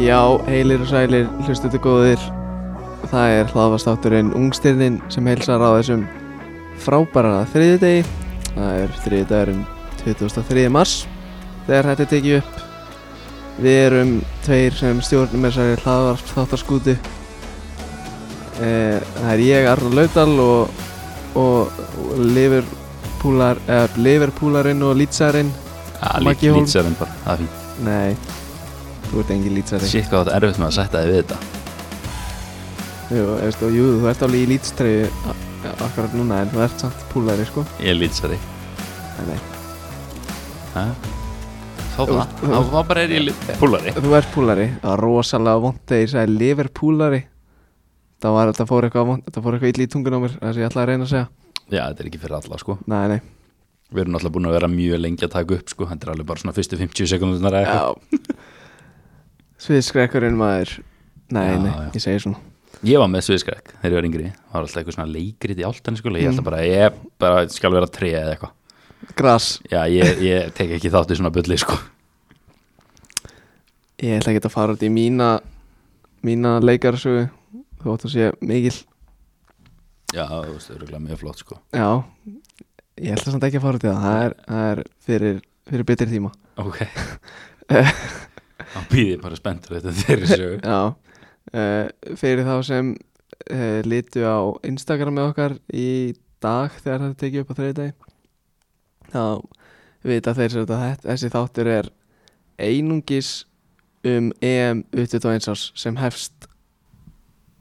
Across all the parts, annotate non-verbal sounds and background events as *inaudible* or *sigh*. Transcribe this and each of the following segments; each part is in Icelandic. Já, heilir og sælir, hlustuðu góðir Það er hlaðvastátturinn Ungstyrnin sem heilsar á þessum frábæra þriðjudegi Það er þriðjudagurinn 2003. mars þegar þetta er tekið upp Við erum tveir sem stjórnum þessari hlaðvarpstáttarskútu eh, Það er ég, Arnur Laudal og, og, og Liverpoolar, eh, Liverpoolarinn og Lýtsarinn Ja, Maggi Hólm. lýtsarinn bara, það er fínt Nei, þú ert engin Lýtsarinn Sitt hvað þú ert erfitt með að setja þig við þetta Jú, veist, og jú, þú ert alveg í lítstreyju akkurat núna en þú ert samt púlari sko Ég er lýtsari Nei, nei, Þá Þú það, veist- þá þá bara er ég lí- púlari þú ert púlari það var rosalega vond þegar ég sagði liver púlari það var, það fór eitthvað vond það fór eitthvað illi í tungun á mér það sem ég ætlaði að reyna að segja Já, þetta er ekki fyrir alla sko Nei, nei, Við erum alltaf búin að vera mjög lengi að taka upp sko Þetta er alveg bara svona fyrstu 50 sekundunar eða já eitthvað Sviðskrekkurinn maður Nei, Já, nei, já. ég segi svona Ég var með sviðskræk þegar ég var yngri Það var alltaf eitthvað svona leikrit í áltan sko Ég held bara, ég bara skal vera tre eða eitthvað Gras, Já, ég, ég tek ekki þátt í svona bulli sko ég ætla ekki að fara út í mína mína leikarsögu þú ótt að sé mikil Já, þú veist, það er mjög flott sko Já, ég ætla samt ekki að fara út í það það er, það er fyrir, fyrir betri tíma Ok *laughs* Þá býð ég bara spenntur þetta þeirri sögu Já, uh, fyrir þá sem uh, litu á Instagram með okkar í dag þegar þetta er tekið upp á þriði dag þá vita þeir sem þetta þessi þáttur er einungis um EM 21 árs sem hefst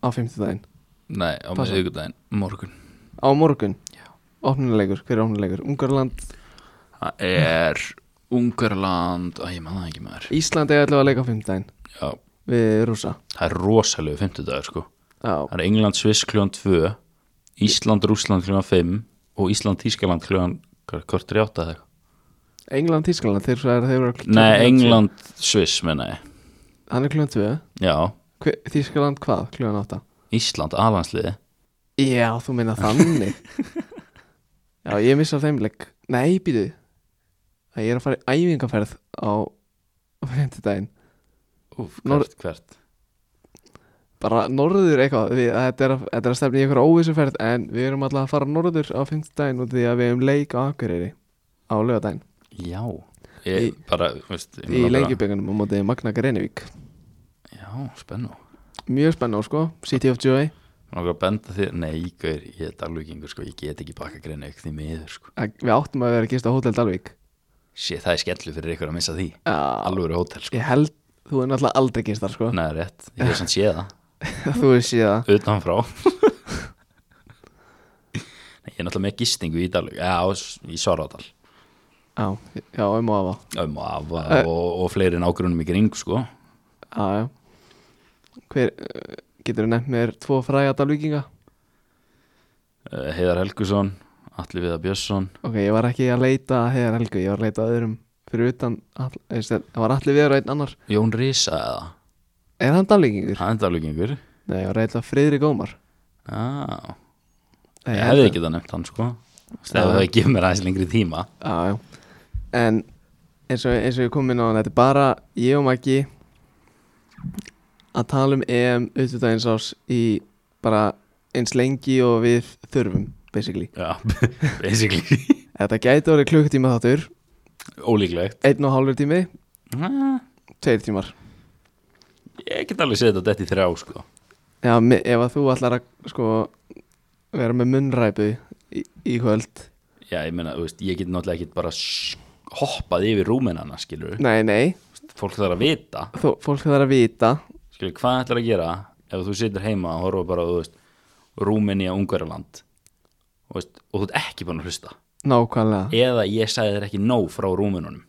á 50 daginn Nei, á Passa. miðvikudaginn, morgun á morgun opnulegur, hver er opnulegur? Ungarland, Það er Ungarland, að ég man það ekki maður Ísland er allavega að leika á 50 daginn Já, við Rúsa það er rosalegu fimmtudagur sko Já, Það er England Sviss kljóðan 2 Ísland Rúsland kljóðan 5 og Ísland Ískaland kljóðan hvort er ég átta eða eitthvað? England, Tískaland, þeir svo er þeir eru að- Nei, England Sviss menna ég Hann er kljóðan 2 Já, Hver- Þýskaland hvað? Kljóðan 8 Ísland alansliði Já, þú meina þannig Já, ég missa af þeim leik Nei, býtu Það ég er að fara í æfingarferð á á fimmtudaginn Úf, Nor- hvert, hvert Bara norður eitthvað við, þetta, er að, þetta er að stefna í einhverja óvissuferð En við erum alltaf að fara norður á fimmtudaginn út af Því að við erum leik á Akureyri Á laugardaginn Já, ég bara veist, ég Í meina bara- leikjubikunum á móti Magna Greinivík Já, spennu Mjög spennu sko, City of Joy Nóka að benda þér, nei, gaur, ég er dalvíkingur sko, ég get ekki baka greinu ykkur því miður sko. Að- Við áttum að vera að gista á Hotel Dalvík Shit, það er skellu fyrir ykkur að missa því Já, Alvöru hótel sko ég held Þú er náttúrulega aldrei gistar sko Nei, rétt, ég hef sann séð það *laughs* Þú er síðan utanfrá Nei, ég er náttúrulega með gistingu í Dalvík Já, s- í Svaradal Já, já, um og afa um, af, og, og fleiri nágrunum í kring sko Já, já Hver, uh, getur þú nefnt mér tvo fræga dalvíkinga? Eh, Heiðar Helgusson, Atli Viðar Björnsson Ok, ég var ekki að leita að heiðar helgu, ég var að leita að öðrum fyrir utan, all, veist, það var allir viður og einn annar Jón Risa eða, Er hann dalvíkingur? hann er Dalvíkingur Nei, ég var að leita að Friðrik Ómar Eh, Já, Nei, ég held hefði að- ekki það nefnt hann sko Þegar það gefur mér aðeins lengri tíma Já, já En eins og, eins og ég kom inn á hann, þetta er bara ég og Maggi að tala um EM auðvitaðins ás í bara eins lengi og við þurfum, basically Já, *laughs* basically Þetta gæti orðið klukkutíma þáttur Ólíklegt einn og hálfur tími, Ah, tveir tímar Ég get alveg séð þetta dætt í þrjá sko Já, mi- ef að þú ætlar að sko vera með munnræpu í, í kvöld Já, ég meina, þú veist, ég get náttúrulega ekki bara s- hoppað yfir rúmenana, skilur Nei, nei, Fólk þarf að vita, þú, fólk þarf að vita skilur, hvað ætlar að gera ef þú situr heima og horfa bara, á, þú veist, Rúmeni á Ungverjaland og, veist, og þú ert ekki búin að hlusta nákvæmlega eða ég sagði þér ekki nóg frá rúmenunum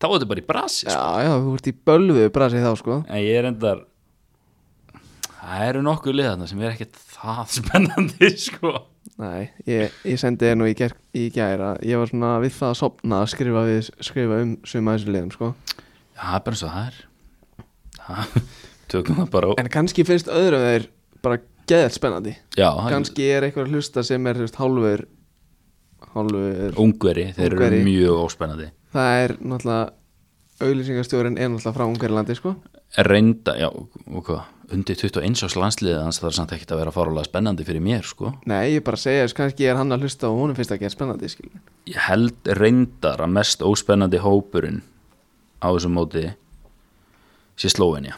þá er þetta bara í brasi sko. Já, já, þú ert í bölvu brasið þá sko en ég er endar það eru nokkuð liðarna sem er ekkert það *laughs* spennandi sko. Nei, ég, ég sendi þér nú í, ger, í gæra Ég var svona við það að sopna að skrifa, við, skrifa um suma þessu liðum sko Já, það er bara eins og það er það, *laughs* tökum það bara á En kannski finnst öðrum þeir bara geðið spennandi já, það er- Kannski er eitthvað að hlusta sem er þú veist, hálfur hálfur Ungveri, þeir Ungverji. eru mjög óspennandi Það er náttúrulega auðlýsingastjórin er náttúrulega frá Ungarlandi sko reynda, já, og hvað undir 21 árs landsliðið hans það er samt ekkert að vera farulega spennandi fyrir mér sko Nei, ég bara segja, þess kannski er hann að hlusta og honum finnst það að gera spennandi skil ég held reyndar að mest óspennandi hópurinn á þessum móti sé Slóvenja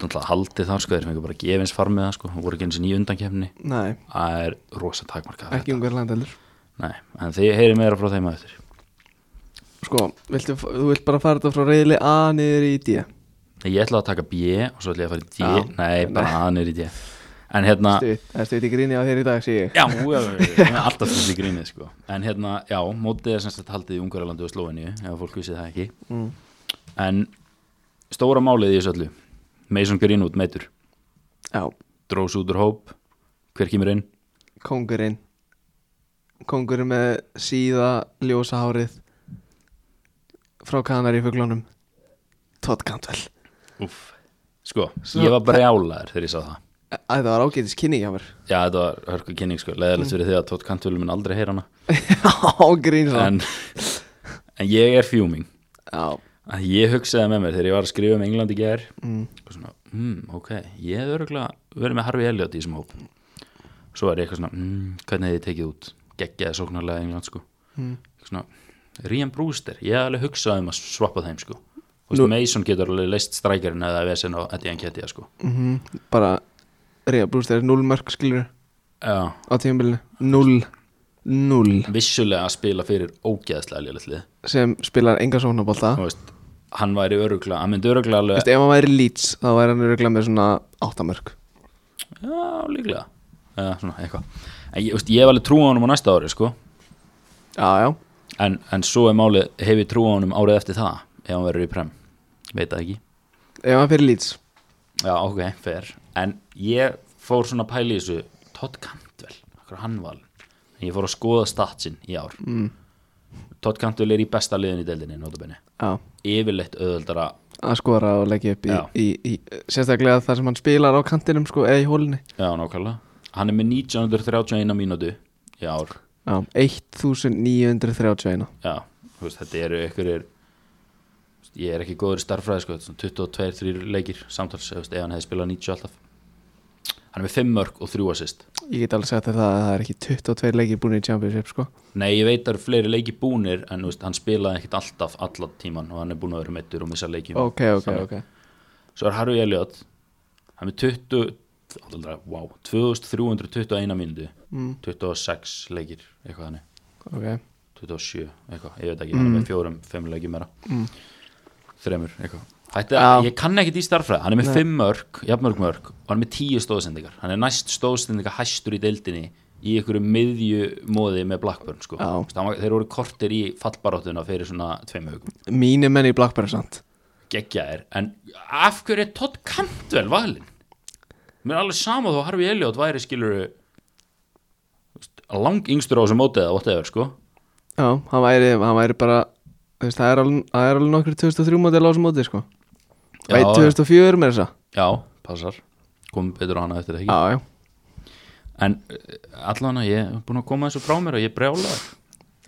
náttúrulega haldið þar sko þeir fengur bara gefins farmið það sko og voru ekki eins og nýju undankefni Nei, það er rosa takmarkað ekki Ungarland heldur Nei, en þið heyrið meira frá þeim að eftir Sko, viltu, þú vilt bara fara þetta frá reyðli A niður í D Nei, ég ætla að taka B og svo ætla ég að fara í D Já. Nei, bara A niður í D En hérna Stuð, það stuð í gríni á þér í dag, sé ég Já, já, já, já, já, alltaf þessi grínið sko En hérna, já, mótið er sem sagt haldið í Ungarlandi og Slóveníu ef fólk vissi það ekki mm. En stóra málið í þessu öllu Mason Greenwood meitur Já, Drós út úr hóp Hver kemur inn? kongurinn Kongurinn með síða ljósa hárið frá kanari í fuglunum Todd Cantwell Úff Sko, Svo- ég var brjálaður þegar ég sá það Æ, Það var ágætis kynning *laughs* hjá mér Já, þetta var hörku kynning sko Leðalegt fyrir því að Tótt Kantúlum minn aldrei heyra hana Ágríns en, *laughs* en ég er fjúming Já, að ég hugsaði með mér þegar ég var að skrifa um England í ger Mm. og svona, mm, ok, ég hef örgulega verið með Harfi Elliot í þessum hóp svo var ég eitthvað svona, mm, hvernig hefði ég tekið út geggjaði sóknarlega England sko Mm. Eitthvað svona, Rían Brewster ég hef alveg hugsað um að svappa þeim sko Þú veist, Mason getur alveg leist strækjarinn eða vesen á Eddie Nketiah sko mm bara Ríða Brúster er 0 mörg skilur Já, á tímabilinu 0 0 vissulega að spila fyrir ógeðslega lélitlið sem spilar enga sóknabólta Þú veist, hann væri öruglega, hann myndi öruglega alveg ef hann væri Leeds þá væri hann örgulega með svona 8 mörg Já, líklega Eða svona eitthvað En ég, veist, ég hef alveg trú á honum á næsta ári sko já já en, en svo er málið, hef ég trú á honum árið eftir það Ef hann verður í prem Veit það ekki ef hann fyrir Leeds Já, ok, fer En ég fór svona að pæla í þessu Todd Cantwell, okkur hann val En ég fór að skoða statsin í ár mm. Todd Cantwell er í besta liðin í deildinni Nótabenni já Yfirleitt auðveldara að skora og leggja upp í, Já. í, í, sérstaklega þar sem hann spilar á kantinum sko eða í hólinni Já, nákvæmlega Hann er með 1931 mínútu í ár já 1931 já, þú veist, þetta eru ykkur er, ég er ekki góður í starffræði sko, þetta er svona 22-3 leikir samtals, þú veist, ef hann hefði spilað 90 alltaf hann er með 5 mörg og 3 assist ég get alveg sagt þér það að það er ekki 22 leikir búin í Championship sko nei, ég veit að það eru fleiri leiki búnir en þú veist, hann spilaði ekkit alltaf allan tíman og hann er búin að vera meittur og missa leikjum ok ok Þannig. ok svo er Harry Elliot hann er með 20 wow, 2321 mínútu mm, 26 leikir, eitthvað þannig ok 27, eitthvað, ég veit ekki, hann er með fjórum, fimm leikjum meira Mm. þremur, eitthvað Þetta, Já. ég kann ekki í starffræði, hann er með Nei. fimm mörg, jafnmörg mörg og hann er með tíu stóðsendingar, hann er næst stóðsendinga hæstur í deildinni í einhverju miðjumóði með Blackburn sko. Já. Þú veist, hann var- þeir voru kortir í fallbaráttuna fyrir svona tveim hugum mínir menn í Blackburn samt geggja er, en af hverju er Todd Cantwell valinn? Mér er alveg sama þó Harfi Elliot væri skilur lang yngstur á þessu mótið eða whatever sko Já, hann væri, hann væri bara þú veist, það er alveg, það er alveg nokkur 2003 móti að lása móti sko Já, Nei, 2004 með þessa Já, passar komum betur á hana eftir það ekki Já, já, En uh, allan að ég er búin að koma þessu frá mér og ég brjála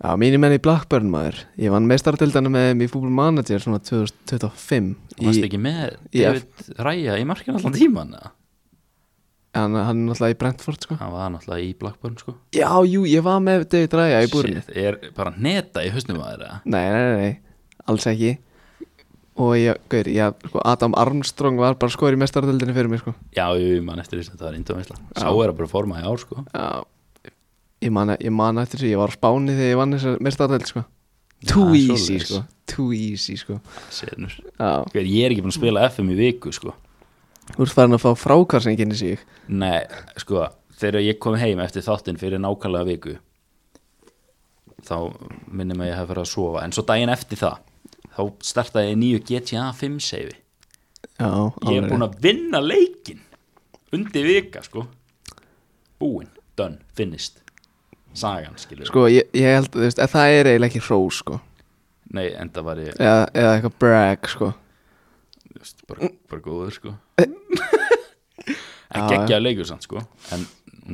já, mínir menn í Blackburn maður Ég vann meistartildana með þeim í Fútbol Manager svona 2025 Þú varst í, ekki með í- David Ræja í markinu allan tíman eða? hann, hann er náttúrulega í Brentford sko Hann var náttúrulega í Blackburn sko Já, jú, ég var með David Raya í búrinu Shit, Er bara neta í hausnum að þeirra Nei, nei, nei, nei, alls ekki Og ég, gaur, ég, sko, Adam Armstrong var bara skori í meistartildinu fyrir mig sko Já, ég mann eftir þess að þetta var indóðisla Sá er að performa í ár sko Já, ég man, e, ég man eftir því, ég var á Spáni þegar ég vann þessar mestarðeld, sko það Too er easy, svoleiðis. sko Too easy, sko Senur Já, Hver, Ég er ekki búin að spila FM í viku sko þú ert farin að fá frákvarsenginni sig Nei, sko Þegar ég kom heim eftir þáttinn fyrir nákvæmlega viku Þá minnum að ég hef verið að sofa En svo daginn eftir það Þá startaði ég nýju GTA 5 seifi Já, Ég er búin að vinna leikin Undir vika sko Búin, done, finished Sagan skilur Sko, ég, ég held, þú veist, að það er eiginlega ekki hrós, sko Nei, enda var ég Eða, eða eitthvað brag, sko þú veist, bara, bara góður *laughs* sko Já, En geggja leikur samt sko En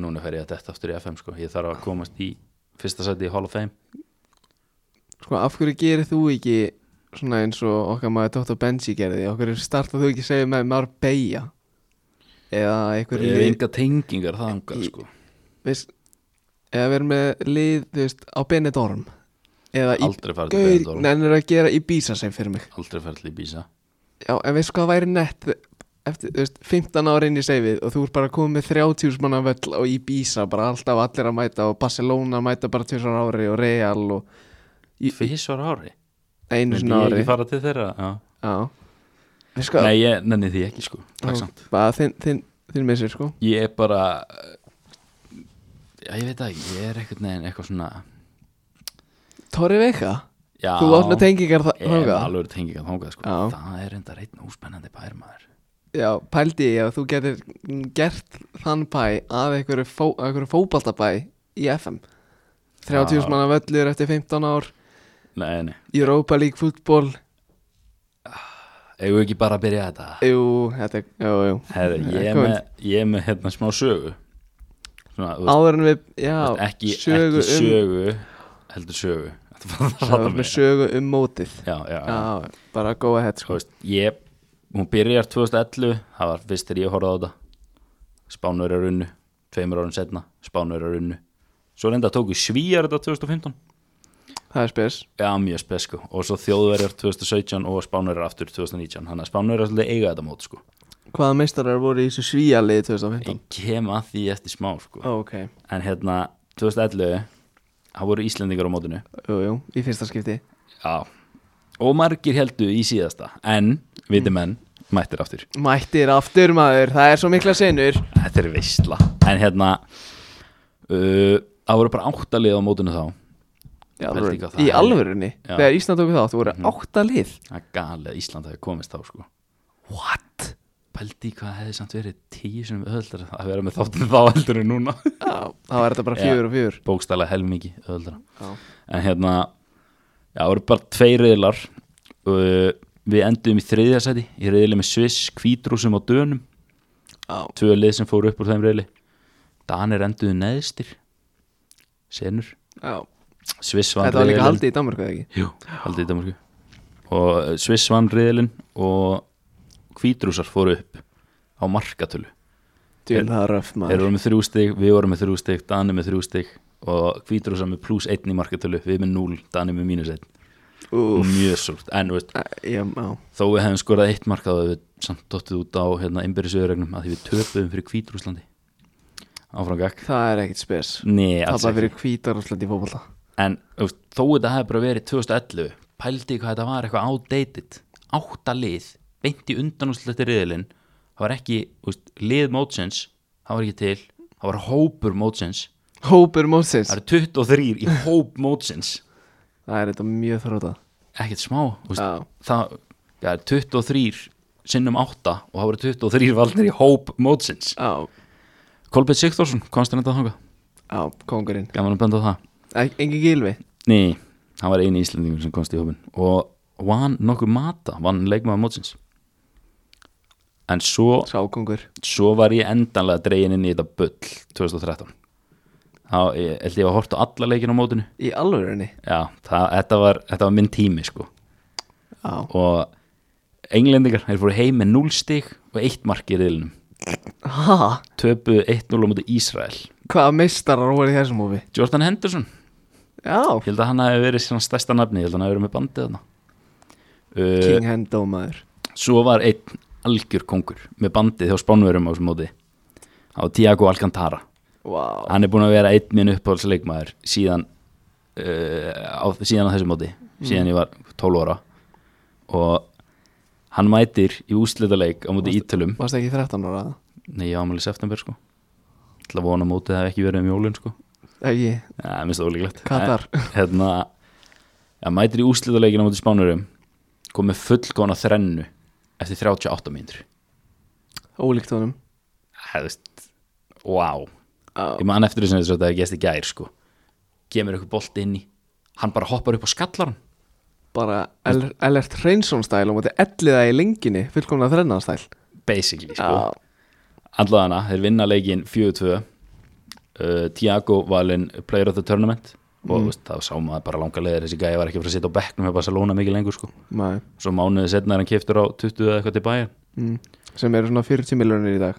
núna fer ég að detta aftur í FM sko Ég þarf að komast í fyrsta sæti í Hall of Fame Sko, af hverju gerir þú ekki svona eins og okkar maður Dr. Benji gerði okkur er startað þú ekki að segja með Marbella eða einhver Ég hef lið enga tengingar þangað sko veist, eða við erum með lið þú veist, á Benidorm eða í Aldrei farið til Gaur, Benidorm nennir að gera í Bísa sem fyrir mig Aldrei farið til Ibiza Já, en veistu hvað væri nett eftir, þú veist, 15 ára inn í seifið og þú ert bara komið með 30 manna völl á Ibiza, bara alltaf allir að mæta og Barcelona mæta bara tvisar ári og Real og í, Físvar ári einu Myndi sinna ég ári ekki fara til þeirra Já. Já Veistu hvað, Nei, ég nenni því ekki sko Takk Já. samt bara þinn, þinn, þinn missir sko ég er bara eh, já, ég veit það ekki, ég er eitthvað neginn eitthvað svona Torri Veika, já, þú opna tengingar þa- ég er þangað alveg tengið að þangað sko. Já. það er enda reitt óspennandi bær maður Já, pældi ég að þú getur gert þann bæ að einhverju, fó, að einhverju fótbaltabæ í FM 30 Já. manna völlur eftir 15 ár nei, nei, Europa League fútból eigum við ekki bara að byrja þetta Jú, þetta er, jú, jú Heru, ég, er Kom með, ég er með hérna smá sögu svona, þú veist, Áður en við, já, veist, ekki, sögu ekki sögu heldur sögu Ertu bara um að ráða sögu, mig? með sögu um mótið já, já, já. Já, bara go ahead Sko, sko veist, ég, hún byrjar 2011 það var fyrst þegar ég horfði á þetta Spánur er unnu tveimur árum setna, Spánur er unnu svo reynda tóku svíjar þetta 2015 Það er spes já, mjög spes sko, og svo þjóðverjar 2017 og Spánur er aftur 2019 þannig að Spánur er alltaf eiga þetta mót sko Hvaða meistarar voru í þessu svíjalið 2015? ég kem að því eftir smá sko Ó, Ok, en hérna, 2011 það voru Íslendingar á mótinu jú, jú, í fyrsta skipti já, og margir heldu í síðasta en, viti menn, mættir aftur Mættir aftur maður, það er svo mikla sinnur Þetta er veistla En hérna uh, Það voru bara áttalið á mótinu þá Já, Pældi voru- ekki á það. Í alvörunni, Já. þegar Ísland tóku þátt voru átta lið Það er galið að Ísland hefði komist þá sko What? Pældi í hvað hefði samt verið tíu sem öðuldra að vera með þáttum þá heldur en núna *laughs* Já, þá er þetta bara Já. fjögur og fjögur Bókstæla helmingi öðuldra Já. En hérna Já, það voru bara tveir reyðlar uh, Við endum í þriðja sæti Í reyðli með Sviss, Kvítrúsum og Dönum Já, Tvö lið sem fóru upp úr þeim reyðli Danir enduðu neðstir Senur já Sviss vann Þetta var líka riðilinn. haldið í Danmarku eða ekki? Jú, haldið í Danmarku og eh, Sviss vann riðilinn og hvítrúsar fóru upp á markatölu Djúl, það er röf þeir maður voru með þrjú stig, við vorum með þrjú stig Dani með þrjú stig og hvítrúsar með pluss einn í markatölu, við með 0 Dani með mínus einn, Úf, mjög súrt en þú veist, já, já þó við hefum skorað eitt mark þá hefum við samt dottið út á hérna, einbyrðisöðuregnum að því við töpuðum fyrir hvítrúslandi áfram gag Það er ekkit spes Nei, alls Tappa ekki fyrir hvítar og slett í fótbolta en þú veist, þó þetta hefði bara verið 2011 pældi hvað þetta var eitthvað outdated átta lið, beint í undanúsletti riðilinn, það var ekki þú veist, lið mótsins, það var ekki til það var hópur mótsins Hópur Mósins það eru 23 í hóp mótsins Það er þetta mjög þróta ekkert smá, þú veist, Já, það ja, 23 sinnum átta og það voru 23 valdir í hóp mótsins já, Kolbjörn Sigþórsson, komst hann þetta þangað já, kongurinn gaman að benda á það Ek- Engin gilvi Nei, hann var eini íslendingur sem komst í hópin og vann nokkuð mata vann leikmaður mótsins en svo, Sákongur svo var ég endanlega dregin inn í þetta bull 2013 þá ég held ég að horta á alla leikin á mótinu Í alvörunni já, það, þetta, var, þetta var minn tími sko Já, og englendingar, þeir fóru heim með 0 stig og 1 mark í riðlinum ha, töpuðu 1-0 á móti Ísrael hvaða meistarar voru í þessum hófi Jordan Henderson, Já, ég held að hann hafi verið svona stærsta nafni, ég held að hann hafi verið með bandið þarna Uh, King Hendo maður Svo var einn algjör kongur með bandið hjá Spánverjum á þessum móti á Tiago Alcantara Vá, hann er búin að vera einn minn uppáhaldsleikmaður síðan uh, á, síðan á þessum móti síðan ég var 12 ára og hann mætir í úslitaleik á móti Ítölum varst ekki 13 ára nei, ég ámæli september sko til að vona mótið það hef ekki verið um jólun sko Ekki, ja, minnst það ólíklegt Katar En, hérna, ja, mætir í úslitaleikina á móti Spánverjum kom með fullkona þrennu eftir 38 mínútur Ólíkt honum Það veist, wow Já. Ég man eftir þessu að þetta hefði gæst í gær sko Gemur eitthvað bolti inn í Hann bara hoppar upp og skallar hann Bara El- Ellert Hreinsson stæl og mútið elliða í lenginni fullkomna þrennan stæl Basically sko Já, Allavega hana, þeir vinna leikinn 4-2 uh, Tiago valinn player of the tournament og mm. veist, þá sá maður bara langa leiðir þessi gæði var ekki frá að sitja á bekknum með Barcelona mikið lengur sko. Nei. svo mánuðið setna er hann keftur á 20 eða eitthvað til bæjar Mm. sem eru svona 40 miljonir í dag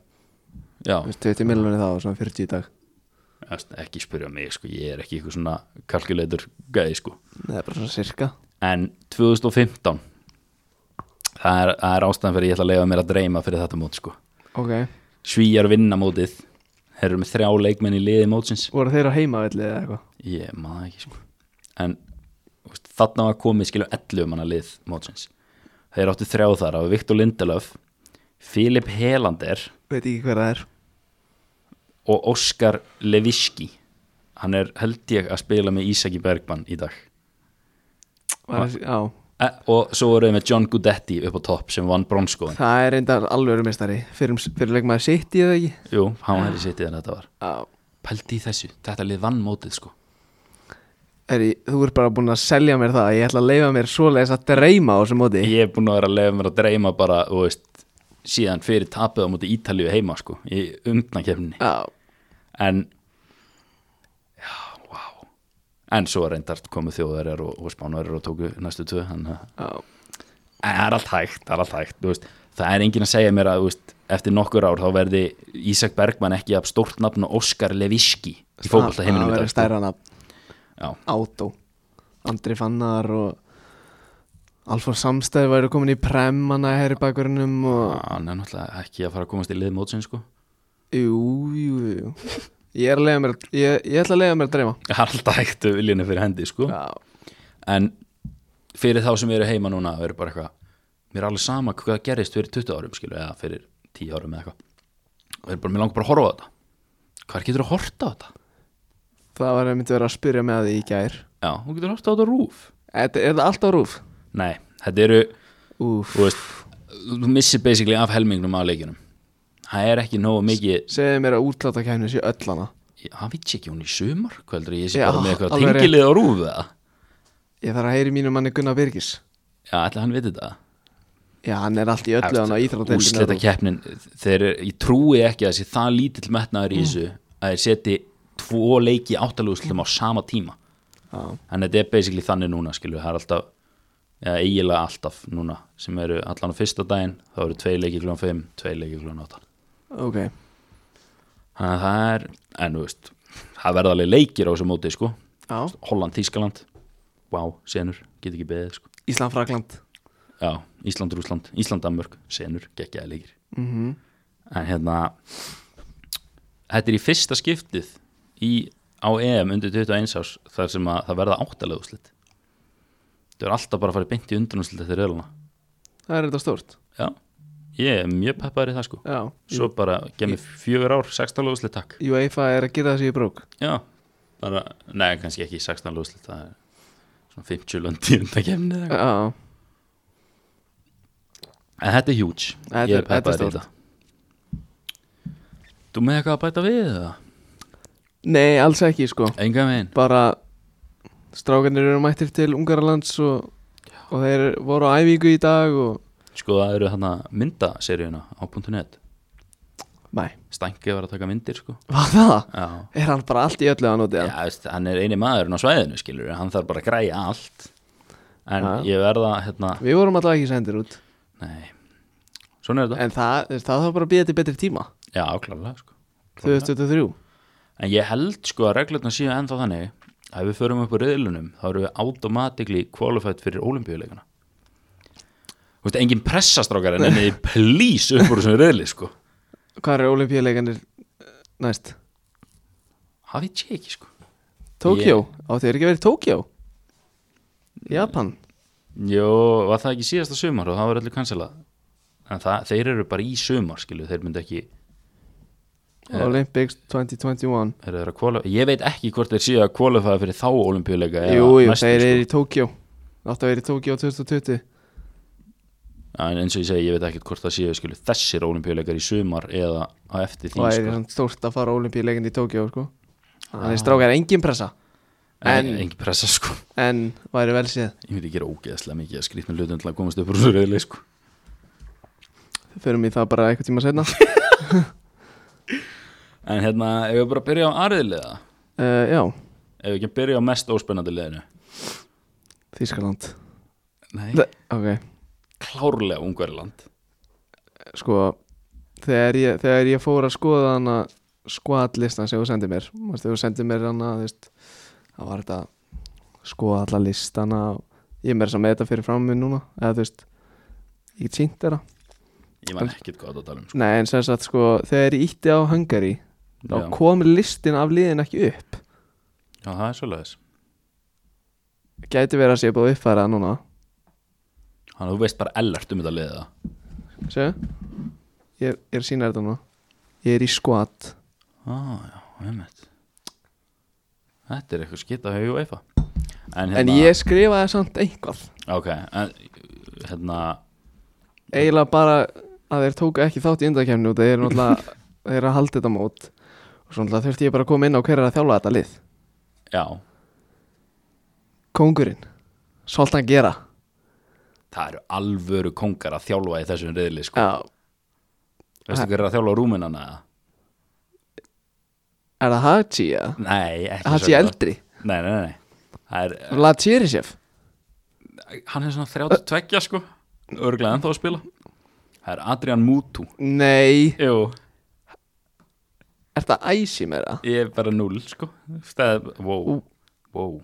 já, Þú veist, 20 miljonir þá og svona 40 í dag veist, ekki spyrja mig sko, ég er ekki eitthvað svona kalkulator gæði sko. það er bara svona cirka en 2015 það er, það er ástæðan fyrir ég ætla að leifa mér að dreyma fyrir þetta mót sko. ok, svíjar vinna mótið þeir eru með þrjá leikmenn í liði mótsins voru þeir á heimavelli eða eitthvað ég maður ekki sko. en þú veist, þarna var komið skilju 11 manna lið mótsins þeir áttu þrjá þar af Viktor Lindelöf Filip Helander veit ekki hver það er og Óskar Leviski hann er held ég að spila með Ísaki Bergmann í dag Var það- já, e, og svo erum við með John Gudetti upp á topp sem vann bronskóin það er reyndar alvöru mistari fyrir, fyrir leikmaður sitt í eða ekki jú, hann var hér í sitt en þetta var já, pældi í þessu, þetta lið vann mótið sko Eri, þú ert bara búin að selja mér það ég ætla að leifa mér svoleiðis að dreyma á þessu móti ég er búin að vera að lefa mér að dreyma bara þú veist, síðan fyrir tapið á móti Ítalíu heima sko, í umdnakefni já, en já, wow en svo reyndar komu þjóðverjar og, og spánverjar og tóku næstu tvö en, en já, það er allt hægt, það er allt hægt þú veist, það er enginn að segja mér að þú veist, eftir nokkur ár þá verði Ísak Bergmann ekki af stórt nafn og Óskar Leviski í fókbalta það heiminum í verður dag sko. stærra nafn Já. Átó Andri Fannar og Alfons Samstæði væri komin í premmanna hér í bakurinnum og hann er náttúrulega ekki að fara að komast í lið mótsinn sko. jú, jú, jú ég er að leiða mér ég, ég ætla að leiða mér að dreyma það er alltaf hægt að viljana fyrir hendi sko. já, en fyrir þá sem eru heima núna það eru bara eitthvað, mér er alveg sama hvað gerist fyrir 20 árum skilu eða fyrir 10 árum eða eitthvað og er bara, mér langar bara að horfa á þetta hvað getur að horta á þetta? það var að myndi vera að spyrja með því í gær Já, hún getur að horta á þetta á rúf Þetta- er það alltaf rúf? Nei, þetta eru, Úf, þú veist þú missir basically af helmingnum af leikjunum það er ekki nógu mikið segðu mér að útláta kæmni sér öllana ég- hann veit ekki hún í sumar hvað heldur ég sé Já, bara með eitthvað alveg rétt. tengilið á rúf eða? ég þarf að heyri mínu manni Gunnar Birgis Já, ætla hann viti þetta já, hann er allt í öllu hann á úslita íþrótteldinu keppnin þeir, ég trúi ekki að það sé það lítill metnaður í þessu að þeir seti tvo leiki áttaluguslutum á sama tíma en þetta er basically þannig núna skilju, það er alltaf eða eiginlega alltaf núna sem eru allan á fyrsta daginn, þá eru tvei leiki klúan 5 tvei leiki klúan 8 ok, þannig að það er, en þú veist það verða alveg leikir á þessu móti sko já, Holland, Þískaland, wow, senur get ekki beðið sko, Ísland, Frakland já, Ísland, Rúsland Ísland, Danmörk, senur, geggjaði leikir mhm en hérna þetta er í fyrsta skiptið í, á EM undir 21 árs þar sem að það verða áttalega úslit það er alltaf bara að fara beint í undanúslit eftir reiluna það er þetta stórt já, ég er mjög peppaður í það sko já, svo bara gemið fjögur ár 16 úslit takk UEFA er að gera þessi í brók já, bara, nei kannski ekki 16 úslit það er svona 50 lönd í undakefni en já, þetta er huge, Þetta er- ég þetta er er peppaður í stórt. þetta þú með eitthvað að bæta við eða? nei, alls ekki sko enga megin bara strákanir eru mættir til Ungarlands og, og þeir voru á æfingu í dag og sko það eru þarna myndaseríuna á .net nei, Stænki var að taka myndir sko var það? Já, er hann bara allt í öllu að nota já það? veist, hann er eini maðurinn á svæðinu skilur hann þarf bara að græja allt en Já. ég verða hérna við vorum alltaf ekki sendir út nei, svona er þetta en það, þú veist, það þarf bara að býða til betri tíma Já, klárlega sko 2023 En ég held sko að reglurnar séu ennþá þannig að ef við förum upp úr riðlunum þá erum við automatically qualified fyrir olimpíuleikana Þú veist, engin pressastrákar en enni *laughs* please upp úr þessum riðli sko hvað eru olimpíuleikanir eh, næst? Hafið ég ekki sko Tókjó, áttu þér ekki að vera í Tókjó? Japan Jó, var það ekki síðasta sumar og það var allir kansalað en það, þeir eru bara í sumar skilu, þeir myndi ekki Já. Olympics 2021 eru þeir að kvala, ég veit ekki hvort þeir séu að kvalifæða fyrir þá olimpíuleika eða Jú, jú, næstu, þeir eru sko. í Tókjó Áttu að vera í Tókjó 2020 en eins og ég segi, ég veit ekki hvort það séu skilu, þessir olimpíuleikar í sumar eða á eftir því Það er sko. hann stórt að fara olimpíuleikin í Tókjó sko. Ah. Þannig strákar engin pressa en, en- engin pressa sko En væri vel séð ég myndi gera ógeðslega mikið að skrýtna hlutum til að komast upp úr svo reyðli sko Förum í það bara eitthvað tíma setna *laughs* uh, en hérna, ef við bara að byrja á aðriðlega Eh, Já, ef við ekki byrja á mest óspennandi liðinu Þískaland Nei, Þe- Ok, klárlega Ungverland sko þegar ég, þegar ég fór að skoða hana skvatlistan sem þú sendið mér Manstu, þú sendið mér hana þú veist, það var þetta að skoða alla listana og ég er meira sem með þetta fyrir fram mig núna eða þú veist ég get sínt þeirra Ég man ekkert hvað þú ert að tala um sko. Nei, en sem sagt sko, þegar ég ítti á Hungary þá Já. kom listin af liðin ekki upp Já, það er svoleiðis gæti verið að sé búið að uppfæra það núna Þannig að þú veist bara ellert um þetta liða Sjö? Ég, ég er að sína þetta núna ég er í skvat ah, já, einmitt. Þetta er eitthvað skita hefur UEFA En, hérna- en ég skrifaði samt einhvað Ok, en hérna eiginlega bara að þeir tóku ekki þátt í undakefni og þeir eru náttúrulega þeir eru að halda þetta mót og svo náttúrulega þurfti ég bara að koma inn á hver er að þjálfa þetta lið Já, Kóngurinn, svolítið að gera það eru alvöru kongar að þjálfa í þessum reyðli sko. Já, Veistu hver er að þjálfa rúminana? er það Haji eða? Nei, ekki Haji Sörloth. eldri, Nei, nei, nei Það er, Latsirisef Hann er svona 32 sko Örglega ennþá að spila Það er Adrian Mutu Nei, Jú, er það æsi með það? ég er bara 0 sko Stæð, wow, wow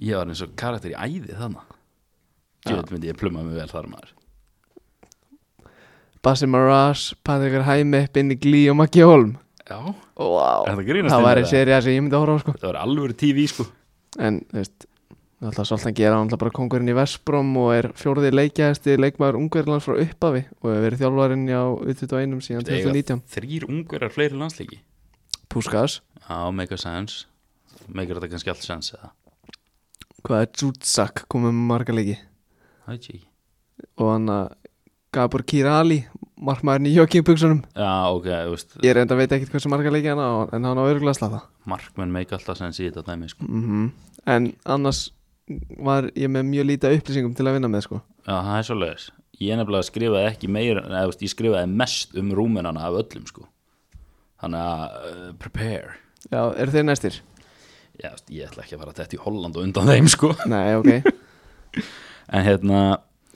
Ég var eins og karakter í æði þannig Gjöld myndi ég pluma mig vel þar maður Bassi Maras, Patrikur Hæmi, Binni Glí og Maggi Holm Já, wow. Er þetta grínast Það inn í væri það? serið sem ég myndi að horfa á sko það var alvöru TV sko En, þú veist, náttúrulega svolítið að gera hann bara kongurinn í Vesbrom og er fjórði leikjæðasti leikmaður Ungverðlands frá uppafi og hefur verið þjálfarinn á U21 síðan 2019 Þrýr ungverjar fleiri landsleiki Puskas, Já, make a sense Make þetta kannski allt sense eða hvað er Jutsak komið með marga leiki Það veit ég ekki og hann að Gabor Kirali markmaðurinn í joggingbuxunum Já, ok, þú veist Ég reynda veit ekkit hversu marga leiki hann á en hann á örgulega slata Markmenn make alltaf sense í þetta dæmi sko mm En annars var ég með mjög lítið af upplýsingum til að vinna með sko Já, það er svoleiðis. Ég nefnilega skrifaði ekki meira, eða þú veist, ég skrifaði mest um rúmenana af öllum, sko. Þannig að uh, prepare. Já, eru þeir næstir? Já, þú veist, ég ætla ekki að fara þetta í Holland og undan þeim, sko. Nei, ok En hérna,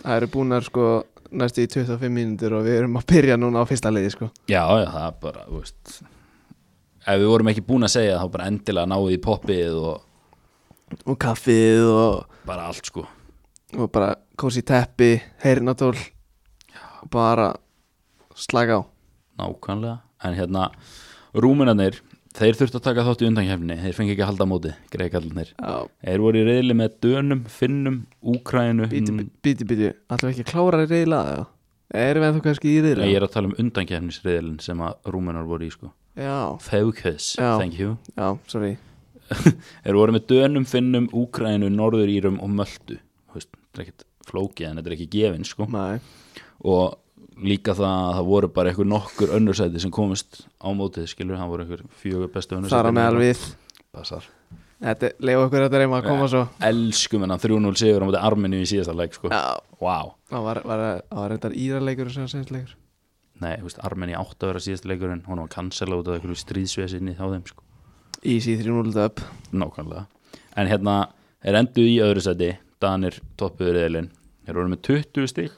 Það eru búnar sko næstu í 25 mínútur og við erum að byrja núna á fyrsta leiði sko já, já, það er bara, þú veist, ef við vorum ekki búin að segja þá bara endilega náði í poppið og Og kaffið og, bara allt, sko. og bara kósi teppi, heyrnatól Bara slaka á Nákvæmlega. En hérna, rúmenanir, þeir þurftu að taka þátt í undankefni, þeir fengi ekki að halda á móti, greikallinir. Já, Þeir voru í reyðli með Dönum, Finnum, Mm. Úkrænum. bíti, bíti, bíti Ætlum við ekki að klára í reyðla eða? Erum við ennþá kannski í reyðla? Nei, ég er að tala um undankefnisriðilin sem að rúmenar voru í sko Já, Focus, Já. thank you já, sorry Þeir voru með Dönum, Finnum, Úkrænum, Norðurýrum og Möldu Þú veist, Þetta er ekkert flókið en þetta er ekki gefin sko Nei, Og líka það að það voru bara einhver nokkur önnursæti sem komist á mótið skilur Það voru einhver fjögur bestu þar að meðal önnursæti við hérna. Passar Þetta, leiðu okkur þetta reyma að koma svo Elskum hennan 3-0 sigur á mótið Arminu í síðasta leik sko Já, Vá það var, var, það var reyndar íraleikur og sænsleikur Nei, þú veist, Armeni átt að vera síðasta leikurinn Hún var cancela út af einhverju stríðsvesinni þá þeim sko Easy 3-0 upp Nákvæmlega En hérna er enduð í öðru sæti Danir toppuður eðlin Þeir voru með 20 stík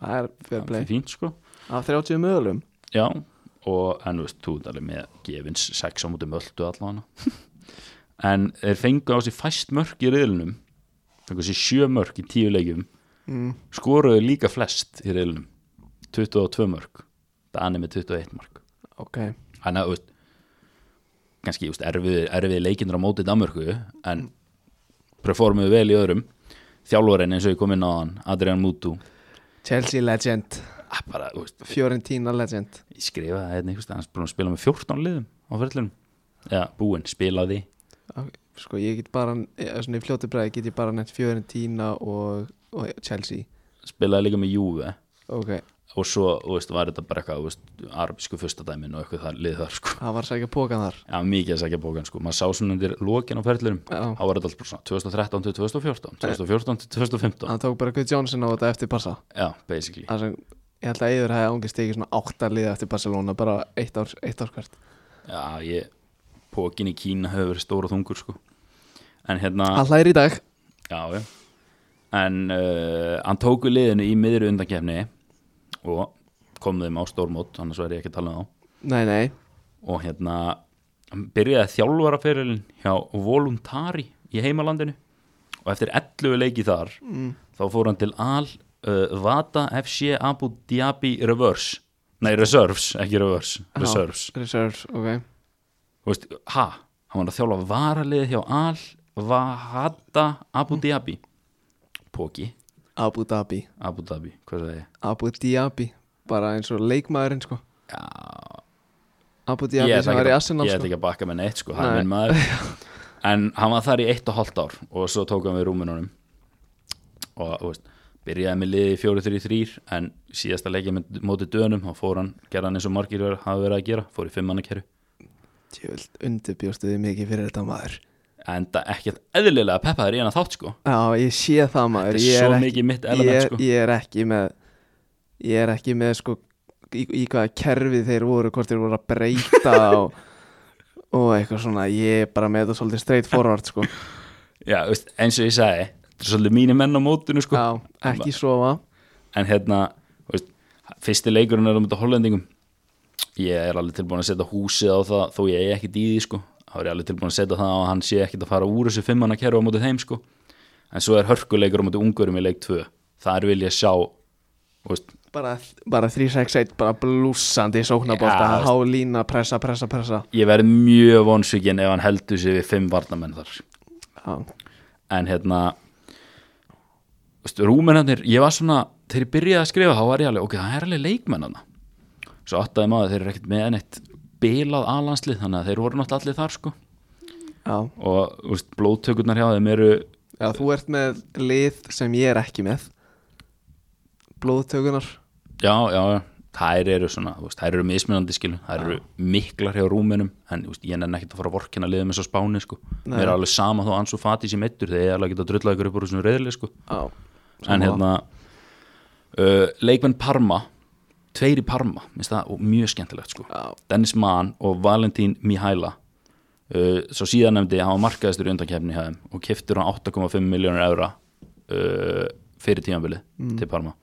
Það er fair play Fínt sko Af 30 mögulegum Já Og en þú veist, þú ert alveg með gefins 6 á múti möldu allan *laughs* En þeir fengu á sig fæst mörk í reðlinum Fengu á sig 7 mörk í 10 leikjum mm. Skoruðu líka flest í reðlinum 22 mörk Danir með 21 mörk Ok, Þannig að þú veist kannski þú veist, erfið, erfið leikindur á móti Danmörku en performuðu vel í öðrum þjálfarinn eins og ég kom inn á hann Adrian Mutu Chelsea legend ah, bara, þú veist, Fiorentina legend ég skrifaði hérna einhvers staðar, hann er búinn að spila með 14 liðum á fyrirlunum já, búinn, spilaði Sko ég get bara, eða svona í fljótu bræði get ég bara nefnt Fiorentina og, og Chelsea spilaði líka með Juve Ok, og svo þú veist, var þetta bara eitthvað þú veist, arabísku fyrstadæmin og eitthvað þar, lið þar sko. það var sækja pókan þar já, mikið að segja bókan sko. maður sá svona undir lokin á fyrirlunum Já, þá var þetta alltaf bara svona 2013 til 2014 2014 til 2015 hann tók bara Guð Johnson á þetta eftir passa já, basically Það sem, ég held að Eður hefði ángist ekki svona átta liða eftir Barcelona bara eitt ár, eitt ár hvert Já, ég pókin í Kína hefur verið stór og þungur sko. en hérna Alla er í dag Já, já. En uh, hann tók við liðinu í miðri undankefni og kom þeim á stórmót, annars væri ég ekki að tala um þá. Nei, nei, Og hérna, hann byrjaði þjálfaraferilin hjá Voluntari í heimalandinu og eftir 11 leiki þar, þá fór hann til Al uh, Vata FC Abu Dhabi Reverse. Nei, Reserves, ekki Reverse, Já. Reserves. reserves, ok Þú veist, ha, hann var að þjálfa varalið hjá Al Vata Abu Dhabi. Póki. Abu Dhabi Abu Dhabi, hvað sagði ég? Abu Dhabi, bara eins og leikmaðurinn sko Já, Abu ég Dhabi sem ætla var í ekki að- Arsenal ég sko ætla ekki að bakka með neitt sko, hann Nei. er minn maður *laughs* En hann var þar í eitt og hálft ár og svo tók hann við rúminunum og þú veist, byrjaði með liði 4-3-3 en síðasta leikja með móti dönum þá fór hann, gerði hann eins og margir ver- hafa verið að gera, fór í fimmannakerru Tjöld, undirbjóstu þið mikið fyrir þetta maður enda ekkert eðlilega peppaður í hann að þátt sko Já, ég sé það maður Þetta er Ég svo ekki- mikið mitt element, ég, sko. ég er ekki með Ég er ekki með sko í, í hvaða kerfi þeir voru Hvort þeir voru að breyta *laughs* og, og eitthvað svona Ég er bara með þetta svolítið straight forward *laughs* sko Já, þú veist, eins og ég sagði, þetta er svolítið mínir menn á mótinu sko Já, ekki sofa en hérna þú veist, fyrsti leikurinn er um þetta hollendingum ég er alveg tilbúin að setja húsið á það þó ég er ekkit í því sko þá er ég alveg tilbúin að setja það á að hann sé ekkit að fara úr þessu fimmana kerfa á móti þeim sko en svo er hörkuleikur á móti ungurum í leik 2 þar vil ég sjá þú veist, Bara, bara 3-6-1, bara blúsandi Já, sóknabólta, veist. hálína, pressa, pressa, pressa ég verð mjög vonsvikinn ef hann heldur sig við fimm varnamenn þar Já, en hérna þú veist, rúmennarnir, ég var svona þegar ég byrjaði að skrifa þá var ég alveg ok, það er alveg leikmennarna svo áttaði maður að þeir eru ekkert með neitt bilað alanslið þannig að þeir voru náttúrulega allir þar sko já, og þú veist, blóðtökurnar hjá þeim eru já, þú ert með lið sem ég er ekki með Blóðtökunar já, já, já, þær eru svona þú veist, þær eru mismunandi skilu, þær eru miklar hjá rúmennum, en þú veist, ég nenni ekkert að fara að vorkina liðum eins og spáni sko Nei. mér er alveg sama þó ansvo fati sem eittur þegar ég er alveg að geta drullað ykkur upp úr þessum reyðli sko Já, en hérna uh, leikmenn Parma tveir í Parma, minnst það, og mjög skemmtilegt sko. Já. Dennis Mann og Valentín Mihaila uh, svo síðan nefndi hann var markaðistur í undankefni hæðum og keftur hann 8,5 miljónur eura uh, fyrir tímanbili til Parma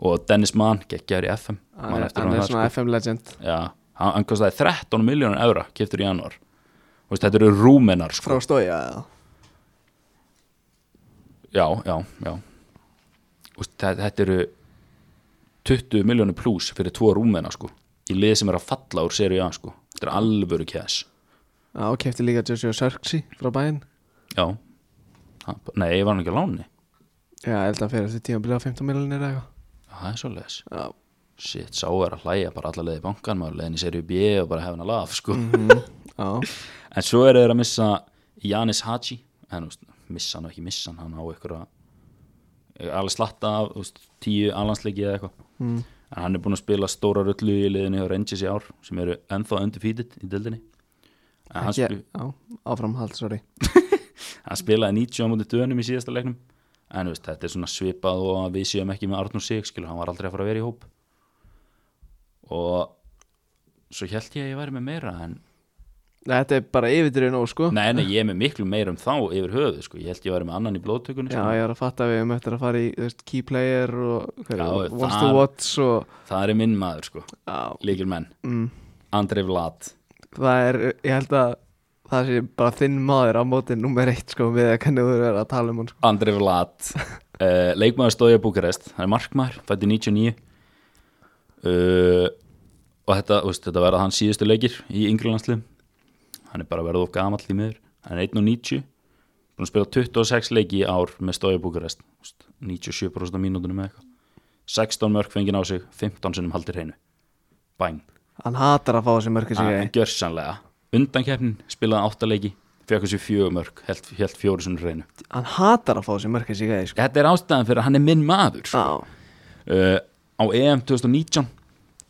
og Dennis Mann geggjær í FM Mm. hann Man er, eftir hann honum er þar, sko. svona FM legend Já, hann, hann kostaði 13 miljónur eura keftur í januar Þú veist, þetta eru rúmenar sko. Frá stója eða? já, já, já Úst, þetta, þetta eru 20 miljónu pluss fyrir tvo rúmena sko, í lið sem er að falla úr seri A sko, þetta er alvöru kæs Já, og kefti líka Joshua Sörksi frá bæinn já, ha, nei, ég var hann ekki á láni Já, ég held að fyrir þessi tíma byrja á 15 miljonir eða það er svo leiðis, eitthvað Já, shit, sá er að hlæja bara alla leið í bankan, maður leiðin í seri B og bara hefna laf, sko, já, en svo er þeir að missa Janis Haji, en úst, missa hann og ekki missa hann, hann á einhverja eh, alveg slatta af úst, tíu alansleiki eða eitthvað mm. en hann er búinn að spila stóra rullu í liðinu hjá Rangers í ár sem eru ennþá undefeated í dildinni en hann, Ekki, spi já áframhald, sorry hann spilaði 90 á múti dönum í síðasta leiknum en þú veist, þetta er svona svipað og að við séum ekki með Arnur Sig skilur, hann var aldrei að fara að vera í hóp og svo held ég að ég væri með meira en Nei, Þetta er bara yfirdrið nóg, sko nei, nei, ég er með miklu meira um þá yfir höfuð sko. ég held ég væri með annan í blóðtökunni Já, sko. ég var að fatta að við um eftir að fara í þú veist, key player og hver, Já, já, wants það- to watch og það er minn maður, sko. já, líkil menn mm, Andrei Vlad það er, ég held að það sé bara þinn maður á móti nummer eitt sko við að kannu þú vera að tala um hann sko. *laughs* Andri Vlad uh, leikmaður stóði á Búkarest hann er markmaður, fætti 99 uh, og þetta, þú veist, þetta verða hans síðustu leikir í yngri landslið hann er bara verið of gamall í miður hann er 1.90 búin að spila 26 leiki í ár með stóði á Búkarest 97% af mínútunum eða eitthvað 16 mörg fengið á sig 15 sinnum haldir hreinu bæn, Hann hatar að fá þessi mörki sig hann gjör sannlega undankeppnin, spilaði 8 leiki fekk þessi fjögur mörg, held, held fjóru sinnum hreinu Hann hatar að fá þessi mörki sig sko. þetta er ástæðan fyrir að hann er minn maður sko. Já, uh, á EM 2019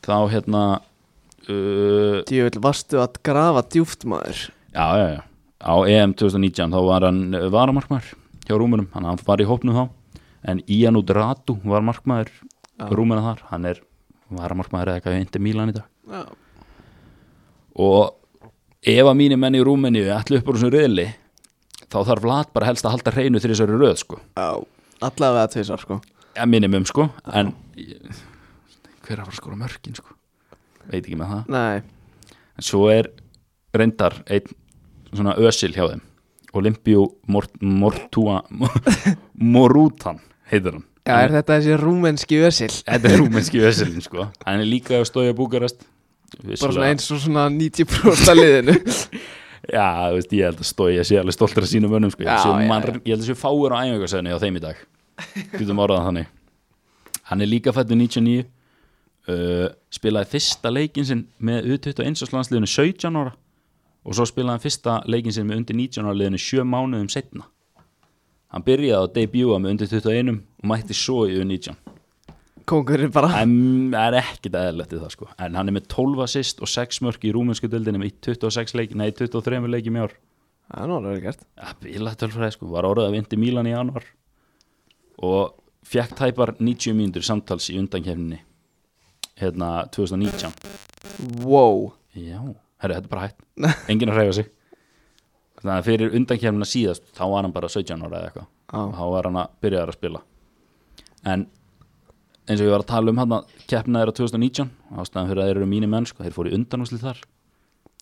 þá hérna uh, djúvill varstu að grafa djúft maður já, já, já, á EM 2019 þá var hann uh, varamarkmaður hjá Rúmunum, hann, hann var í hópnum þá en Ian Udratu var markmaður Rúmuna þar, hann er varamarkmaður eða eitthvað hindi Mílan í dag Já, og ef að mínir menn í Rúmeníu ætli upp úr þessum riðli þá þarf Vlad bara helst að halda hreinu til þessari röð sko, Já, allavega tvisar sko að mínimum sko en ég- hver er að fara að skora mörkin sko veit ekki með það Nei, en svo er reyndar einn svona ösil hjá þeim Olympio Mort, Mortua *laughs* Morutan heitir hann já, er þetta þessi rúmenski ösil þetta er rúmenski ösilin sko hann er líka að stója búkarast Bara svona eins og svona 90% af *laughs* liðinu já, þú veist, ég held að stója sé alveg stoltur að sína mönnum sko. já, Já, já, já, man, já. ég held að sé fáur á æfingarsæðinu á þeim í dag getum orðað það þannig hann er líka fættur 99 uh, spilaði fyrsta leikinn sinn með U21 landsliðinu 17 ára og svo spilaði hann fyrsta leikinn sinn með undir 19 ára liðinu 7 mánuðum setna hann byrjaði að debuta með undir 21 og mætti svo í U19 Kongurinn bara En það er ekkit eðalegt í það sko En hann er með 12 assist og 6 mörk í rúmensku dildinni með í 26 leik, nei 23 leikjum í ár Það er náttúrulega gert að bíla tölfræði sko, var orðið að vindi Mílan í januar og fjekk tæpar 90 mínútur samtals í undankefninni hérna 2019 Wow já, herri, þetta er *laughs* bara hætt enginn að hreyfa sig þannig að fyrir undankefnina síðast þá var hann bara 17 ára eða eitthvað og Já, þá var hann að byrjaði að spila en eins og ég var að tala um hann að keppna þeirra 2019 ástæðan fyrir að þeir eru mínir menn sko, þeir fóru í undanúslið þar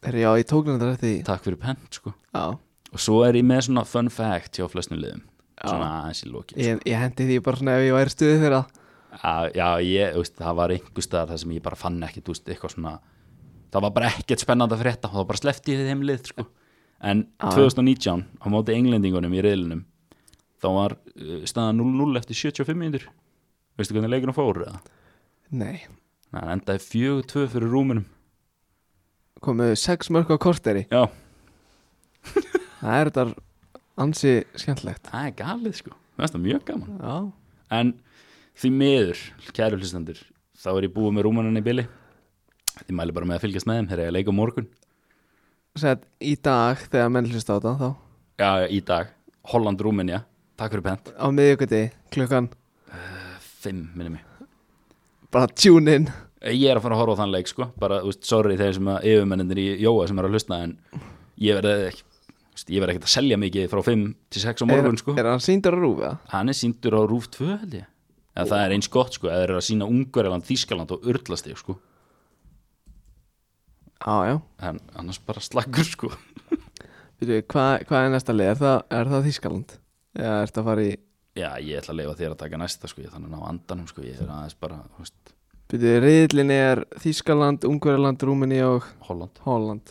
Herri, já, ég tók nefndar eftir því takk fyrir pent sko Já, og svo er ég með svona fun fact hjá flestum liðum Já. svona aðeins í lokin ég, ég hendi því bara svona ef ég væri stuðið fyrir það Já, já ég, þú veist, það var einhver staðar þar sem ég bara fann ekkit, þú veist, eitthvað svona það var bara ekkert spennandi að frétta og það bara sleppti ég þeim lið, sko en Já. 2019, á móti englendingunum í reyðlinum, þá var uh, staðan 0-0 eftir 75 mínútur veistu hvernig leikunum fóru eða? Nei, Nei, hann endaði 4-2 fyrir rúminum komuðu sex mörg á korteri Já, Það er þetta ansi skemmtlegt það er galið, sko Mér finnst það mjög gaman Já, En því miður, kæru hlustendur þá er ég búið með rúmanunni í bili Ég mæli bara með að fylgjast með þeim, þeir eru að leika á morgun sett í dag þegar menn hlusta á þetta þá já, í dag, Holland, Rúmenja takk fyrir pent, á miðjökuti klukkan fimm minni mig bara tune in ég er að fara að horfa á þann leik sko bara, úst, sorry þeir sem að yfirmennindir í Jóa sem er að hlusta en ég verði ekki úst, ég verði ekkert að selja mikið frá 5 til 6 á morgun sko, er, er hann síndur að rúfa? hann er síndur á Rúf 2 held ég, en það er eins gott sko eða þeir eru að sína Ungariland, Þískaland og Urlast sko, Já, já en annars bara slaggur sko Býtu, Hvað hva er næsta lið? Er það, er það Þískaland? Eða er þetta að fara í já, ég ætla að leifa þér að taka næsta sko ég er þannig að ná andanum sko, ég er aðeins bara úst, Býtu, riðlinn er Þískaland, Ungverjaland, Rúmini og Holland, Holland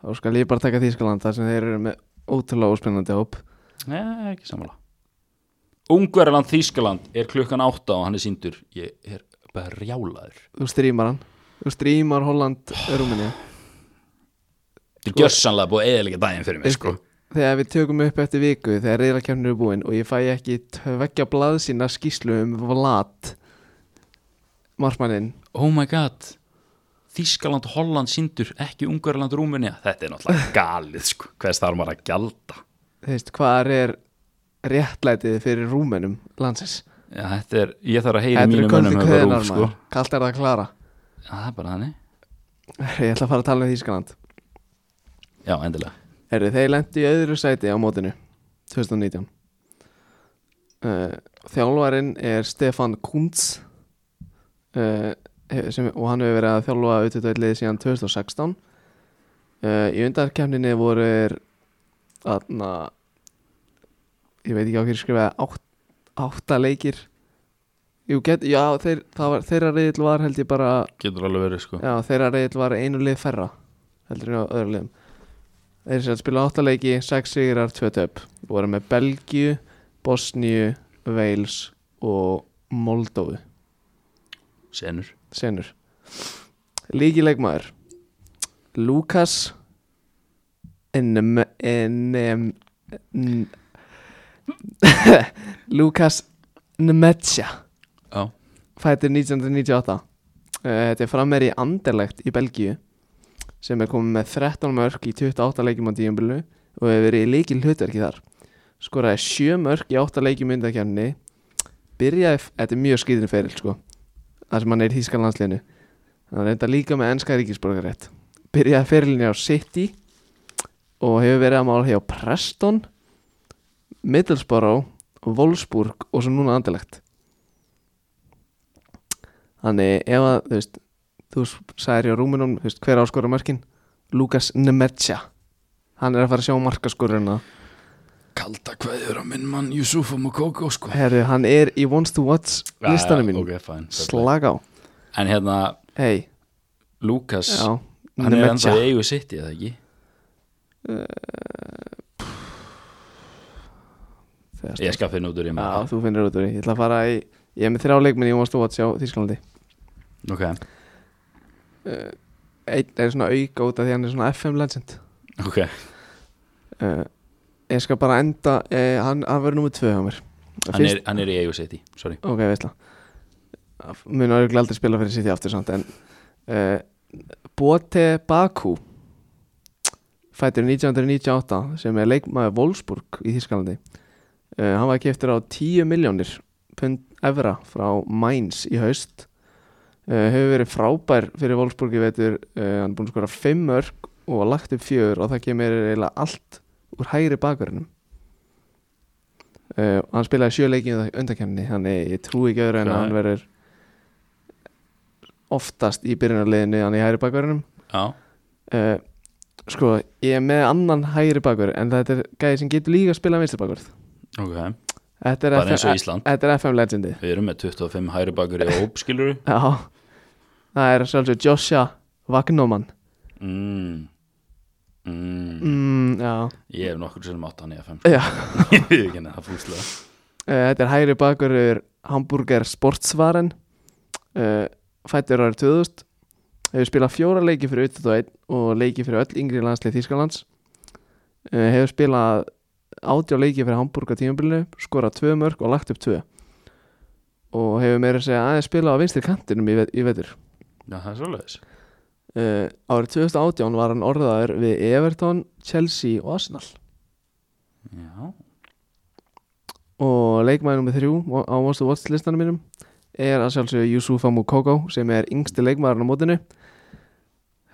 Þá skal ég bara taka Þískaland þar sem þeir eru með ótrúlega óspennandi hóp Nei, ekki samanlega Ungverjaland Þískaland er klukkan átta og hann er síndur Ég er brjálaður Þú strýmar hann Þú strýmar Holland, Rúmini Þetta er gjörsanlega búið að eðalega daginn fyrir mig sko. Þegar við tökum upp eftir viku þegar reyðlakjarnir eru búin og ég fæ ekki tveggja blað sína skýslu um Vlad Marfmanninn Oh my god Þískaland og Holland síndur Ekki Ungverjaland Rúmenja Þetta er *laughs* náttúrulega galið sko. Hvers þarf maður að gjalda Þú veist, hvað er réttlætið fyrir rúmenum landsins? Já, þetta er, Ég þarf að heyra kallt mínu í mönnum höfða kveðinar rúf sko. maður Kallt er það að klara Já, Það er bara þannig Ég ætla að fara að tala um Þískaland Já, endilega Herru, þeir lendi í öðru sæti á mótinu 2019 uh, Þjálfarinn er Stefan Kuntz uh, sem, og hann hefur verið að þjálfa auðvitaðlið síðan 2016 uh, Í undarkemninni voru þeir, þarna ég veit ekki á hverju skrifaði átt, átta leikir Jú, get, já, þeir, það var, þeirra reyðil var held ég bara Getur alveg verið sko. Já, þeirra reyðil var einu lið færra heldur en á öðru liðum Þeir sem spila áttaleiki, sex sigrar, tvö töp voru með Belgíu, Bosníu, Wales og Moldóu Senur senur Líkileikmaður Lukas Enem Enem N- *laughs* Lukas Nemetja Já. fættur 1998 Eh, Þetta er frammeir í Anderlegt í Belgíu sem er komið með 13 mörk í 28 leikjum á tíumbilu og hefur verið í leikil hlutverki þar skoraði 7 mörk í 8 leikjum undakjarni byrjaði, f- þetta er mjög skýðin feril sko þar sem hann er í Þískan landsliðinu hann reynda líka með ennska ríkisborgarétt byrjaði ferilinni á City og hefur verið að mála hjá Preston Middlesbrough Wolfsburg og svo núna andilegt þannig ef að þú veist þú sagðir hjá Rúminum þú veist, hver áskora mörkin Lukas Nemetja hann er að fara að sjá markaskoruna Sko. Kalda kveður á minn mann Jusufa Mokoko sko herru hann er í Wants to Watch listanum mín okay, fine, slag á En hérna, hei Lukas já Hann er ennþá Nemanja. í eigu sitt, ég það ekki Þegar Ég skal finna út úr ég Já, með þú finnir út úr því Ég ætla að fara í Ég er með þrjá leikminn í Wants to Watch á Þísklandi það Ok, Einn er svona auka út af því hann er svona FM legend ok uh, Ég skal bara enda eh, Hann, hann verður nummið tvö á mér Hann er, hann er í eigu sitt, sorry Ok, veistla Mun að aldrei spila fyrir City aftur samt En uh, Bote Baku Fættur 1998 Sem er leikmaður Wolfsburg í Þísklandi uh, Hann var keftur á 10 miljónir Pund evra frá Mainz í haust uh, Hefur verið frábær fyrir Wolfsburg í vetur uh, Hann er búin að skora 5 mörg Og var lagt upp 4 og það kemur eiginlega allt Úr hægri bakverðinum Uh, hann spilaði sjö leiki í undakemni þannig ég trúi ekki öðru en að Nei. hann verður oftast í byrjunarliðinu hann í hægri bakverðinum Já, uh, sko, ég er með annan hægri bakverð en þetta er gæði sem getur líka að spila vinstri bakverð ok þetta er, Bara eins og FM, Ísland þetta er FM legendi Við erum með 25 hæri bakur í hóp, skilur já, það er sjálfsög Joshua Vagnoman mm. Mm. mm, já, Ég hef nokkur sem átt hann í FM Já. *laughs* Ég veit ekki henni það fúslega uh, þetta er hægri bakverður Hamburger Sportsvaren uh, fættur árið 2000 hefur spilað fjóra leiki fyrir 21 og leiki fyrir öll yngri landslið Þískalands uh, hefur spilað átjá leiki fyrir Hamburga tímabilinu skorað tvö mörg og lagt upp tvö og hefur meira að segja aðeins spilað á vinstri kantinum í, ve- í vetur Já, það er svoleiðis uh, árið 2018 var hann orðaður við Everton, Chelsea og Arsenal Já, og leikmaður nummer þrjú á Most of Watch listanum mínum er að sjálfsögja Yusufa Mukoko sem er yngsti leikmaðurinn á mótinu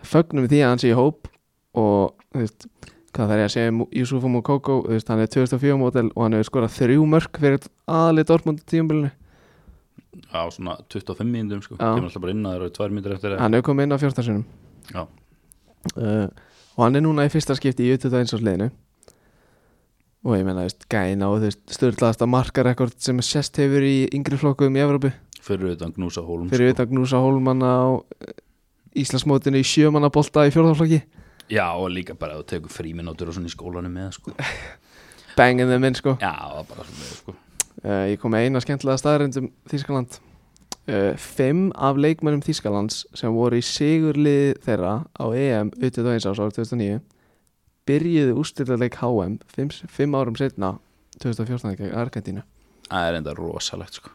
fögnum því að hann sé í hóp og þú veist, hvað þarf ég að segja um Yusufa Mukoko, þú veist, hann er 2004 mótel og hann hefur skorað þrjú mörk fyrir aðli Dortmund tíumbilinu, á svona 25 mínútum sko Já. Kemur alltaf bara inn að það eru 2 mínútur eftir hann hefur komið inn á 14 sinum Já. uh, og hann er núna í fyrsta skipti í 21 árs liðinu og ég menna, þú veist, gæna og þú veist, styrlaðasta markarekord sem sest hefur í yngri flokkum í Evrópu Fyrir utan Gnúsa Hólm fyrir sko. utan Gnúsa Hólmanna á eh, Íslandsmótinu í sjömanna bolta í fjórðarflokki Já, og líka bara að þú tekur fríminútur og svona í skólanum með *laughs* sko bangin þeim inn sko Já, það er bara svona sko uh, ég kom með eina skemmtilega staðrind um Þískaland uh, fimm af leikmönnum Þískalands sem voru í sigurlið þeirra á E EM utið dagins ás árið 2009 byrjuðu úrstildarleik HM fimm, fimm árum setna 2014 gegn Argentínu Það er enda rosalegt sko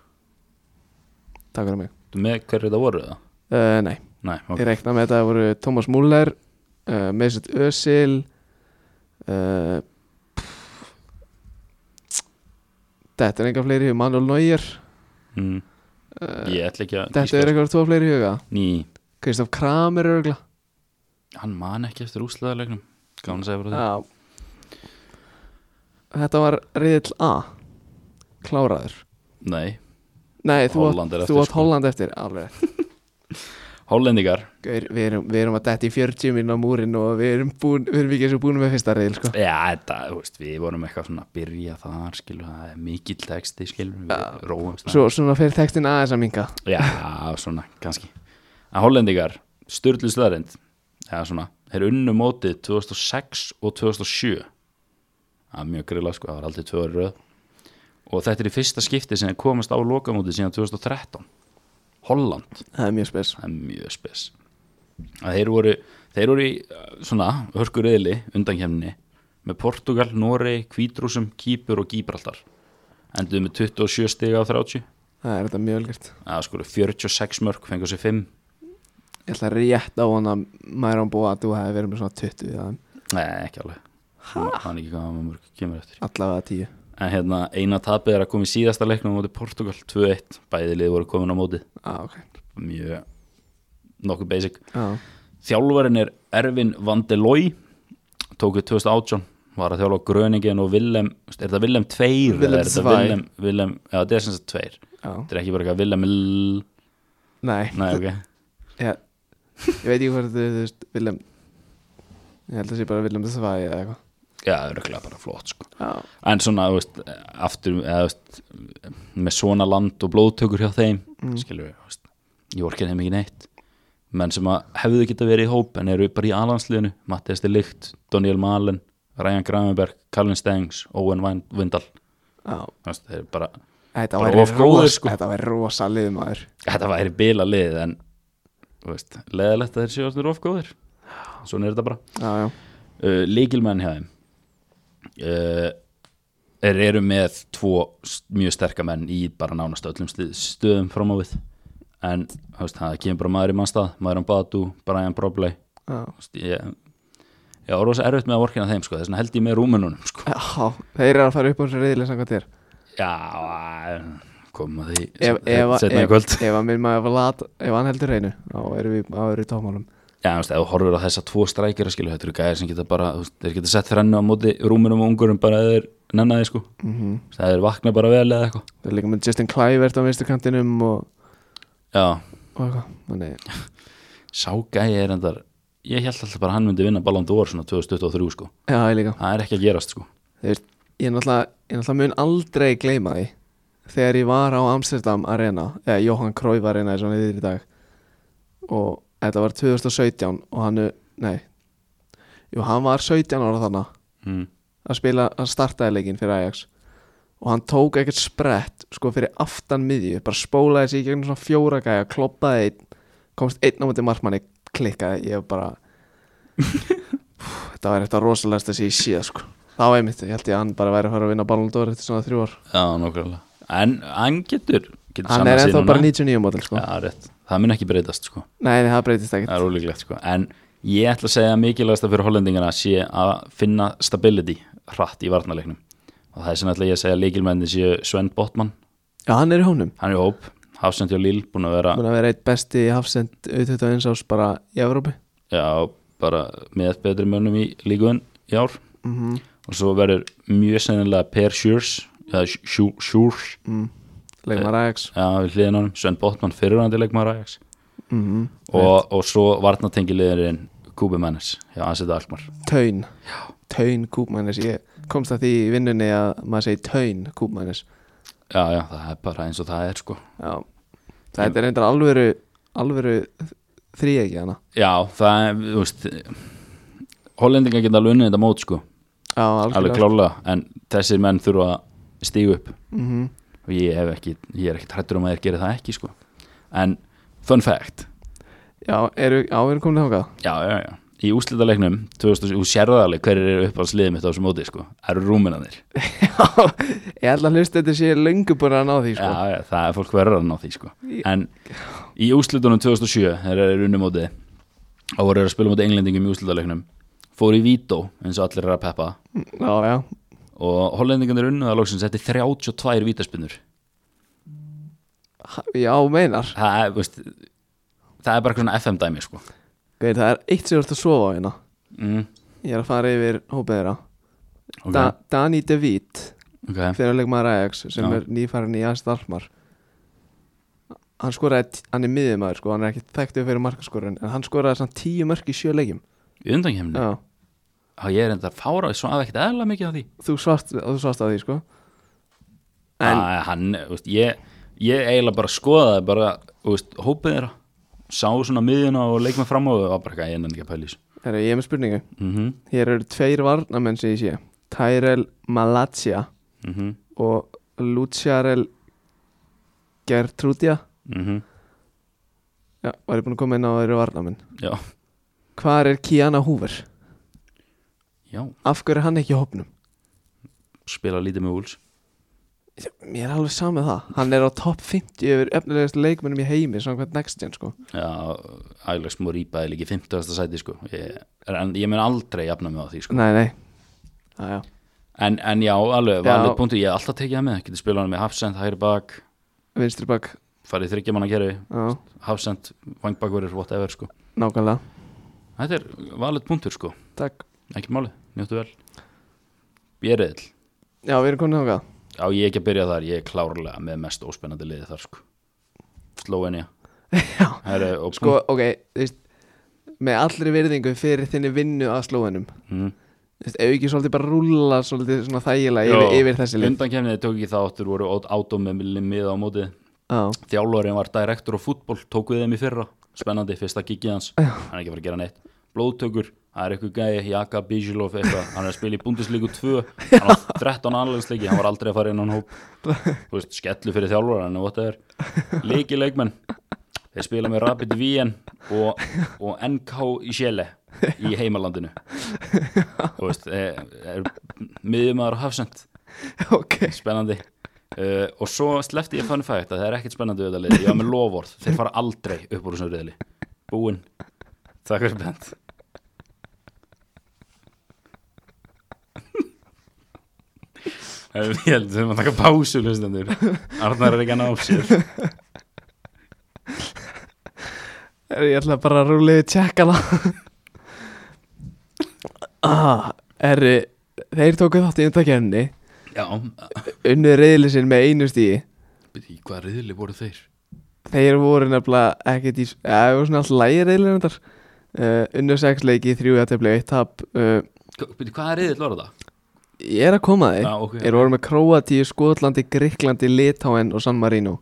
takk fyrir mig Þú með hverju þetta voru það? uh, nei Nei, ok Ég reikna með þetta að voru Thomas Muller uh, Mesut Özil uh, Þetta er einhver fleiri í huga Manuel Neuer uh, mm. Ég ætla ekki að Þetta er einhver tvo fleiri í huga Ný, Kristof Kramer örgla hann man ekki eftir úslaðarlegnum Gáðan að segja bara Já. Þetta var reyðil A Kláraður það Nei, Nei, þú átt- Holland er þú eftir, átt sko. Holland eftir Alveg rétt. Hollendingar Gaur, Við erum, við erum að detti í 40 minn á múrin og við erum, búin, við erum ekki eins og búin með fyrsta reyðil sko. Já, þetta, þú veist, við vorum eitthvað svona að byrja þar, skilur, það er mikill texti, skilur, við Já. róum Svo svona fyrir textin aðeins að minga Já, svona, kannski En hollendingar, styrlu slöðarind Já, svona, þeir unnu mótið 2006 og 2007 Það er mjög grilla, sko, það var aldrei tvö ári röð Og þetta er í fyrsta skipti sem þeir komast á lokamótið síðan 2013 Holland Það er mjög spes það er mjög spes að þeir voru, þeir voru í uh, svona hörkur eðli undankemni með Portugal, Norei, Kvítrúsum Kýpur og Gíbraldar enduðu með 27 stiga á 30 Það er þetta mjög velgjört að sko 46 mörg fengur sér 5 Ég ætla rétt á hann að Mæron Boadu hefði verið með svona 20 við hann nei ekki alveg hann ekki hvað maður mörg kemur eftir Allavega 10 en hérna eina tapið er að koma í síðasta leiknum á móti Portugal 2-1 bæði lið voru komin á móti ah, okay. mjög nokkuð basic ah. Þjálfarinn er Ervin Vandelói tók við 2018 var að þjálfa Gröningin og Willem er þetta Willem 2 Willem eða er þetta zwei. Willem, Willem, já þetta er sem sagt 2 já, þetta er ekki bara eitthvað Willem L nei, nei ok, Já, ég veit ekki hvað þetta er, þú veist, Willem Ég held að sé bara Willem Svæði eða eitthvað já það er örugglega bara flott sko. Já, en svona þú veist, aftur eða, þú veist, með svona land og blóðtökur hjá þeim Mm. skilur við, þú veist, ég orkir þeim ekki neitt menn sem að hefðu geta verið í hóp en eru bara í alansliðinu Mattias de Ligt, Daniel Malen Ryan Gravenberg, Callin Stengs Owen Wind- Windal já Þú veist, þeir eru bara, Þetta Bara væri, of góður, ros, sko. þetta væri rosa liðmaður þetta væri bila lið en þú veist, leðalegt að þeir séu orðnir of góðir svona er þetta bara Já, já, uh, líkilmenn hjá þeim uh, er, eru með tvo s- mjög sterka menn í bara nánast öllum sli- stöðum fram á við en þú veist, það kemur bara maður í mannstað maður án Batu, Brian Brobley já Þú veist, ég, ég var rosa erfitt með að orkina þeim sko, þess vegna held ég með rúmenunum sko. Já, þeir eru að fara upp á þessu reyðilega samkvæmt þér já, eh, komum að því Ef, ef, að- setna í ef, kvöld ef að minn maður var lat Ef hann heldur reynu, þá erum við, þá erum við í tómálum Já, þú veist, ef þú horfir á þessa tvo strækjara skilu, þetta eru gæðir sem geta bara, þú veist, þeir geta sett þrennu á móti rúmunum og ungurum bara eða þeir nenna þeir sko, mm Þú veist, eða þeir vakna bara vel eða eitthvað. Þeir eru líka með Justin Kluivert á vinstri kantinum og, Já, og eitthvað Þannig, sá gæði er endar, ég held alltaf bara að hann myndi vinna Ballon d'Or svona 2023 sko, já, ég líka það er ekki að gerast sko. Þú veist, ég náttúrulega, ég náttúrulega mun aldrei gleyma því þegar ég var á Amsterdam Arena eða Johan Cruyff Arena eins og hann heitir í dag og þetta var 2017 og hann, nei jú, hann var 17 ára þarna Mm. að spila, að startaði leikinn fyrir Ajax og hann tók ekkert sprett sko fyrir aftan miðju, bara spólaði sig í gegnum svona fjóra gæja, kloppaði einn komst einn á mútið markmanni, klikkaði ég bara Pff, þetta var eitthvað rosalegast að sé ég síða sko það var einmitt, ég held ég að hann bara væri að fara að vinna Ballon d'Or eftir svona þrjú ár Já, nokkvæmlega. En hann getur, getur hann sannað er sig ennþá núna. bara 99 mótil sko Já, rétt, það mun ekki breytast sko. nei, nei, það breytist ekkert það er ólíklegt sko en ég ætla að segja að mikilvægasta fyrir hollendingana sé að finna stability hratt í varnarleiknum og það er sem ætla ég að segja að leikilmenni séu Sven Botman, já, hann er í hónum, hann er í hóp Hafsend hjá Líl, búin að vera hann er eitt besti hafsend auðvitað eins ás bara í Evrópi já, bara með betri mönnum í líkuðin í ár mm og svo verður mjög sennilega Per Sjúrs eða Sjúrs, mm. leikmar Ajax já, við hliðin honum Sven Botman fyrirrandi leikmaður Ajax mm og, og svo varnartengilegurinn Kubi Mennes, já, hann setja Alkmar Taun Taun kúpmannis Ég komst að því í vinnunni að maður segi taun kúpmannis já, já, það er bara eins og það er sko Já Þetta er reyndar alvöru alvöru þrýegi hana Já, það er, þú veist Hollendingar geta alveg unnið þetta mót sko Já, alveg klálega, en þessir menn þurfa að stígu upp mm -hmm. og ég, hef ekki, ég er ekki trættur um að þeir gera það ekki sko en fun fact Já, eru á, erum komin þákað já, já, já, í úslitaleiknum 2000, og sérðarleik, hver eru upp á sliðið mitt á þessu móti sko, eru rúminanir Ég ætla að hlusta þetta sé löngu búin að ná því sko. Já, já, það er fólk verður að ná því sko. Í- En í úslitunum 2007 þegar þeir eru unni móti þá voru þeir að spila móti englendingum í úslitaleiknum fóru í Vító, eins og allir er að peppa Já, já og hollendingarnir unnu það lóksins þetta er 32 vítaspinnur Ha- Já, meinar það er, veist, það er bara eitthvað svona FM dæmi sko. Geit, Það er eitt sem þú ert að sofa á hérna mm, Ég er að fara yfir hópið þeirra ok, da, Dani De Witt ok, fyrir að leikmaður Ajax sem Já. er nýfærin í Ajax Dalmar hann skoraði, t- hann er miðjumæður sko, hann er ekki þekktu fyrir markaskorun en hann skoraði samt tíu mörk í sjö leikjum í undankemni Já, ég er enda að fára og svo af ekkert eðla mikið á því þú svart, þú svart að því sko en, En- Ah, hann, veist, ég, ég eiginlega bara skoðaði bara, veist, hópið þeirra sá svona miðjuna og leik með fram og var bara eitthvað, ég enn ekki að pælis Herra, ég er með spurningu, mm -hmm, hér eru tveir varnamenn sem ég sé, Tyrell Malacia mm -hmm, og Luciarel Gertrudia mhm. Já, var ég búin að koma inn á þeirra varnamenn já, Hvar er Kiana Hoover? já, Af hverju er hann ekki í hópnum? spila lítið með úls Mér er alveg samið það Hann er á topp 50 yfir efnilegast leikmennum í heimi Samkvæmt next gen sko já, ægilegs mór íbæði líki 50. sæti sko ég, en ég mun aldrei jafna mig á því sko Nei, nei Æja, En, en já, alveg, Já. valið punktu, ég hef alltaf tekið það með, getur spilað hann með Hafsend, hægri bak, vinstri bak farið þryggjamanna kerfi, Já, Hafsend, vangbakverður, whatever, sko. nákvæmlega Þetta er valið punktur, sko, Takk ekkert málið. njóttu vel Bjerill, Já, við erum komin þangað já ég er ekki að byrja þar ég er klárlega með mest óspennandi liði þar sko. Slovenia *laughs* Já, Heru, og, sko, ok, þú veist með allri virðingu fyrir þinni vinnu að slóðanum, mm, þú veist, ef við ekki svolítið bara rúlla svolítið svona þægilega Jó. yfir, yfir þessi lið undankefnið tók ekki þáttur voru átum með mið á móti Já, þjálfarinn var direktor á fútból tók við þeim í fyrra, spennandi, fyrsta gigið hans hann er ekki að fara að gera neitt blóðtökur, það er eitthvað gæi, Jaka Bísilov eitthvað, hann er að spila í Bundesliga 2 hann á 13 anlegsleiki, hann var aldrei að fara inn á hann hóp, þú veist, skellu fyrir þjálfarinn og þetta er, líki leikmenn þeir spila með Rapid Wien og, og NK í Sjele í heimalandinu þú veist, eh, er miðjumæður hafsend *laughs* ok spennandi uh, og svo slefti ég fun fact að það er ekkert spennandi við þetta liði, ég var með lovorð þeir fara aldrei upp úr þessum riðli búinn, takk fyrir bent Ég held við höfum að taka pásu hlustendur Arnar er ekki að ná sér Herru, Ég ætla bara að rúlla yfir tjekkala *laughs* ah, Erri, þeir tóku þátt í undakenni Já, um, unnið reyðli sinn með einu stíi í hvaða riðli voru þeir? Þeir voru nefnilega ekkert í eða þeir voru svona alltaf lægir reyðli uh, unnið sex leiki, þrjú játefli, eitt tap uh, Byrju, hvaða riðil var þetta? Ég er að koma að því Já, ok, Þeir voru með Króatíu, Skotlandi, Gríklandi, Litáen og San Marino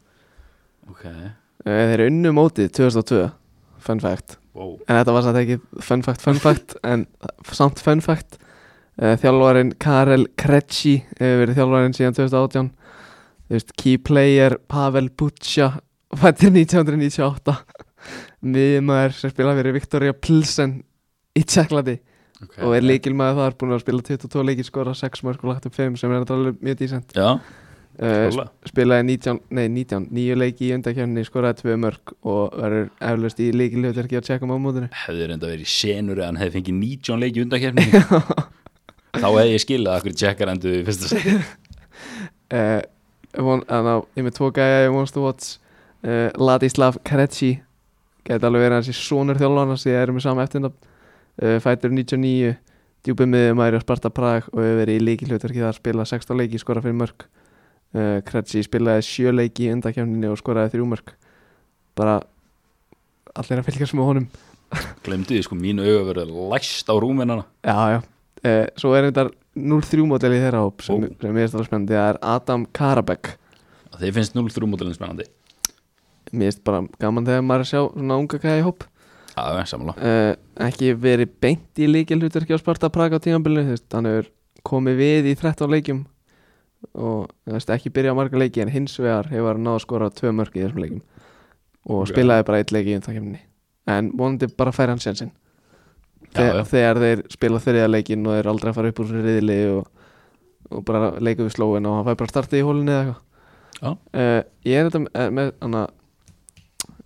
ok Eh, Þeir unnu mótið 2002 Fun fact wow. En þetta var samt ekki fun fact, fun fact En samt fun fact Eh, Þjálfarinn Karel Kretschi Hefur verið þjálfarinn síðan 2018 Þú veist, Key player Pavel Buccia Fættir 1998 Miðmaður sem spila fyrir Viktoria Pilsen Í Tjekklandi okay. Og er líkilmaður þar búin að spila 22 leiki Skora 6 mörg og lagt upp 5 Sem er náttúrulega mjög dísent Já, uh, klálega spilaði 19, nei 19, nýju leiki í undakefni, skoraði tvö mörg og verður eflaust í leikilhjóðverki að tjekka á *laughs* mótinu. hefði reynda verið senur eða hann hefði fengið 19 leiki undakerfni þá hefði ég skilað akkur tjekkar endur í fyrsta segi *laughs* Uh, von, anna, ég er með tvo gæja, ég vonst þú vats, uh, Ladislav Kretschi, gæti alveg verið hans í sonur þjálfana sem ég er með sama eftirnafn, uh, fætur 99, djúpið miður maður og Sparta Prag og hefur verið í leikilhjóðverki þar spilaði 16 leiki, skoraði fyrir mörg. Uh, Kretschi spilaði sjö leiki í undakefninu og skoraði þrjú mörg. Bara allir að fylgjast með honum. glemdu því sko mínu auga verið læst á rúminana Já, já uh, Svo er þetta 0-3 model í þeirra hóp sem, Ó. sem mér er stálega spennandi það er Adam Karabek og þeir finnst 0-3 mótilin spennandi Mér er bara gaman þegar maður er að sjá svona unga kæði hóp það er samanlá uh, Ekki verið beint í líkilhutverki á Sparta Praga á tímanbylnu Hann hefur komið við í 13 leikjum og þú veist, ekki byrjað á marga leiki en hins vegar hefur hann náð að skora tvö mörg í þessum leikjum og Já. spilaði bara eitt leiki í undankemni en vonandi bara fær hann sjansinn Já, já. þegar, þegar þeir spila þriðja leikin og þeir aldrei að fara upp úr þessu riðli og, og bara leika við slóin og hann fær bara startið í hólunni eða Já. eitthvað uh, ég er þetta með, með hana,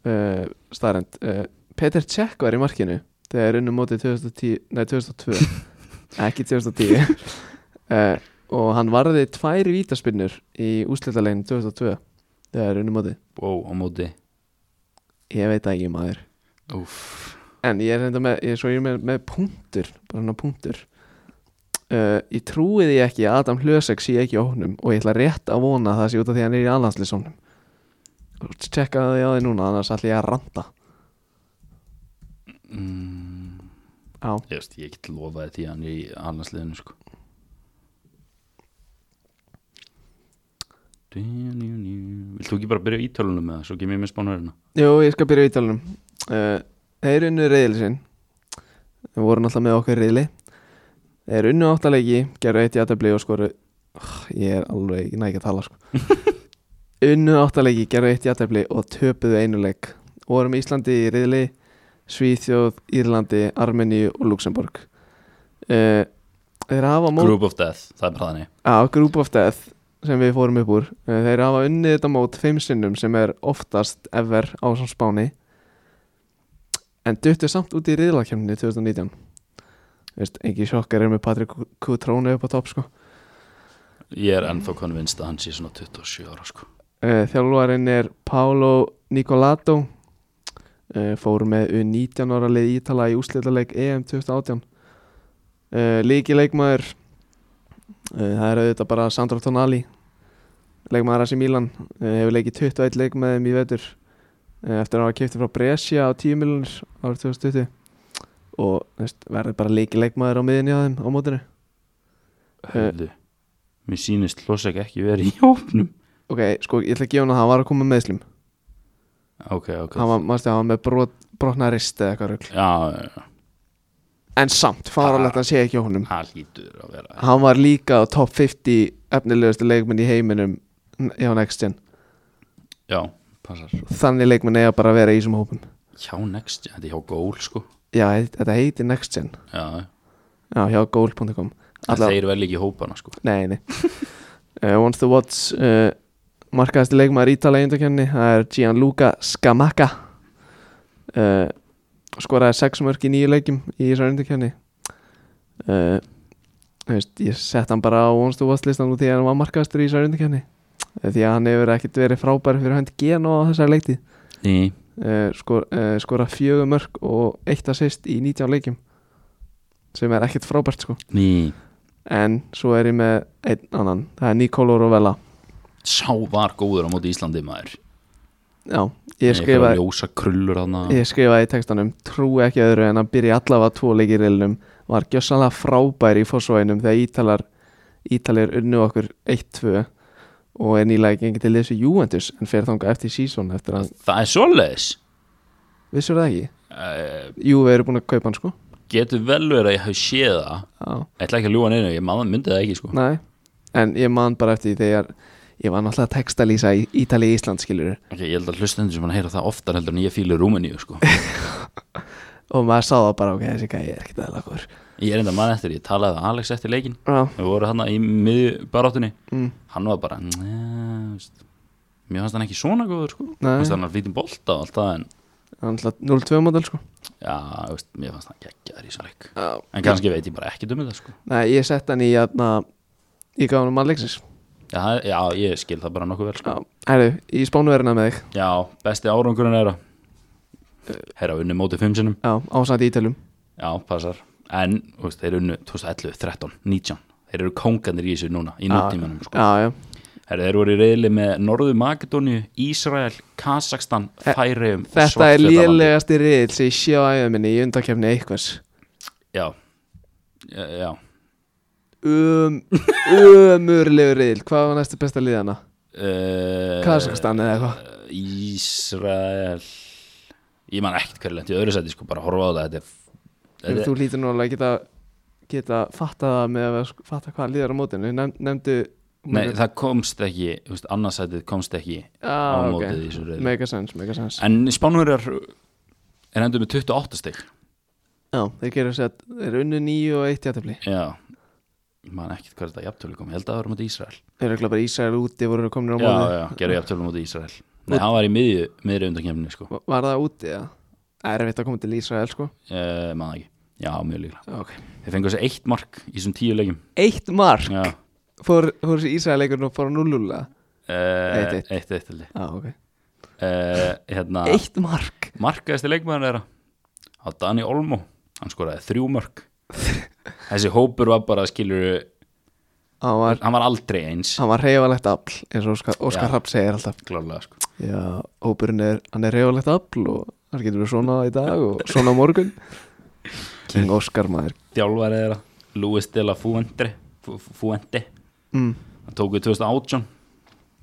uh, staðrend uh, Peter Cech var í markinu þegar unnum mótið 2010, nei 2002 *laughs* ekki 2010 uh, og hann varði tvær vítaspinnur í úslitalegin 2002 þegar unnum mótið wow, á móti ég veit það ekki maður Úff. En ég er enda með, ég, svo ég er með, með punktur, bara hann punktur. Uh, ég trúi því ekki að Adam Hlösek sé ekki á honum og ég ætla rétt að vona að það sé út af því að hann er í anlandslisónum. Tjekka því á því núna, annars ætla ég að ranta. mm, Já, ég veist ég get lofaði því að hann er í allansliðinu sko Vilt þú ekki bara byrja á ítölunum með það svo kemur ég með spánverðina Jú, ég skal byrja í ítalunum. Uh, þeir unnu reyðil sinn. Við vorum alltaf með okkur reyðli. Þeir unnu áttalegi, gerðu eitt í aðtabli og skoru... Oh, ég er alveg, ég næ ekki að tala sko. unnu áttalegi, gerðu eitt í aðtabli og töpuðu einuleik. Vorum Íslandi í reyðli, Svíþjóð, Írlandi, Armeníu og Luxemburg. Uh, þeir hafa mót... Group of Death, það er bara þannig Já, Ah, Group of Death sem við fórum upp úr Eh, þeir hafa unnið þetta mót fimm sinnum sem er oftast ever á svo spáni en duttu samt út í riðlakjöfni 2019 Veist, ekki sjokkar er með Patrik Kutrónu upp á topp sko. Ég er ennþá konvinst að hann sé svona 27 ára sko Eh, Þjálfarinn er Paolo Nicolato eh, fór með U19 ára leið Ítala í úslitaleg EM 2018 uh, Líki leikmaður uh, Það er auðvitað bara Sandro Tonali Leikmaður Asi Milan uh, Hefur leikið 21 leikmaðum í vetur uh, Eftir að hafa kiptið frá Brescia á 10 miljonir árið 2020 Og þú veist, verður bara líki leikmaður á miðinni á þeim á mótinu Eh. Hörðu, mér sýnist Losek ekki verið í hópnum Ok, sko ég ætla að gefa hann að hann var að koma með meðslum Ok, ok Hann var, manstu, hann var með brot, brotna rist eða eitthvað rugl Já, já, já, En samt, fáralegt að sé ekki á honum hann lítur að vera hann var líka á top 50 efnilegustu leikmenn í heiminum hjá Next Gen Já, passar þannig leikmenn eiga bara að vera í þessum hópum Hjá next, þetta er hjá gól sko já, þetta heitir Next Gen Já, já, hjá goal.com Alla... Alla- þeir vel ekki í hópana sko nei, *laughs* nei uh, Once the Watch uh, markaðasti leikmaður Ítala í undarkenni það er Gianluca Scamacca uh, skoraði sex mörk í nýju leikjum í þessar undarkenni uh, þú veist, ég sett hann bara á Once the Watch listan út því að hann var markaðastur í þessar undarkenni því að hann hefur ekkert verið frábær fyrir hönd Genoa á þessari leikti Í, uh, skor, uh, skora fjögur mörk og eitt assist í 19 leikjum sem er ekkert frábært sko í en svo er ég með einn annan það er Nicolo Rovella Sá var góður á móti Íslandi maður já, ég Einhverjar skrifaði Ljósa krullur hann ég skrifaði í textanum trú ekki öðru en að byrja allavega tvo leikirilinum var gjössanlega frábær í fórsvæðinum þegar Ítalar Ítalir unnu okkur 1-2 og er nýlega gengið til þessu Juventus en fer þanga eftir sísón eftir að Það er svoleiðis vissur það ekki uh, Juve eru búin að kaupa hann sko Getur vel verið að ég hafi séð það já Ég ætla ekki að ljúa neina, ég maður myndi það ekki sko Nei, en ég man bara eftir því þegar ég var náttúrulega textalýsa í Ítali í Ísland skilur Ok, ég held að hlustendur sem hann heyra það oftar heldur en ég fílu Rúmeníu *laughs* sko og maður sá það bara ok, þessi gæði er ekkert aðeins lagur Ég er enda mann eftir, ég talaði að Alex eftir leikin Já, Við vorum hann í miðju baráttunni mm, Hann var bara "Njá, veist, Mér fannst hann ekki svona góður sko Mér nei, fannst hann að flýtum bolta og allt það en hann ætla 0-2 mótel sko Já, veist, mér fannst hann geggjaður í svo leik Já, En kannski veit ég bara ekki um þetta sko Nei, ég sett hann í aðna í gáðunum Alexis Já, það- já ég skil það bara nokkuð vel sko Já, herru, í spánuverina með þig Já, besti árangurinn er að Herra unni mótið fimm sinnum Já, ásætt Ítalum Já, passar En, þú veist, þeir unnu 2011, 13, 19 Þeir eru kónganir í þessu núna, í nútímanum sko. Já, já, Herra, Þeir voru í reyðli með Norður Makedóníu, Ísrael, Kazakstan, Færeyjum og þetta er Svartfjallalandi. lélegasti riðil sem ég sé á æðum minni í undakefni eitthvers Já, já, já. *laughs* um, Umurlegur riðil, hvað var næstu besta liðana? Uh, Kazakstan eða eitthvað? Ísrael Ég man ekkert hverju lent í öðru sæti sko, bara horfa á það Þetta er, En þetta þú er lítur nálega að geta geta fatta það með að fatta hvað líður á mótinu Nef, nefndu Nei, það komst ekki, þú veist, annarsætið komst ekki á ah, mótið í okay. þessu reyði mega sens, mega sens En Spánverjar er endur með 28 stig já, þeir gerir sér að þeir eru unnu nýju og eitt jættafli Já Ég man ekkert hvað þetta jafntölu kom, ég held að það var mútið Ísrael þeir eru bara Ísrael úti voru komin á Já, mótinu já, gerðu jafntölu mútið Ísrael Nei, hann var í miðju, miðri undankemni sko uh, Va- var það úti eða? erfitt að koma til Ísrael sko Eh, Man það ekki, já, mjög líklega okay. Þeir fengu þessi eitt mark í þessum tíu leikjum eitt mark Já, fór, fór þessi Ísrael leikurinn og fór að nullula uh, Eitt, eitt. eitt, eitt, eitt, eitt. ah, okay. uh, hérna, eitt mark markaðasti leikmaður þeirra á Dani Olmo hann skoraði þrjú mörg þessi hópur var bara skilur hann var, hann var aldrei eins hann var reyfalegt afl eins og Óskar, Óskar Já. Rapp segir alltaf klárlega sko já, hópurinn er, hann er reyfalegt afl og hann getur verið svona í dag og svona á *laughs* morgun King Óskar maður djálfæri þeirra Luis de la Fuente Fu- Fu- Fuente mm. hann tók við 2018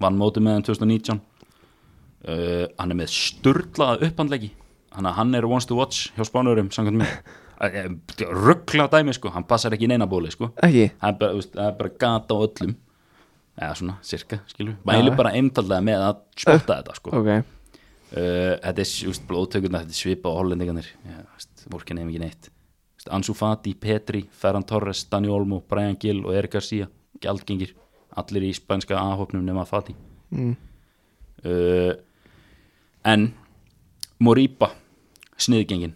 vann móti með hann 2019 uh, hann er með sturdlaða upphandleggi hann, hann er once to watch hjá spánurum samkvæmt mér ruggla dæmi sko hann passar ekki í neina bóli sko ekki, það er bara, þú veist, það er bara gata á öllum eða svona, cirka, skilur mæli bara einfallega með að spotta þetta sko. uh, ok þetta er just, blóðtökurna, þetta er svipa á hollendingarnir Já, veist, vorkin nefn ekki neitt Veist, Ansu Fati, Petri, Ferran Torres Dani Olmo, Brian Gill og Erik Garcia gjaldgengir, allir í spænska A-hópnum nema Fati mm. uh, en Moriba sniðgengin,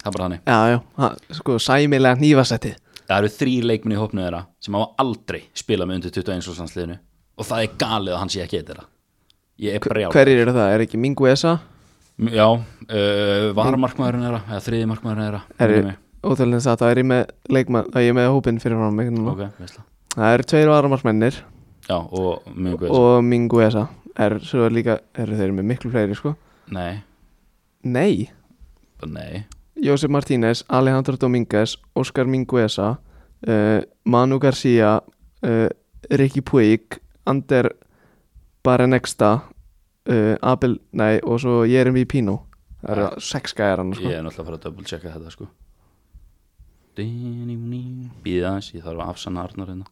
það er bara þannig já, já, ha, sko sæmilega nýfasetti það eru þrý leikminni í hópnu þeirra sem hafa aldrei spilað með undir 21 landsliðinu og það er galið að hann sé ekki eitt þeirra ég er brjál hverjir eru það, er ekki Mingu Esa já, uh, varamarkmaðurinn þeirra eða þriði markmaðurinn þeirra er, minnir mig. ótrúlega satt þá er ég með leikmann, þá er ég með hópinn fyrir frá mig núna. ok, veistla það eru tveir varamarkmennir já, og mjög guðs og Minguesa er svo líka, eru þeir eru með miklu fleiri sko nei, nei, bara nei Josep Martínez Alejandro Dominguez, Oscar Minguesa uh, Manu Garcia uh, Ricky Puig Ander Baranexta uh, Abel, nei og svo Jeremy Pino það eru Ah. sex gæjar hann sko ég er náttúrulega að fara að double checka þetta sko býðið aðeins, ég þarf að afsanna Arnar hérna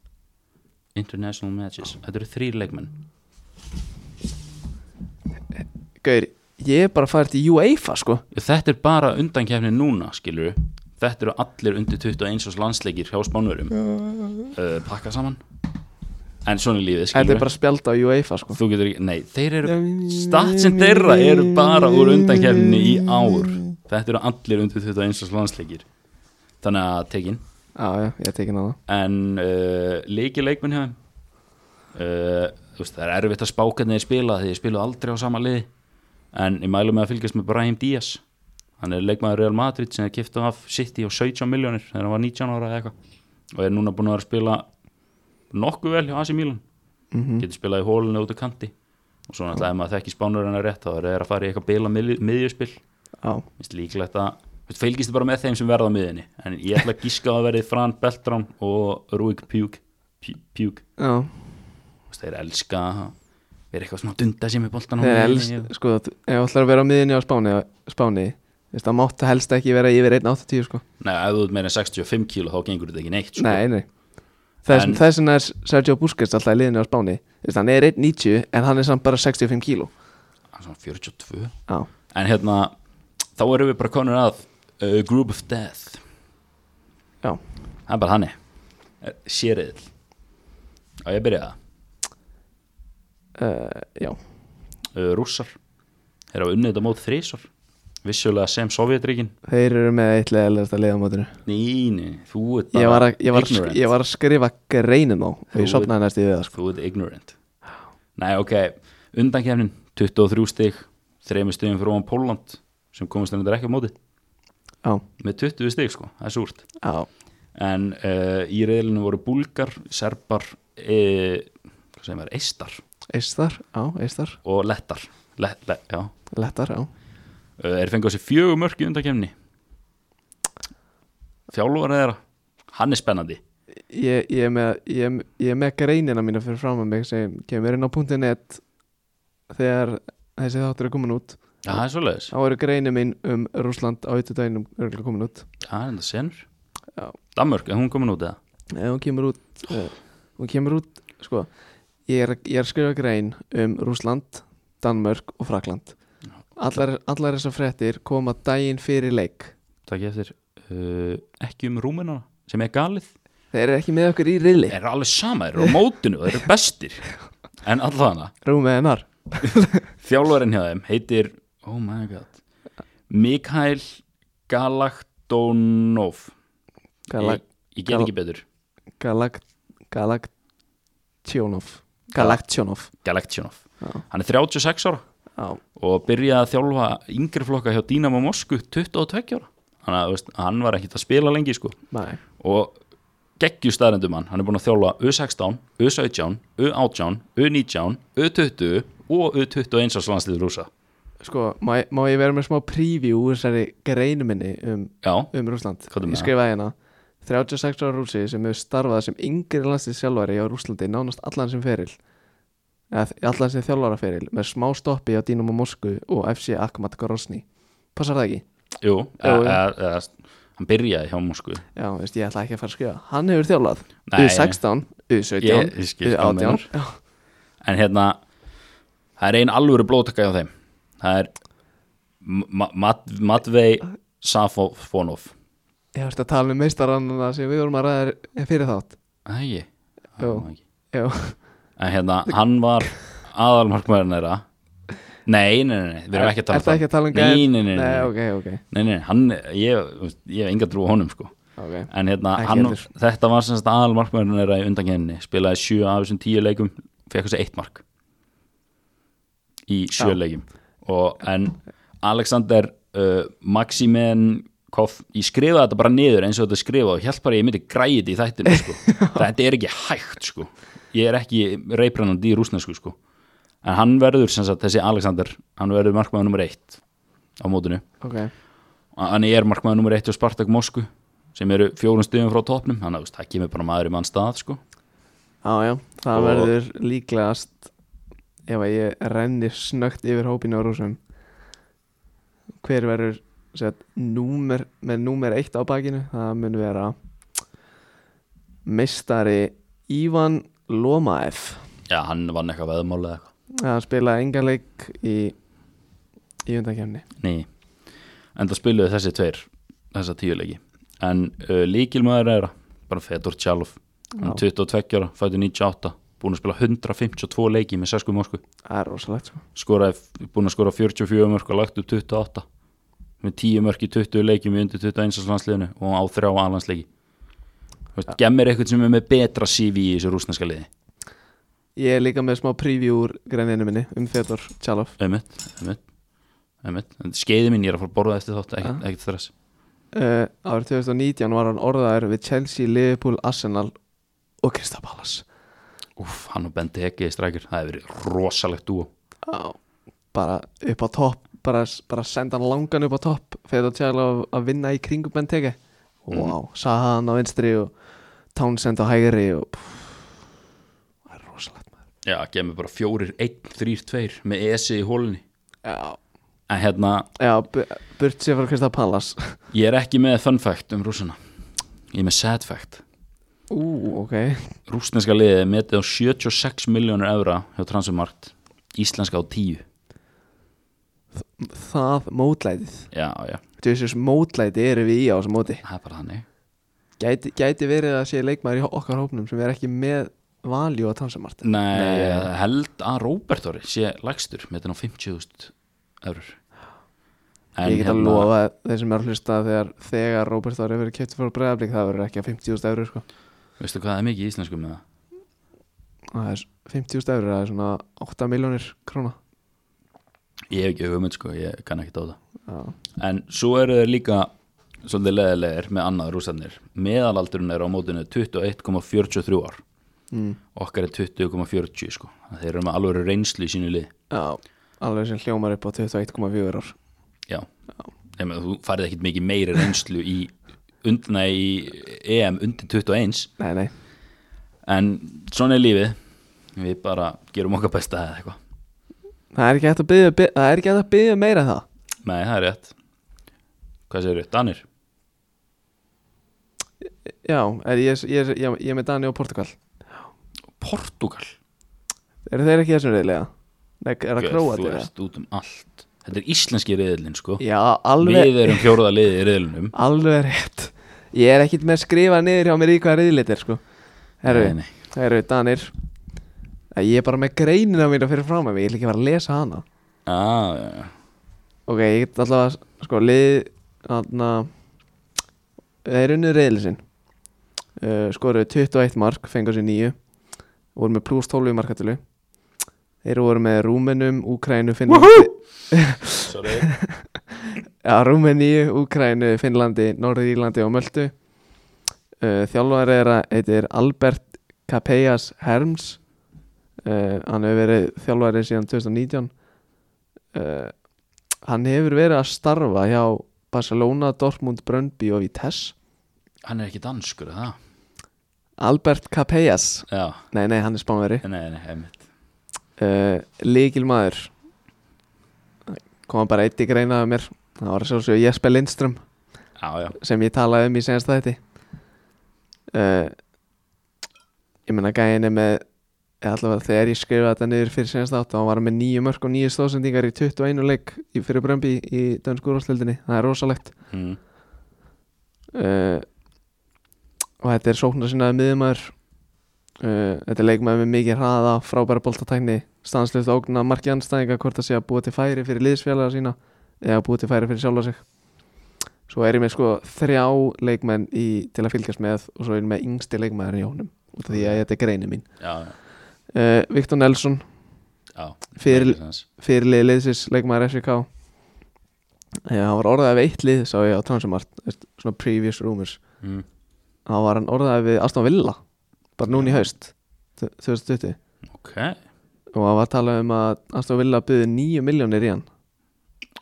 international matches, þetta eru þrýr leikmenn Gaur, ég er bara fært í UEFA sko Já, þetta er bara undankefni núna skilur þetta eru allir undir 21 árs landsleikir hjá spánurum uh, pakka saman en svona er lífið Þetta skilur er bara spjald á UEFA sko þú getur ekki, nei, þeir eru statsin þeirra eru bara úr undankefni í ár þetta eru allir undir 21 árs landsleikir þannig að tekin Já, já, ég tekin að það en uh, leiki leikmenn hjá þeim uh, þú veist, það er erfitt að spá hvernig þeir spila því þeir spila aldrei á sama liði en ég mælu með að fylgjast með Brahim Díaz hann er leikmaður Real Madrid sem er kipta af City á 17 miljónir þegar hann var 19 ára eða eitthvað og er núna búin að vera að spila nokkuð vel hjá AC Milan Mhm. Mm. getur spilað í hólunni út af kanti og svo náttúrulega ef maður þekki spánur hennar rétt þá er það að fara í eitthvað bila miðjuspil Já, Mist líklegt að þú veist, fylgist þið bara með þeim sem verða á miðinni en ég ætla að gíska að það verði Fran Beltram og Rúik Pjúk Pjú- Pjúk, já Þú veist, þeir elska að vera eitthvað svona að dunda sér með boltan á Þeir miðjunni. elst, sko, þú- ef þú ætlar að vera á miðinni á Spáni, Spáni veist, það mátt helst ekki vera yfir 1.80 sko. Nei, ef þú ert meira en 65 kíló þá gengur þetta ekki neitt sko. Nei, nei Þess, En- Þess vegna er Sergio Busquets alltaf í liðinni á Spáni veist, hann er 1.90 en hann er samt bara 65 kíló Hann er svona 42 Já, En hérna, þá erum við bara konur að uh, Group of Death já Það er bara hannig Sériðil Og ég byrja það uh, Já, uh, Rússar Er á unnið þetta mót þrísar Vissulega sem Sovjetríkin þeir eru með eitt leðalegasta liðamótinu Nei, nei, þú ert bara ég var, að, ég, var að, sk- ignorant. ég var að skrifa greinum á og ég Þú- sopnaði næst í við það sko. Þú ert ignorant Nei, ok, undankefnin 23 stig, 3 stigum frá Póland sem komist þannig ekki á móti Já, með 20 stig sko, það er súrt já, en uh, í reyðlinu voru búlgar, serbar e, hvað segir maður, eistar eistar, já, eistar og lettar let, let, já, Lettar, já uh, er fengið á sér fjögur mörk í undankefni Þjálfarið þeirra hann er spennandi Ég, ég, er með, ég, er- ég er með greinina mína fyrir fram að mig sem kemur inn á .net þegar þessi þáttur er komin út Já, það er svoleiðis, þá eru greinin mín um Rúsland á eittu daginum örgulega komin út Já, það er enda senur Já. Danmörk, er hún komin út eða? ef Eh, hún kemur út uh, hún kemur út, sko ég er, ég er að skrifa grein um Rúsland Danmörk og Frakland allar, allar þessar fréttir koma daginn fyrir leik Takk ég eftir uh, ekki um rúminana sem er galið þeir eru ekki með okkur í riðli Þeir eru alveg sama, þeir eru á mótinu og þeir eru bestir En allavega rúmið hennar Þjálfarinn hjá þeim heitir Oh my god Mikhail Galaktonov Galag, Ég, ég get Gal- ekki betur galag, galag Tjónov Galaktsjónov Galaktionov Já. Hann er 36 ára Já, og byrjaði að þjálfa yngri flokka hjá Dynamo Mosku 22 ára Þannig að þú veist, hann var ekkit að spila lengi sko næ, og geggjur staðrendum hann hann er búin að þjálfa U16, U17 U18, U19, U20 og U21 árs landslið rúsa sko, má, ég- má ég vera með smá preview úr þessari greinu minni um, já, um Rúsland Hvað er með Ég það? skrifaði hérna 36 ára rúsi sem hefur starfað sem yngri landslið sjálfari á Rúslandi nánast allan sem feril eða þ- allan sem þjálfara feril með smá stoppi á Dynamo Mosku og FC Akhmat Gorosny Passar það ekki? jú, Jú, jú. e, e, e, hann byrjaði hjá Mosku Já, veist, ég ætla ekki að fara að skrifa Hann hefur þjálfað Nei, U16, Ég- U17, ég skil hvað þú U18 meinar. Já, en hérna það er ein alvöru blótaka hjá þeim það er Ma- Mat Matvei Safonov ég veist að tala um meistarannana sem við vorum að ræða fyrir þátt ægi Jú. Já, en hérna, hann var aðalmarkmæðurinn þeirra nei, nei, nei, nei, við erum ekki að tala Ertu ekki að tala um það nei, gæðin? nei, nei, Nei, nei, nei. ok, ok, Nei, nei, hann, ég, þú veist, ég hef enga trú á honum sko ok En hérna, Ekki hann, heldur. þetta var semst aðal markmæðurinn er að undankenninni Spilaði sjö af þessum tíu leikum Fekk þessi eitt mark Í sjö Já. leikum Og en Alexander uh, Maximen hvað, ég skrifaði þetta bara niður eins og þetta er skrifað og held bara að ég myndi græði þetta í þættinu *laughs* sko. þetta er ekki hægt sko. ég er ekki reyprennandi í rúsnesku sko. en hann verður sem sagt, þessi Alexander, hann verður markmaður nummer eitt á mótinu ok, hann er markmaður nummer eitt á Spartak Moskvu sem eru fjórun stöðum frá topnum þannig að þú veist, það kemur bara maður í mann stað sko. á já það Og- verður líklegast ef að ég renni snögt yfir hópinu á rúsum hver verður sett, númer, með númer eitt á bakinu það mun vera meistari Ivan Lomaev já, hann vann eitthvað veðmál eða eitthvað að spila engarleik í í undakefni Nei, en það spiluðu þessi tveir þessa tíuleiki en uh, líkilmaður er bara Fedor Tjálf hann er 22 ára, fættu 98 búin að spila 152 leiki með Sesku Moskvu það er rosalegt sko skoraði, búin að skora 44 mörg og lagt upp 28 með 10 mörg í 20 leikjum í undir 21 landsliðinu og á þrjá aðlandsleiki Þú veist, gemmir eitthvað sem er með betra CV í þessu rúsneska liði ég er líka með smá preview úr greininu minni um Fedor Tjalov einmitt, einmitt, einmitt. En skeiði mín ég er að fara að borða eftir þátt ekkert, ekkert stress uh, árið 2019 var hann orðaður við Chelsea, Liverpool, Arsenal og Crystal Palace Úf, hann og Bendi Heggi í strækjur, það hefur verið rosalegt dúo. á, bara upp á topp bara, bara senda hann langan upp á topp Fedor Tjalov að vinna í kringum Benteke og wow, Saha hann á vinstri og Townsend á hægri og pff, það er rosalegt maður Já, gefur mér bara fjórir, einn, þrýr, tveir með esi í hólunni. já, En hérna, já bu- burt sér frá Crystal Palace ég er ekki með fun fact um rússana. Ég er með sad fact. ú, ok Rússneska liðið er metið á 76 miljónur evra hjá Transfermarkt, íslenska á 10. það mótlætið Já, já, Jesus, mótlæti eru við í á þessu móti það er bara þannig. gæti, gæti verið að sé leikmaður í okkar hópnum sem er ekki með valjú að tansamart Nei, ég held að Róbert Orri sé lagstur, metið á 50.000 eurur. ég get að hérna- lofa að þeir sem er að hlusta þegar, þegar Róbert var yfir kjöptu frá bregðarblik það verður ekki að 50.000 eurur sko. Veistu hvað er mikið í íslensku með það? Það er s- 50.000 eurur, það er svona 8 miljónir króna Ég hef ekki hugmynd, sko, ég kann ekki á það. Já. En svo eru þeir líka svolítið leðilegir með annað rúsarnir. Meðalaldurinn er á mótinu 21,43 ár. Mm. Okkar er 20,40 sko. Þeir eru með alveg reynslu í sínu lið. Já, alveg sem hljómar upp á 21,4 ár Já. Ég meina, þú farið ekkit mikið meiri reynslu í, undna í EM undir 21. Nei, nei, En svona er lífið. Við bara gerum okkar besta eða eitthvað. það er ekki hægt að byggja, það er ekki hægt að byggja meira en það Nei, það er rétt. Hvað segir þau? Danir? Já, er, ég, ég, ég, ég er með Dani og Portugal Portugal? Eru þeir ekki í þessum reyðlega? Nei, er það Guð, Króatir? Þú eða? ert út um allt. Þetta er íslenski reyðlinn sko. Já, alveg Við erum fjórða liðið í reyðlinnum. Alveg rétt Ég er ekkit með að skrifa niður hjá mér í hvað riðlit er sko Herru, Nei, nei. herru, Danir Æ, Ég er bara með greinina mína fyrir fram að mig Ég ætla ekki að fara að lesa hana Já, já, já. Ok, ég get allavega sko lið Þarna Þeir unnu riðli sinn uh, Skoruðu 21 mark, fengur sér nýju Voru með pluss 12 í markatölu Þeir voru með Rúmenum, Úkrænu, Finnlandi Sorry. Já, Rúmeníu, Úkrænu, Finnlandi, Norður Írlandi og Möldu uh, Þjálfar er að heitir Albert Capellas Herms uh, Hann hefur verið þjálfari síðan 2019 uh, Hann hefur verið að starfa hjá Barcelona, Dortmund, Brøndby og Vitesse Hann er ekki danskur, er það? Albert Capellas Já, Nei, nei, hann er spánveri nei, nei, heimitt. uh, Líkil maður Koma bara eitt í greina af mér Það var að sjálfsögja Jesper Lindström Já, já. sem ég talaði um í senast þætti uh, ég meina gæin er með eða allavega þegar ég skrifaði þetta niður fyrir senast þátt og hann var með nýju mörg og nýju stóðsendingar í 21 leik í- fyrir Brömbi í dönsku úrvarsleildinni, það er rosalegt Mm. uh, og þetta er sóknar sinnaði miðumæður uh, þetta er leikmaður með mikið hraða frábæra boltatækni, stanslust ógna marki anstæðinga hvort það sé að búa til færi fyrir liðsfélaga sína eða búa til færi fyrir sjálfa sig svo er ég með sko þrjá leikmenn í, til að fylgjast með og svo er ég með yngsti leikmaðurinn í honum út af því að þetta er greinu mín Já, já. uh, Viktor Nelson, já. Fyrir- Fyrir... fyrirlið liðsins leikmaður SVK Já, Eh, hann var orðaðið við eitt lið sá ég á Transmart, veist, svona previous rumors mm. hann var hann orðaðið við Aston Villa bara núna í haust 2020 ok, og hann var að tala um að Aston Villa byggði 9 miljónir í hann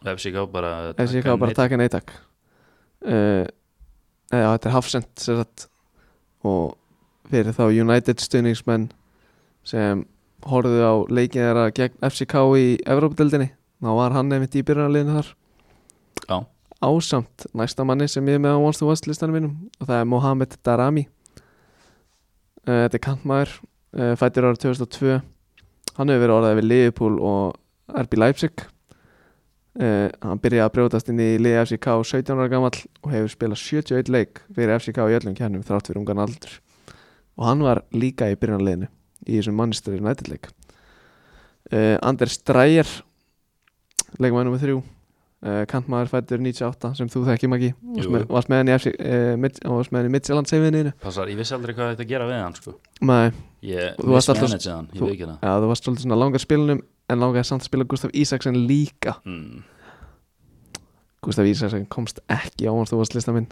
FCK bara ef ég gaf bara að taka neytak uh, eða þetta er Hafsend sem sagt og fyrir þá United stuðningsmenn sem horfðu á leikið þeirra gegn FCK í Evrópadeldinni þá var hann einmitt í byrjunarliðinu þar Já. ásamt næsta manni sem ég er með á Once to Watch listanum mínum og það er Mohamed Darami uh, þetta er kantmaður uh, fættir ára 2002 hann hefur verið orðað við Liverpool og RB Leipzig Uh, hann byrjaði að brjótast inn í liði FCK 17 ára gamall og hefur spilað 71 leik fyrir FCK í öllum kjarnum þrátt fyrir ungan aldur og hann var líka í byrjanleginu í þessum Manchester United leik uh, Anders Dreyer leikmaður nummer þrjú uh, kantmaður fættur 98 sem þú þekki Maggi Jú, varst með, jú. varst með henni í FC, uh, mid, og varst með henni í Midtjyllandseyfiðinu Passar, ég vissi aldrei hvað þetta gera við hann sko. Nei, ég Þú varst alltaf- mismanagið hann, ég þú- veit ekki það ja, þú varst svolítið svona langar spilunum en langaði samt að spila Gustaf Ísaksen líka mm. Gustaf Ísaksen komst ekki á hans þú varst lista minn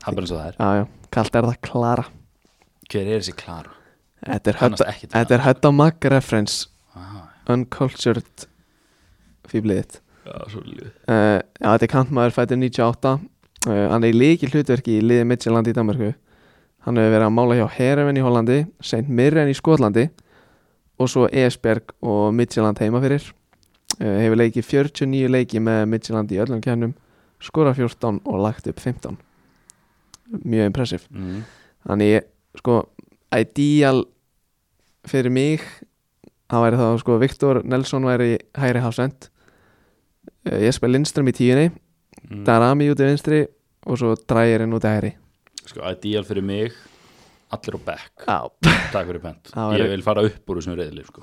það er bara eins og það er Já, já, kallt er það Klara hver er þessi klara? Þetta er kannast Hötta- ekki til þetta er Hötta Mag reference hann Uncultured Fýbliðitt já, svo lífið uh, Já, þetta er kantmaður fættur 98 uh, Hann er í líki hlutverki í liði Midtjylland í Danmarku Hann hefur verið að mála hjá Hereven í Hollandi Saint Mirren í Skotlandi og svo Esberg og Midtjylland heima fyrir uh, Hefur leikið 49 leiki með Midtjylland í öllum kjarnum skora 14 og lagt upp 15 Mjög impressiv mm. Þannig, sko, ideal fyrir mig það væri þá, sko, Viktor Nelson væri hægri hafsend Eh, Jesper Lindström í tíunni Mm. Darami út í vinstri og svo Drægirinn út í hægri sko, ideal fyrir mig allir á bekk, Já takk fyrir pent Já, ég er- vil fara upp úr þessum reyðli sko.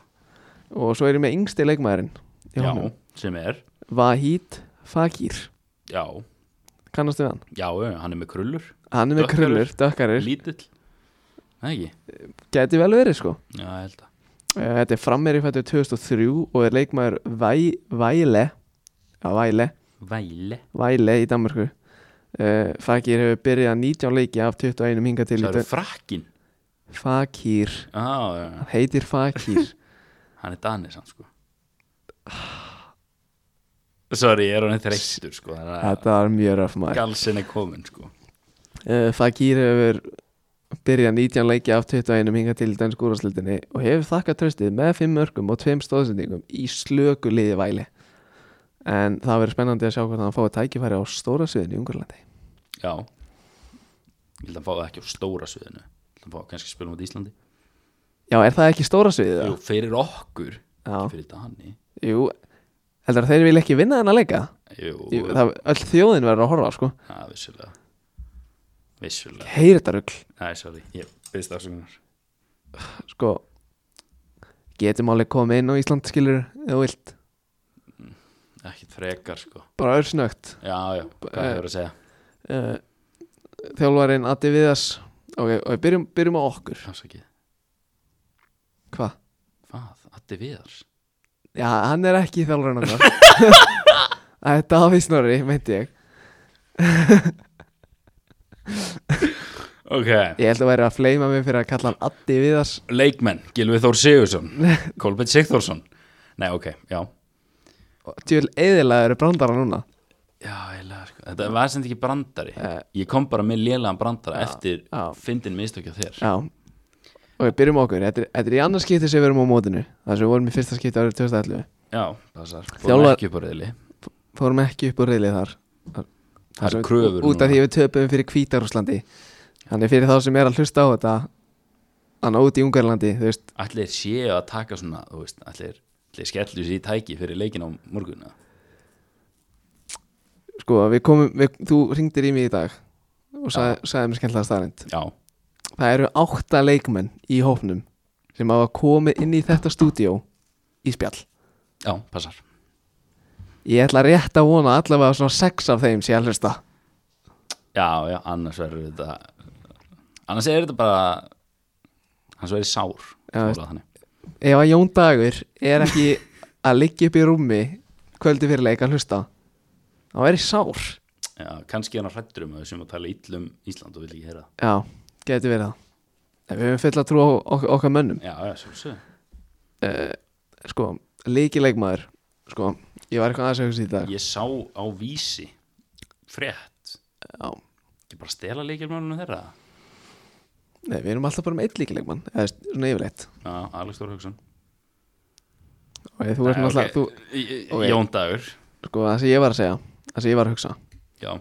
Og svo er ég með yngsti leikmaðurinn í já, honum. sem er Vahid Fakir já, Kannastu við hann? já, hann er með krullur Hann er með Dökkarir. krullur, dökkarir lítill, það ekki Gæti vel verið, sko já, ég held að Eh, Þetta er frammeri fættu 2003 og er leikmaður Væ, Væle Já, Væle væle, Væle í Danmarku uh, Fakir hefur byrjað 19 leiki af 21 hinga til það í eru dö- frakkin Fakir, já, já, já. hann heitir Fakir hann er danis hann sko *sighs* sorry, ég er hann þreyttur sko Þetta var mjög röf maður galsin er komin sko uh, Fakir hefur byrjað 19 leiki af 21 hinga til í dönsku úrvarslutinni og hefur þakkað tröstið með 5 mörgum og 2 stóðsendingum í slöku liði Væle en það verður spennandi að sjá hvort hann fái tækifæri á stóra sviðinu í Ungarlandi já, ég held að fá það ekki á stóra sviðinu ég held að fá kannski að spila um á Íslandi Já, er það ekki stóra sviðið? Jú, fyrir okkur, Já, fyrir Dani jú Heldur að þeir vil ekki vinna þennan leika? Jú, Jú, það, öll þjóðin verður að horfa, sko það vissulega Vissulega, heyri þetta rugl nei, sorry Ég veist afsökunar sko getum alveg komið inn á Ísland skilur eða þú vilt, Ekkert frekar, sko bara örsnögt Já, já, hvað hefur að segja uh, þjálfarinn Addi Viðars ok, og við byrjum, byrjum á okkur Afsakið, hvað? hvað, Addi Viðars já, hann er ekki þjálfarinn okkar þetta hafið snorri, meinti ég Ok, ég held að væri að fleima mig fyrir að kalla hann Addi Viðars leikmenn, Gilvi Þór *laughs* Sigursson Kolbett Sigþórsson Nei, ok, já og djúl eðilega eru brandara núna Já, eiginlega, sko Þetta var sem þetta ekki brandari Eh. Ég kom bara með lélegan brandara eftir já. fyndin mistökja þér já og við byrjum á okkur, þetta er, þetta er í annars skipti sem við erum á mótinu þar sem við vorum í fyrsta skipti árið 2011 Já, passar Þjálfar- Þjálfar Ekki upp á reyðli fórum ekki upp úr reyli þar Það sem- eru kröfur Út af því við töpum fyrir Kvítarúslandi Þannig fyrir þá sem er að hlusta á þetta Þannig út í Ungarlandi Þú veist, Allir séu að taka svona, þú veist Allir, allir skellu sér í tæki fyrir leikin á morgunna sko, við komum við, Þú ringdir í mig í dag Og sag, sagði mér skemmtilega staðrind Já, Það eru átta leikmenn í hópnum Sem hafa komið inn í þetta stúdíó Í spjall já, passar Ég ætla rétt að vona að allavega svona sex af þeim sé að hlusta Já, já, annars verður þetta Annars er þetta bara Annars verður sár Já, veist. já, Ef *laughs* að Jón Dagur er ekki að liggja upp í rúmi Kvöldi fyrir leik að hlusta Það væri sár Já, kannski er hann hrættur um að við sem að tala ill um Ísland og vil ekki heyra það. Já, geti verið það En Við höfum full að trúa ok okkar mönnum Já, já, sjálfsög Sko, líkilegmaður Sko, ég var eitthvað aðeins að hugsa í dag Ég sá á vísi frétt Já, ekki bara stela leikilmálunum þeirra nei, við erum alltaf bara með einn líkilegmann Eða svona yfirleitt Já, Alex Þór Hauksson Og þú veist náttúrulega, þú, ok. okay. Jón Dagur sko, það sem ég var að segja Það sem ég var að hugsa Já,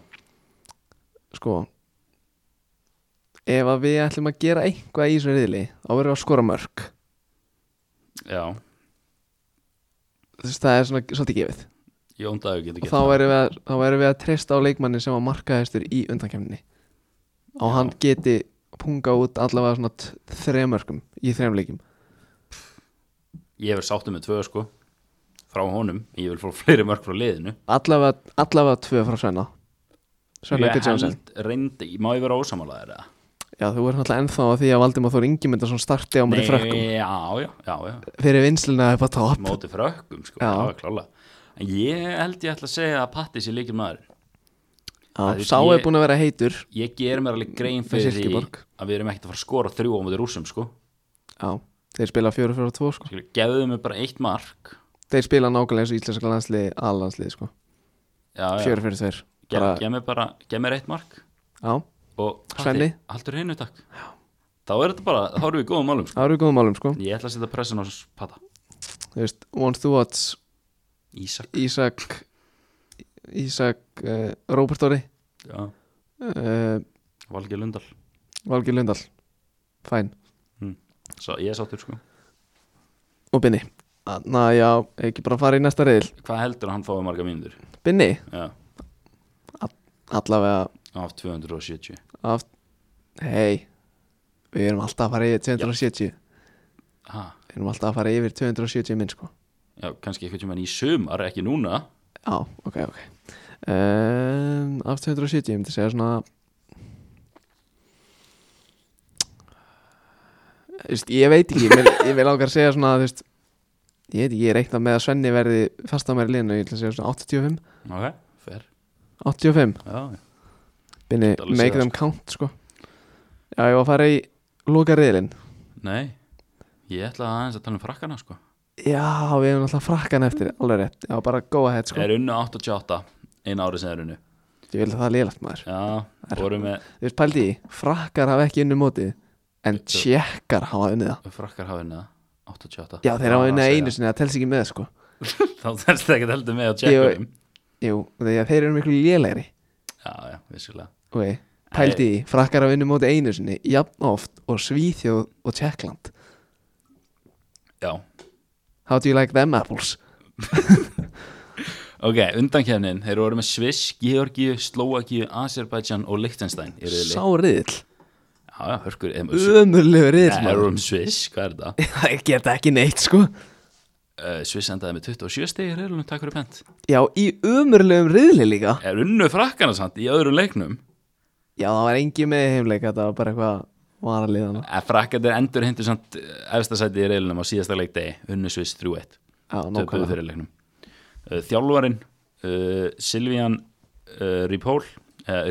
Sko Ef að við ætlum að gera eitthvað í þessu riðli Þá verðum við að skora mörg já, Þess, Það er svona svolítið gefið Jón Dagur getur Og gert þá það. erum við, að- þá erum við að treysta á leikmanni sem var markaðistur í undankemni og hann geti punga út allavega svona t- þremörkum í þremleikum Ég verð sáttum með tvö sko frá honum, ég vil fá fleiri mörg frá liðinu allavega, allavega tvö frá Svenna Svenna Ég Gutt Jónsson held reyndi, má ég vera ósamála þeirra Já, þú er náttúrulega ennþá að því að Valdimar Þór Ingimundarsson starti á móti frökkum já, já, já, já fyrir vinsluna upp á topp móti frökkum sko, Já. já, klála En ég held ég ætla að segja að Patti sé líkil maður Já, veist, Sá er ég- búin að vera heitur Ég ger mér alveg grein fyrir því Silkeborg. að við erum ekkert að fara að skora þrjú á móti rússum sko Já, þeir spila 4-4-2 sko Skilur, Gefðu mér bara eitt mark Þeir spila nákvæmlega eins og íslenska landsliði allandsliði sko Já, já, 4-4-2 gef, bara- gef mér bara gef mér eitt mark Já, og Patti, Svenni. haldur hennu takk Þá er þetta bara, þá erum við í góðum málum sko. það eru góðum málum sko Ég ætla að setja pressun á Pata Þú veist, once to watch Ísak Ísak Ísak uh, Róbert Óri já, uh, Valgeir Lundal Valgir Lundal Fæn Svo, Ég er sáttur sko Og Binni Na já, ekki bara fara í næsta reyðil Hvað heldur að hann fái marga mínútur? Binni, Já, allavega af 270 af, Hei Við erum alltaf að fara yfir 270 ha, Við erum alltaf að fara yfir 270 minn sko Já, kannski eitthvað tjóman í sumar, ekki núna Já, ok, ok um, Af 270, ég myndi segja svona Þú veist, Ég veit ekki, ég vil, ég vil ákveð að segja svona þú veist, Ég veit ekki, ég reikna með að Svenni verði fast á mér í liðinu Ég ætla að segja svona 85 Ok, fer 85, Já, binni, Get alveg make séð það, them count sko Já, ég var að fara í loka reyðlin nei Ég ætla aðeins að tala um frakkana sko Já, við erum alltaf frakkan eftir, alveg rétt Já, bara go ahead sko, Er unnu 88, eina ári sem er unnu ég vil að það er liðlegt maður Já, voru með Þú veist, pældi í, frakkar hafa ekki unnu mótið En tjekkar hafa unnið það frakkar hafa unna 88 Já, þeir hafa Bara unna að segja. einu sinni, það telst ekki með sko Þá þarst það ekki heldur með á tjekkunum Jú, þegar þeir eru miklu lélegri Já, já, vissulega Ok, pældi í, því, frakkar að vinna móti einu sinni Jafn oft og Svíþjóð og Tjekkland Já, How do you like them apples? Ok, undankefnin, þeir voru með Sviss, Georgíu, Slóakíu, Azerbaijan og Liechtenstein í riðli. Sá riðl, Já, já, hörkur, eða maður ömurlegu riðl Þeir maður. voru með Sviss, hvað er þetta? *laughs* Það geta ekki neitt sko Uh, Sviss endaði með 27 stegi í riðlunum, takk fyrir pent. Já, í ömurlegum riðli líka Er unnu frakkana samt í öðrum leiknum? Já, það var engi með í heimleik Þetta var bara eitthvað varaliðana Að frakkandir endur hindi Eh, samt efstasæti í riðlunum á síðasta leikdegi, unnu Sviss 3-1. Já, Töpuðu nákvæmlega fyrir leiknum. Uh, þjálfarin, uh, Silvían uh, Ripoll, uh,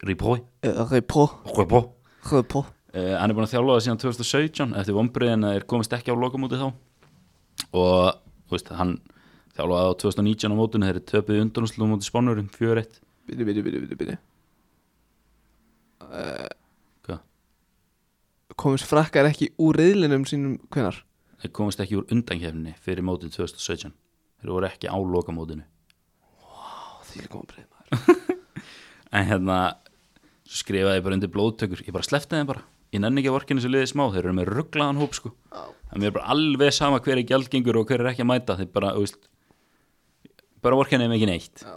Ripoll, Repo, Ripoll, repo Uh, hann er búin að þjálfa það síðan 2017 eftir vonbriðin að þeir komist ekki á lokamóti þá og þú veist, hann þjálfaði á 2019 á mótunni þeir töpuði undanúslu móti spánurum 4-1 Bíti, bíti, bíti, bíti, bíti Hvað? Komist frakkar ekki úr riðlinum sínum hvenar? þeir komist ekki úr undankefni fyrir mótið 2017 þeir voru ekki á lokamótinu Því líka vonbrigði, maður. en hérna svo skrifaði ég bara undir blóðtökur ég bara slefti þeim bara ég nenni ekki að vorkinu sem liðið smá þeir eru með rugglaðan hóp sko það er bara alveg sama hver er gjaldgengur og hver er ekki að mæta þeir bara, þú veist, bara vorkinu þeim ekki neitt Já.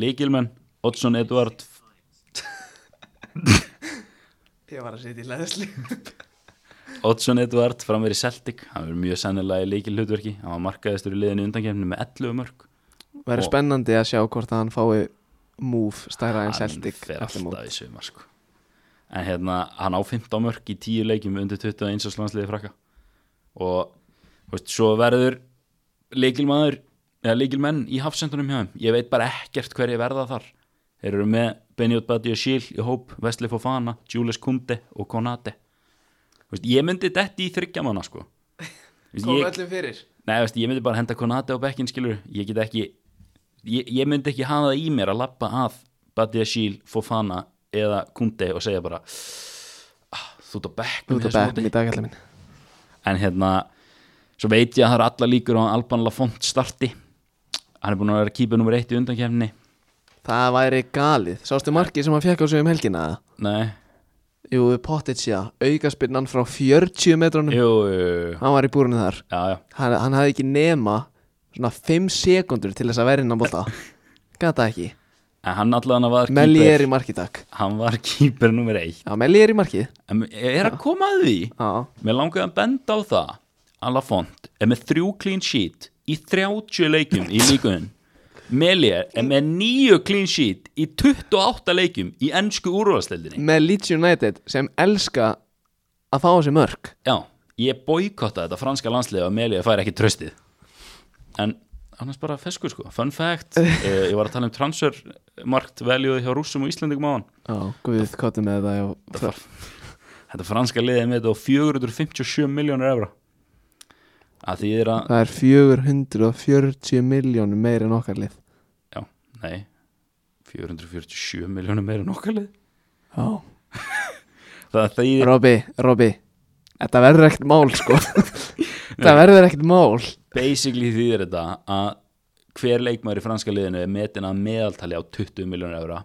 Líkilmenn, Oddsson Edvard Ég var að setja í leðsli Oddsson Edvard framverið Celtic hann er mjög sennilega í líkilhlutverki hann var markaðistur í liðinu undankefni með 11 mörg *laughs* Verður Og- spennandi að sjá hvort að hann fái Move stærra en Celtic fer eftir mót. alltaf í sumar sko. en hérna, hann á 15 mörg í 10 leikjum undir 21 einsáslandsliði frakka og þú veist, svo verður líkilmaður eða líkil menn í hafsendunum hjá þeim ég veit bara ekkert hverju verða þar þeir eru með Benjótt Badi og Sjíl í hóp, Wesley Fofana, Julius Kunde og Konate Vist, ég myndi detti í þryggja manna sko Vist, Kom ég, öllum fyrir nei, veist, ég myndi bara henda Konate á bekkin skilur ég get ekki ég, ég myndi ekki hafa það í mér að lappa að Badi og Sjíl, Fofana eða Kunde og segja bara ah, þú ert á bekkum Þú ert að bækna í dag allar minn en hérna svo veit ég að það eru alla líkur á að Alban Lafont starti hann er búin að vera kýpa nummer eitt í undankefni Það væri galið Sástu markið sem hann fekk á sig um helgina eða? nei, Jú, Potitsja, aukaspinnan frá 40 metrónum jú, jú, jú. Hann var í búrunni þar já, já, Hann, hann hafði ekki nema svona 5 sekundur til þess að vera innan *laughs* bólta Gata ekki en hann allan var Melli er kýper, í markið takk hann var kýper nummer eitt Já, Melli er í markið en ég er að koma að því Já, mér langaði að benda á það að Lafont er með þrjú clean sheet í 30 leikum í líkun Melier er með nýju clean sheet í 28 leikum í ennsku úrvalstildinni með Leeds United sem elska að fá á sig mörg Já, ég boykotta þetta franska landsliði og Melia fær ekki tröstið en annars bara feskur sko fun fact, eh, ég var að tala um transfermarkt veljúði hjá rússum og íslendingum á hann Já, guð, kottum með það var- þetta franska liðið er með þetta á 457 miljónur evra að því er að, Það er 440 miljónum meir en okkar lið já, nei 447 miljónur meira en okkar lið Já það þýðir, Robby, Robby Þetta verður ekkert mál *laughs* sko Þetta verður ekkert mál basically þýðir þetta að hver leikmaður í franska liðinu er metin að meðaltali á 20 miljónur evra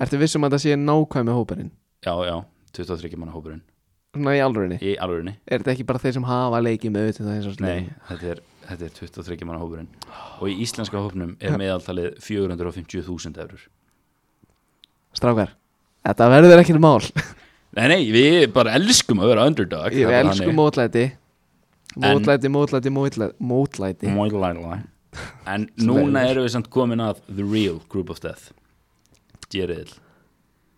Ertu vissum að það sé nákvæmi hóparinn? já, já, 23 manna hópurinn Svona í alvörinni í alvörinni Er þetta ekki bara þeir sem hafa leikið með auðvitað eins og Nei, þetta er, þetta er 23 manna hópurinn og í íslenska hópnum er meðaltalið 450.000 eurur Strákar, þetta verður ekkert mál Nei, nei, við bara elskum að vera underdog Ég elsku mótlæti En- Mótlæti, mótlæti, mótlæti Mótlæti mótlæla En núna erum við samt komin að The Real Group of Death Gerriðil,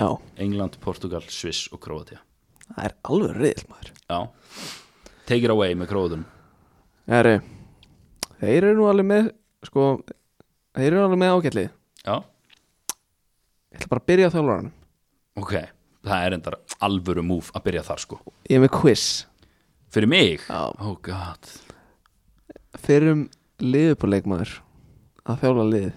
Já, England, Portugal, Sviss og Króatia það er alveg reyðil maður Já, take it away með Króatunum Herru, þeir eru nú alveg með Sko, þeir eru alveg með ágætlið Já, Ég ætla bara að byrja á þjálfaranum ok, það er endar alvöru múf að byrja þar sko Ég er með quiz Fyrir mig, Já. oh god Fyrrum liðupúleikmaður Að þjálfa lið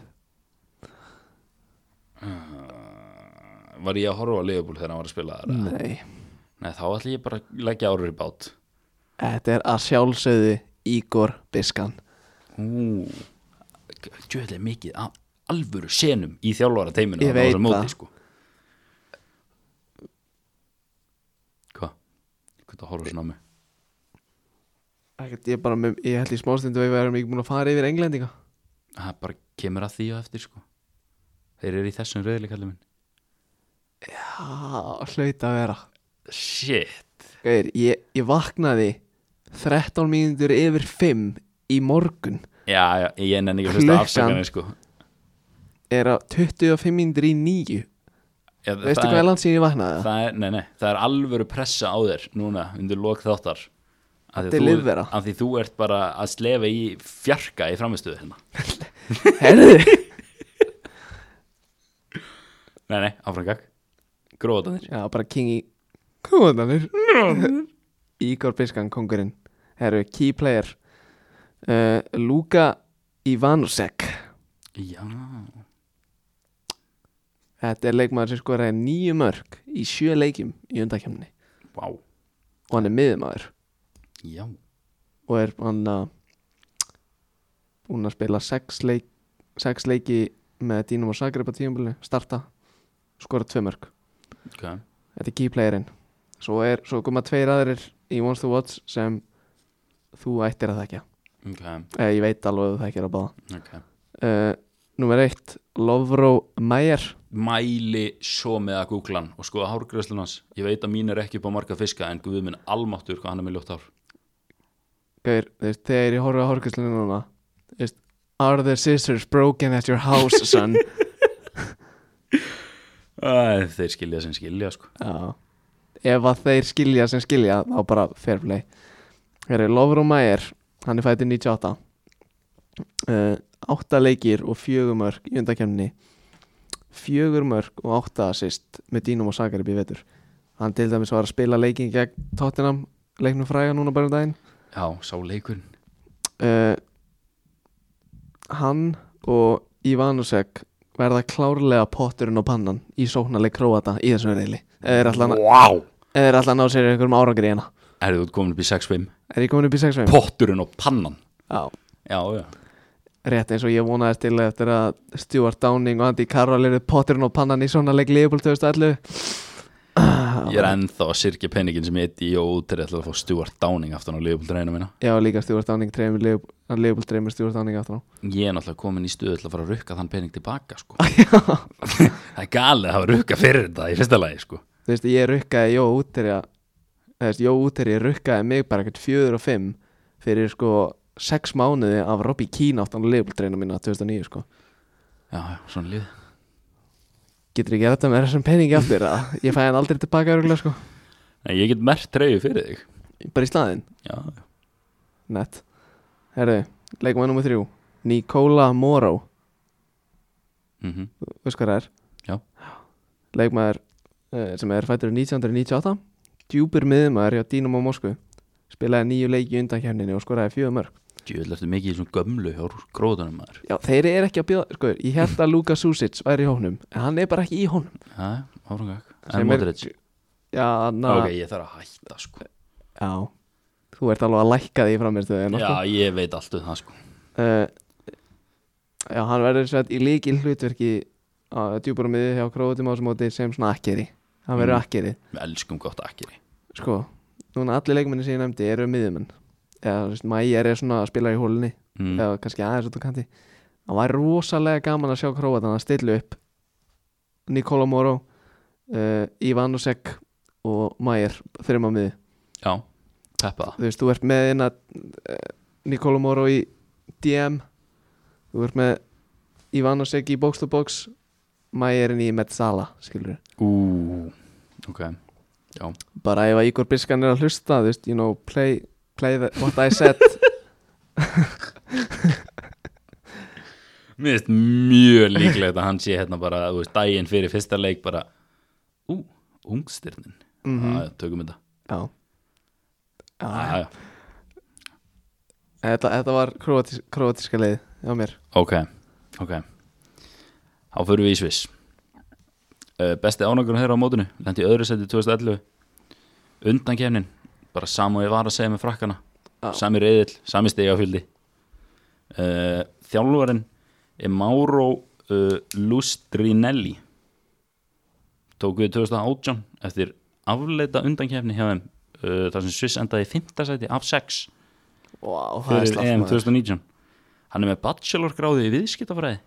Var ég að horfa á Leopold þegar hann var að spila þar? Nei, Nei, þá ætla ég bara að leggja árur í bát þetta er að sjálfsögðu Ígor Biskan Ú, djöðlega mikið af alvöru senum í þjálfara teiminu Ég veit það. sko. Hva? Hvað það horfður svona á mig? Ekkert, ég, bara með, ég held í smástundu að við erum ekki múin að fara yfir englendinga Það bara kemur að því og eftir sko. Þeir eru í þessum rauðileg kallið minn Já, hlaut að vera Shit Gauðir, ég, ég vaknaði 13 mínútur yfir 5 í morgun Já, já, ég nenni ekki að hlusta Klukkan. afsakanir sko. er að 25 mínútur í 9 Já, Veistu það hvað er- er langt síðan ég vaknaði? Það, það er, nei, nei, það er alvöru pressa á þér núna undir lok þáttar Af því Þetta er þú- liðvera. af því þú ert bara að slefa í fjarka í framistuðu hérna Herðu Nei, nei, áframgag Gróðanir Já, bara king í Kóðanir *laughs* Ígor Biskan, kongurinn Herru, key player uh, Luka Ivanusek Já, Þetta er leikmaður sem skoraði nýju mörg í sjö leikjum í undakemni vá og hann er miðumadur Já, og er hann að búin að spila sex, leik, sex leiki með Dínum og Zagreb á tíumbili starta, skora tvö mörg ok þetta er key playerinn svo, er, svo koma tveir aðrir í Once to Watch sem þú ættir að þekkja Ok, eh, ég veit alveg að þú þekkir að báða ok eh, Númer eitt, Lovro Meyer Mæli svo með að googla hann og skoða hárgræslun hans Ég veit að mín er ekki upp á marga fiska en guð minn almáttur hvað hann er með ljótt hár Gauir, þú veist, þegar ég horfa á horkastlunum núna þú veist, Are the scissors broken at your house, son? Æ, Þeir skilja sem skilja sko Já Ef að þeir skilja sem skilja þá bara fair play Hér er Lovro Mayer hann er fætið 98 uh, átta leikir og fjögur mörg í undakemni fjögur mörg og átta assist með Dínum og Sakarib í vetur hann til dæmis var að spila leikin gegn Tottenham leiknum fræga núna bara um daginn Já, sá leikurinn uh, hann og Ivanusek verða klárlega potturinn og pannan í sóknarleik Króata í þessum reyli eða er Vá alltaf að ná sér einhverjum árangri hérna Erðu þú komin upp í 6-5 er ég komin upp í 6 veim? Potturinn og pannan Já, Já, já rétt eins og ég vonaðist til eftir að Stuart Downing og Andy Carroll eru potturinn og pannan í svona leik Leopold 2011 Ég er ennþá að sirkja penningin sem ég eitt í og út til að fá Stuart Downing aftan á liðbúldreina mína Já, líka Stuart Downing treymir Leopold treymir Stuart Downing aftur á Ég er náttúrulega komin í stöðu til að fara að rukka þann pening tilbaka *laughs* sko. Það er galið að hafa rukka fyrir þetta í fyrsta lagi sko. Þú veist, ég rukkaði Jó Úterja Þú veist, Jó Úterja rukkaði mig bara ekkert fjögur og fimm fyrir sko sex mánuði af Robbie Keane aftan á Leopold treymir mína 2009 sko Já, já, svona lið Getur ég gert þetta með þessum peningi aftur að ég fæ hann aldrei tilbaka örgulega sko Nei, Ég get mert treyju fyrir þig Bara í staðinn Já, já. Nett Herðu, leikum við nummer þrjú Nikola Morrow Mhm. Þú veist hvað það er Já. leikmaður uh, sem er fættur í 1998 djúpur miðmaður hjá Dínum á Moskvu spilaði nýju leiki undan kemninu og skoraði fjögur mörg Djöfull ertu mikið í þessum gömlu hjá gróðunum maður já, þeir eru ekki að bjóða, sko, ég held að Luka Susic væri í hónum, en hann er bara ekki í hónum Já, já, árangak Sem En er- Modric já, na, Ok, ég þarf að hætta sko. já þú ert alveg að lækka því framistu Já, ég veit allt um það sko. uh, já, hann verður sveit í líkil hlutverki á djúpur miði hjá Króðum á þessu móti sem svona akkeri, hann verður Mm. mm. akkeri Við elskum gott akkeri sko, núna allir leikmenni sem ég nefndi eru miðjumenn eða þú veist, Mæjar er svona að spila í hólunni mm. eða kannski aðeins út á kanti það var rosalega gaman að sjá Króatan að stilla upp Nikola Moro uh, Ivan Osek og Mæjar þreim á miði Já, peppa það þú veist, þú ert með hérna uh, Nikola Moro í DM þú ert með Ivan Osek í box to box Mæjarinn í Metzala, skilur Ú, ok bara ef að Ígor Biskan er að hlusta þú veist, you know, play, play the, what I *laughs* said Mér finnst mjög líklegt að hann sé hérna bara, þú veist, daginn fyrir fyrsta leik bara, ú, ungstirnin mm Mhm. tökum þetta já, já. ah, Þetta, þetta var króatis, króatiska leið á mér Ok, ok Þá fyrir við í Sviss uh, Besti ánægur þeirra á mótinu Lendi í öðru seti 2011 Undan kefnin, bara samu ég var að segja með frakkana Já. Sami reyðil, sami stegafjöldi uh, Þjálfarinn er Mauro uh, Lustrinelli Tók við 2018 eftir afleita undan kefni hjá þeim uh, þar sem Sviss endaði í 5. seti af 6 wow, fyrir EM 2019 hann er með bachelorgráði í viðskiptafræði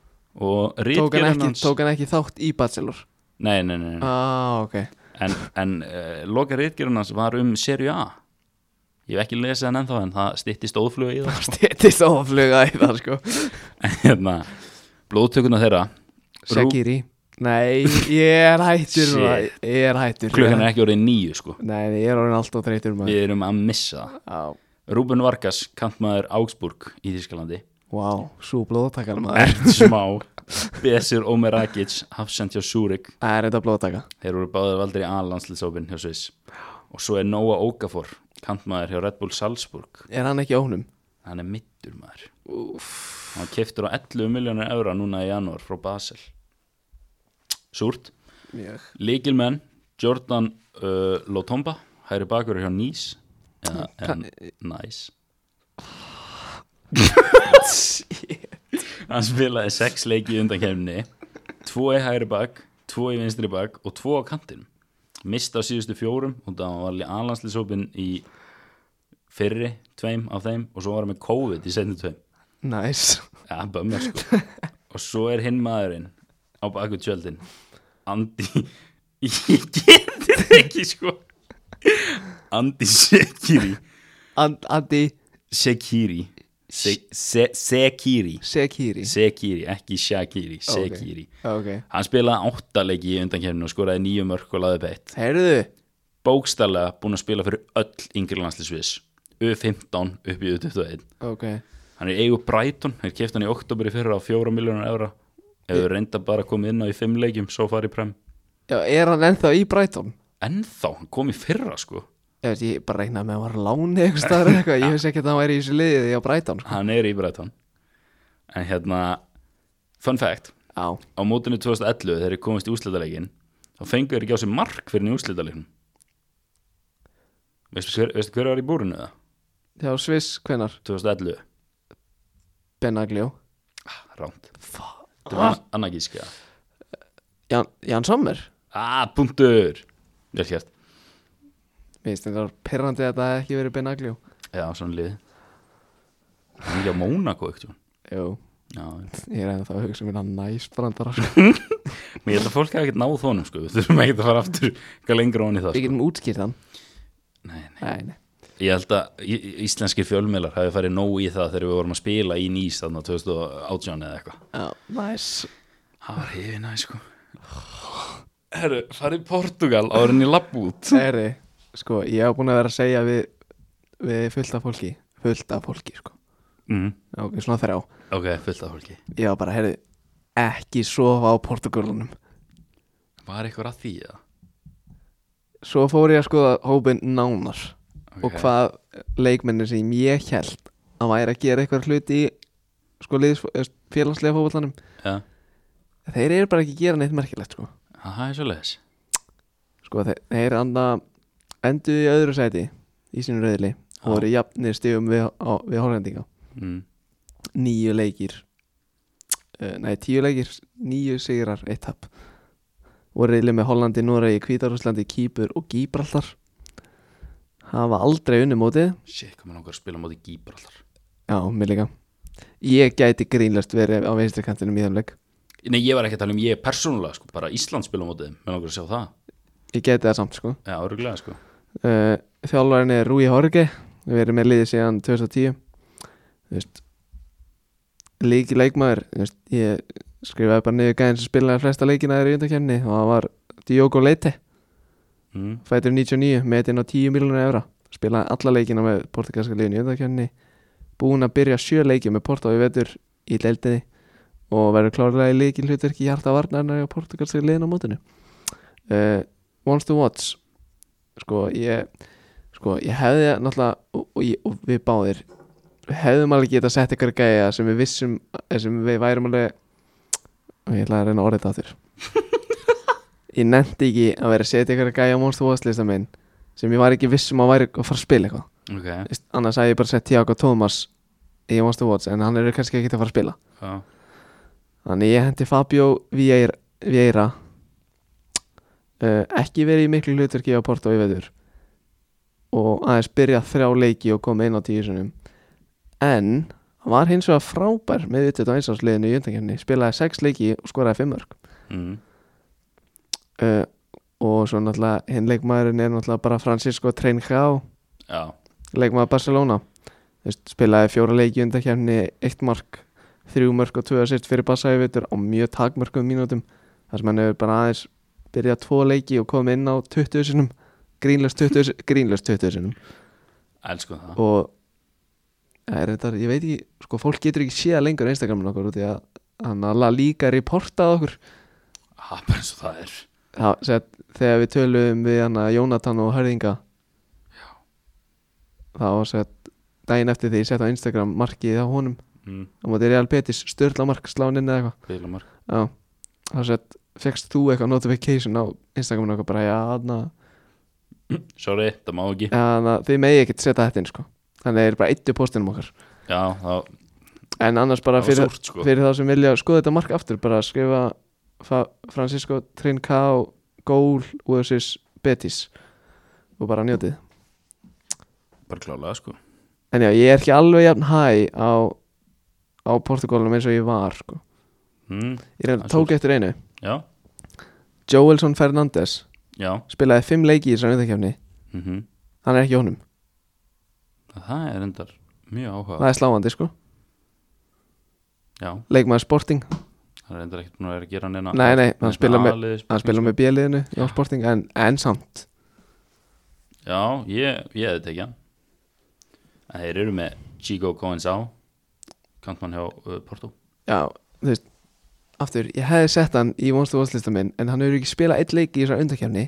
og tók, hann rítgerðin ekki, hans tók hann ekki þátt í Bachelor nei, nei, nei, nei. ah, ok *laughs* en, en uh, loka rítgerðin hans var um serju A ég hef ekki lesið hann ennþá en það stytti stóðfluga í það stýttist ofluga í það sko En *laughs* hérna, blóðtökuna þeirra Rú, Shakiri nei, ég er hættur maður. ég er hættur klukkan er ekki orðið nýju sko nei, nei, ég er orðin alltaf þreytur maður við erum að missa það á, Rúben Vargas, kantmaður Augsburg í Þískalandi wow, svo blóðtakana maður Ert smá *laughs* Besir Omeragic, hafsend hjá Zurich það er þetta blóðtaka Þeir eru báðir valdir í A-landslisópin hjá Sviss og svo er Noah Okafor kantmaður hjá Red Bull Salzburg er hann ekki ónum? hann er mittur maður Úff. hann keftur á 11 miljónir eura núna í janúar frá Basel Súrt mjög Líkilmenn Jordan uh, Lotomba hæri bakur hjá Nís eða en, Næs hann spilaði sex leiki í undan kemni tvo í hægri bak, tvo í vinstri bak og tvo á kantinum mista á síðustu fjórum og það var alveg aðlandslisópin í fyrri tveim af þeim og svo var hann með COVID í setni tveim nice. ja, bömmar sko og svo er hinn maðurinn á baku tjöldin Andi *laughs* ég getur ekki sko Andi Sekiri And, Andi Sekiri Se- Se- Sekiri Shakiri Sekiri, ekki Shakiri, Sekiri ok, Hann spilaði áttaleiki í undankefninu og skoraði nýju mörk og laði beitt heyrðu Bókstallega búin að spila fyrir öll yngri landslisviðs U15 upp í U21 ok, hann er í eigu Brighton, þeir kefti hann í oktober í fyrra á fjóra miljónar evra hefur reynda bara komið inn á í fimm leikjum svo farið prem, Já, er hann ennþá í Brighton? ennþá, hann kom í fyrra sko, Ég veit, ég bara reiknaði með að hann var á láni eitthvað staðar eða eitthvað, ég veist ekki að hann væri í þessu liðið því á Brighton, sko. hann er í Brighton en hérna fun fact, Já, á mótinu 2011 þegar þeir komist í úrslitaleikin þá fengu þeir ekki á sig mark fyrir í úrslitaleikin veistu, hver- veistu hver var í búrinu það? hjá Sviss, hvenar? 2011, Benaglio. ránt Ah, þetta var annað gíska Jan, Jan Sommer? ah, punktur vel hér, Mér finnst þetta var pirrandi að það hef ekki verið Benaglio. já, svona lið hann er ekki á Mónako ekkert Jú, já, já. ég er ennþá að hugsa um minna næsbrandara, sko. Mér held að fólk hafa ekkert náð þónum sko Við þurfum ekkert að fara aftur eitthvað lengra onni Við það sko. getum útskýrt hann. nei, nei. Nei, nei. Ég held að í- íslenskir fjölmiðlar hafi farið nóg í það þegar við vorum að spila í nýs þarna 2018 eða eitthvað Já, næs. Það var hefði næ sko Herru, farið í Portugal áður en ég lapp út Eri, sko, ég hef búin að vera að segja við, við fullt af fólki, fullt af fólki, sko. mm, Já, Ok, svona þrjá. Ok, fullt af fólki Ég var bara, heyrðu, ekki sofa á Portugalunum. Var eitthvað að því eða? Svo fór ég að skoða hópin nánar. Okay. og hvað leikmennir sem ég held að væri að gera eitthvað hluti í sko liðs, eða félagslega fótbollanum ja. þeir eru bara ekki að gera neitt merkilegt sko, Það er svo leiðis sko þeir, þeir anda enduðu í öðru sæti í sínu rauðli og voru jafnir stigum við, á, við Hollendinga mm. níu leikir uh, nei tíu leikir níu sigrar eitt tap voru reyðli með Hollandi, Noregi, Kvítarúslandi Kýpur og Gíbraltar hafa aldrei unni mótið Shit, komum langar að spila á móti Gíbraltar Já, mér líka Ég gæti grínlast verið á veistirkantinum í þeim leik Nei, ég var ekki að tala um ég persónulega sko Bara Ísland spila á móti þeim Mér langar að sjá það Ég gæti það samt sko Já, öruglega sko uh, Þjálfarinn er Rúi Horge Við erum með liðið síðan 2010 Þú veist Líki leikmaður þú veist, Ég skrifaði bara niður gæðin sem spilaði flesta leikina þeirra í undarkemni og það var Diogo Leite mm. fætur 99 metinn á 10 miljonar evra spilaði alla leikina með portugalska liðin í undarkemni búin að byrja sjö leiki með Porto í vetur í deildinni og verður klárlega í leikil hlutverki hjarta varnarnar á portugalska liðin á mótinu uh, Wants to Watch sko ég sko ég hefði náttúrulega og, og, ég, og við báðir við hefðum alveg getað sett ykkur gæja sem við vissum eh, sem við værum alveg og ég ætla að reyna að orða þetta á þér ég nefndi ekki að vera að setja ykkur gæja á Wants to Watch lista minn sem ég var ekki vissum að væri að fara að spila eitthvað Ok, Veist, annars hafði ég bara sett Tiago Thomas í Wants to Watch en hann eru kannski ekki að fara að spila já þannig ég hendi Fabio Vieira, Vieira. Uh, ekki verið í miklu hlutverki á Porto í veður og aðeins byrjað þrjá leiki og koma inn á tíu sunum en hann var hins vegar frábær með vitið á einsásliðinu í undankenni spilaði sex leiki og skoraði fimm mörg mm. uh, og svo náttúrulega hinn leikmaðurinn er náttúrulega bara Francisco Treinjá Já, leikmaður Barcelona Þú veist, spilaði fjóra leiki undan kemni eitt mark, þrjú mörk og tvö assist fyrir Barca í vitur á mjög takmörkum mínútum þar sem hann hefur bara aðeins byrjað tvo leiki og komið inn á 20 sinum grínlöst 20, sin- grínlaust 20 sinum elsku það og ja, er þetta, ég veit ekki, sko fólk getur ekki séð lengur á Instagramin okkur út í að hann alveg líka reportað okkur Það er bara eins og það er Já, sett, þegar við töluðum við hann að Jónatan og Hörðinga þá var sett daginn eftir því ég sett á Instagram markið á honum mm. á móti Real Betis, störla mark, sláinn inn eða Bilamark eitthvað Já, þá sett, fegst þú eitthvað notification á Instagraminu eitthvað bara, já, þarna Sorry, það má ekki þannig að þið megi ekkert setja þetta inn, sko þannig að það er bara eittu postinum okkar Já, það, en annars bara það var fyrir, súrt sko fyrir þá sem vilja skoða þetta mark aftur bara skrifa Fa Francisco Trincao Gól versus Betis og bara njótið Bara klálega sko En já, ég er ekki alveg jafn hæ á, á Portugalum eins og ég var sko. mm. Ég reyndi Það er að tók eftir einu Já, Joelson Fernandes já spilaði fimm leiki í þessari undarkefni mm Hann er ekki í honum, Það er endar mjög áhuga það er sláandi sko Já, Leikmaður Sporting, það er endar ekkert búin að vera að gera neina Nei, nei, hann spilar með- aðliðis- hann spilaði með bjöliðinu Já, Sporting, en, en samt Já, ég, ég hefði tekið hann En Þeir eru með Chico Coins á kantmann hjá uh, Porto Já, þú veist Aftur, ég hefði sett hann í vonstu vonslista minn En hann hefur ekki spilað eitt leik í þessar undakefni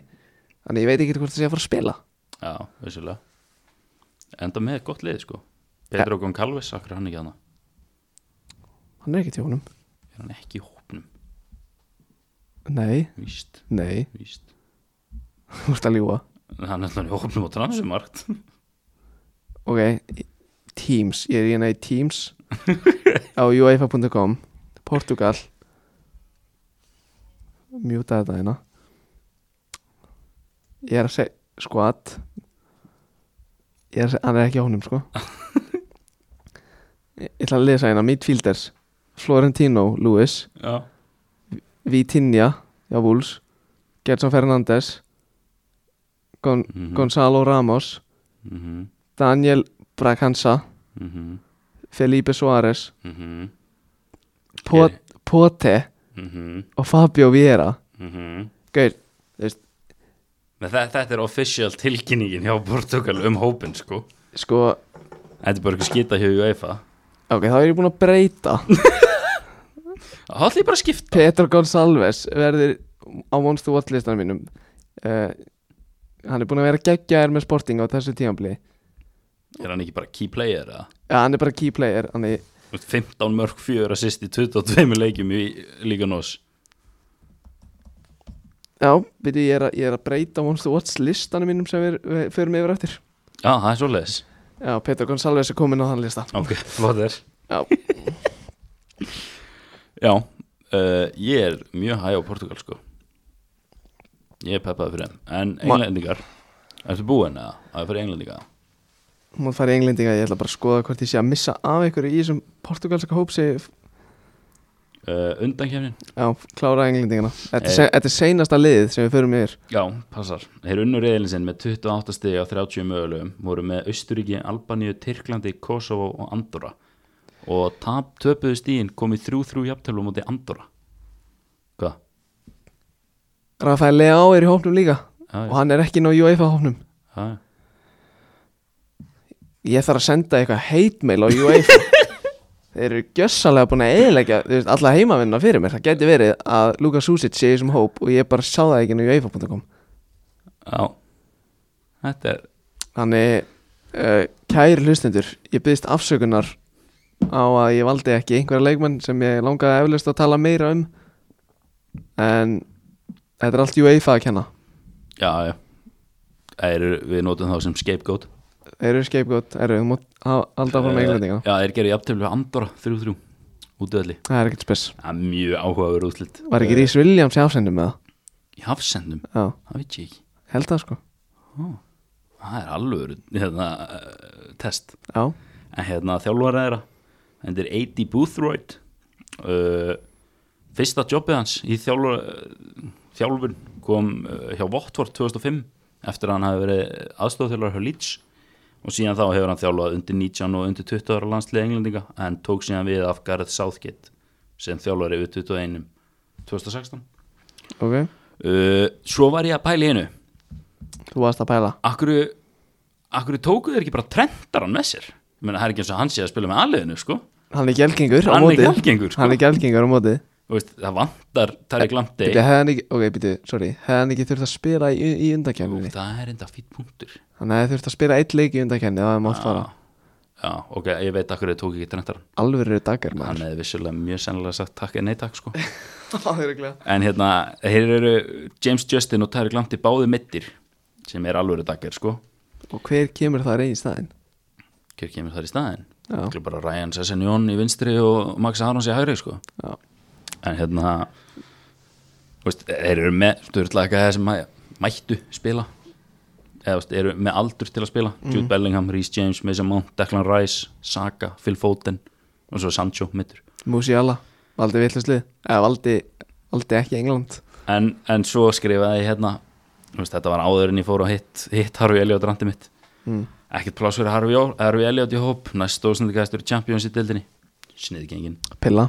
Þannig ég veit ekki hvort það sé að fara að spila Já, vissulega Enda með gott lið sko Pedro Goncalves, akkur er hann ekki hana Hann er ekki til honum Er hann ekki í hópnum? Nei, Víst, nei, víst þú ert að ljúga Hann er alltaf í hópnum á transumart Ok, Teams, ég er í hérna í Teams Á uefa.com Portugal Mjúta þetta hérna Ég er að segja Squad Ég er að segja, hann er ekki á honum sko Ég ég ætla að lesa hérna Midfielders Florentino, Lewis *laughs* Já, Vitinha hjá Wolves Gerson Fernandes Gon mhm Gonzalo Ramos mhm, Daniel Braganza mhm, Felipe Suárez mhm, Pot Pote mhm, og Fabio Vieira mhm. Gauð, Men þe- Þetta er official tilkynningin hjá Portugal um hópin sko sko Þetta er bara eitthvað skita hjá UEFA ok, þá er ég búinn að breyta Það ætla ég bara að skipta Petro Gonsalves verður á Monster Watch listanum mínum uh, hann er búinn að vera geggjaður með sporting á þessu tímanbli Er hann ekki bara key player eða? ja, hann er bara key player hann er, 15 mörg 4 assist í 22 leikjum í Líga Nós já, byrju, ég, er að- ég er að breyta á Monster Watch listanum mínum sem við, við förum yfir eftir Já, það er svoleiðis Já, Peter Gonsalves er komin á þann lista Ok, flott er Já. Já, uh, ég er mjög hæg á Portugal sko Ég er peppaði fyrir þeim En Ma- englendingar Ertu búin að að fyrir englendinga? Hún var að fara í englendinga, ég ætla bara að skoða hvort ég sé að missa af ykkur í þessum portugalska hópsi Uh, undankefnin? Já, klára englendingana Þetta er Eh. se- þetta er seinasta liðið sem við förum yfir Já, passar Þeir unnu reyðlinsinn með 28 stegi á 30 mögulegum voru með Austuríki, Albaníu, Tyrklandi, Kosovo og Andorra og tap, töpuðu stíin kom í 3-3 jafntölu mútið Andorra Hvað? Rafael Leao er í hópnum líka Já, og hann er ekki ná UEFA hópnum já, já Ég þarf að senda eitthvað heitmail á UEFA Þeir eru gjössalega búin að eðilegja alla heimavinna fyrir mér Það geti verið að Luka Susic sé í þessum hóp og ég bara sá það ekki inn á UEFA.com Já Þetta er Þannig, uh, kæri hlustendur, ég byggðist afsökunar á að ég valdi ekki einhverja leikmenn sem ég langaði eflust að tala meira um en þetta er allt UEFA að kenna Já, já er, Við notum þá sem scapegoat Eh, Þeir eru skeipgótt, eru, þú mátt ha- halda áfram með englendinga Já, þeir gerir jafntöflu Andorra 3-3 Útöðli Það er ekkert spes Það er mjög áhugaður útlitt Var ekki Rís Williams í afsendum með Í hafsendum, það? Já, það veit ég ekki held það sko Það er alveg hérna, uh, test Já, En hérna þjálfar þeirra Þetta er A.D. Boothroyd uh, Fyrsta jobbið hans í þjálfur, uh, þjálfur kom uh, hjá Votvort 2005 eftir að hann hafi verið aðstofþjálfar hjá Leeds og síðan þá hefur hann þjálfað undir 19 og undir 20 ára landslið englendinga en tók síðan við af Gareth Southgate sem þjálfari við 21 2016 ok, uh, Svo var ég að pæla í einu þú varst að pæla Akkur Akkur tóku þeir ekki bara trendar hann með sér Ég meina, það er ekki eins og hann sé að spila með aðliðinu sko. Hann er gælgengur á Hann er móti gjaldgengur sko. Hann er gælgengur á móti Þú veist, það vantar Tarri Glandi Bíddu, hefði hann ekki, Ok, býtu, sorry, hefði hann ekki þurft að spila í, í undakefni það er enda fýtt punktur Hann hefði þurft að spila eitt leik í undakefni Það er mátt fara já, ok, ég veit akkur þið tók ekki trendar alvöru dagar *laughs* maður hann hefði vissulega mjög sennilega sagt takk en nei takk sko. Örugglega. en hérna, hér eru James Justin og Tarri Glandi báði mittir sem er alvöru dagir sko. og hver kemur það reyn í staðin hver kemur þar í staðin Já. Örugglega bara Ryan Sessenjón í vinstri og Max Arons í hægri sko. Já. en hérna þú veist, þeir eru með styrtlega það sem mæ- mættu spila eða þú veist, eru með aldur til að spila Jude Bellingham, Rhys James, Mason Mount, Declan Rice Saka, Phil Foden og svo Sancho mittur Musiala, valdi vitluslið eða valdi, valdi ekki England en, en svo skrifaði ég hérna þú veist, þetta var áður en ég fór og hitt, hitt Harfi Elliot randi mitt Mm. ekkert pláss fyrir Harfi, Harfi Elliot í hóp næst stóðsendikastur í Champions í deildinni sniðgengin Pilla,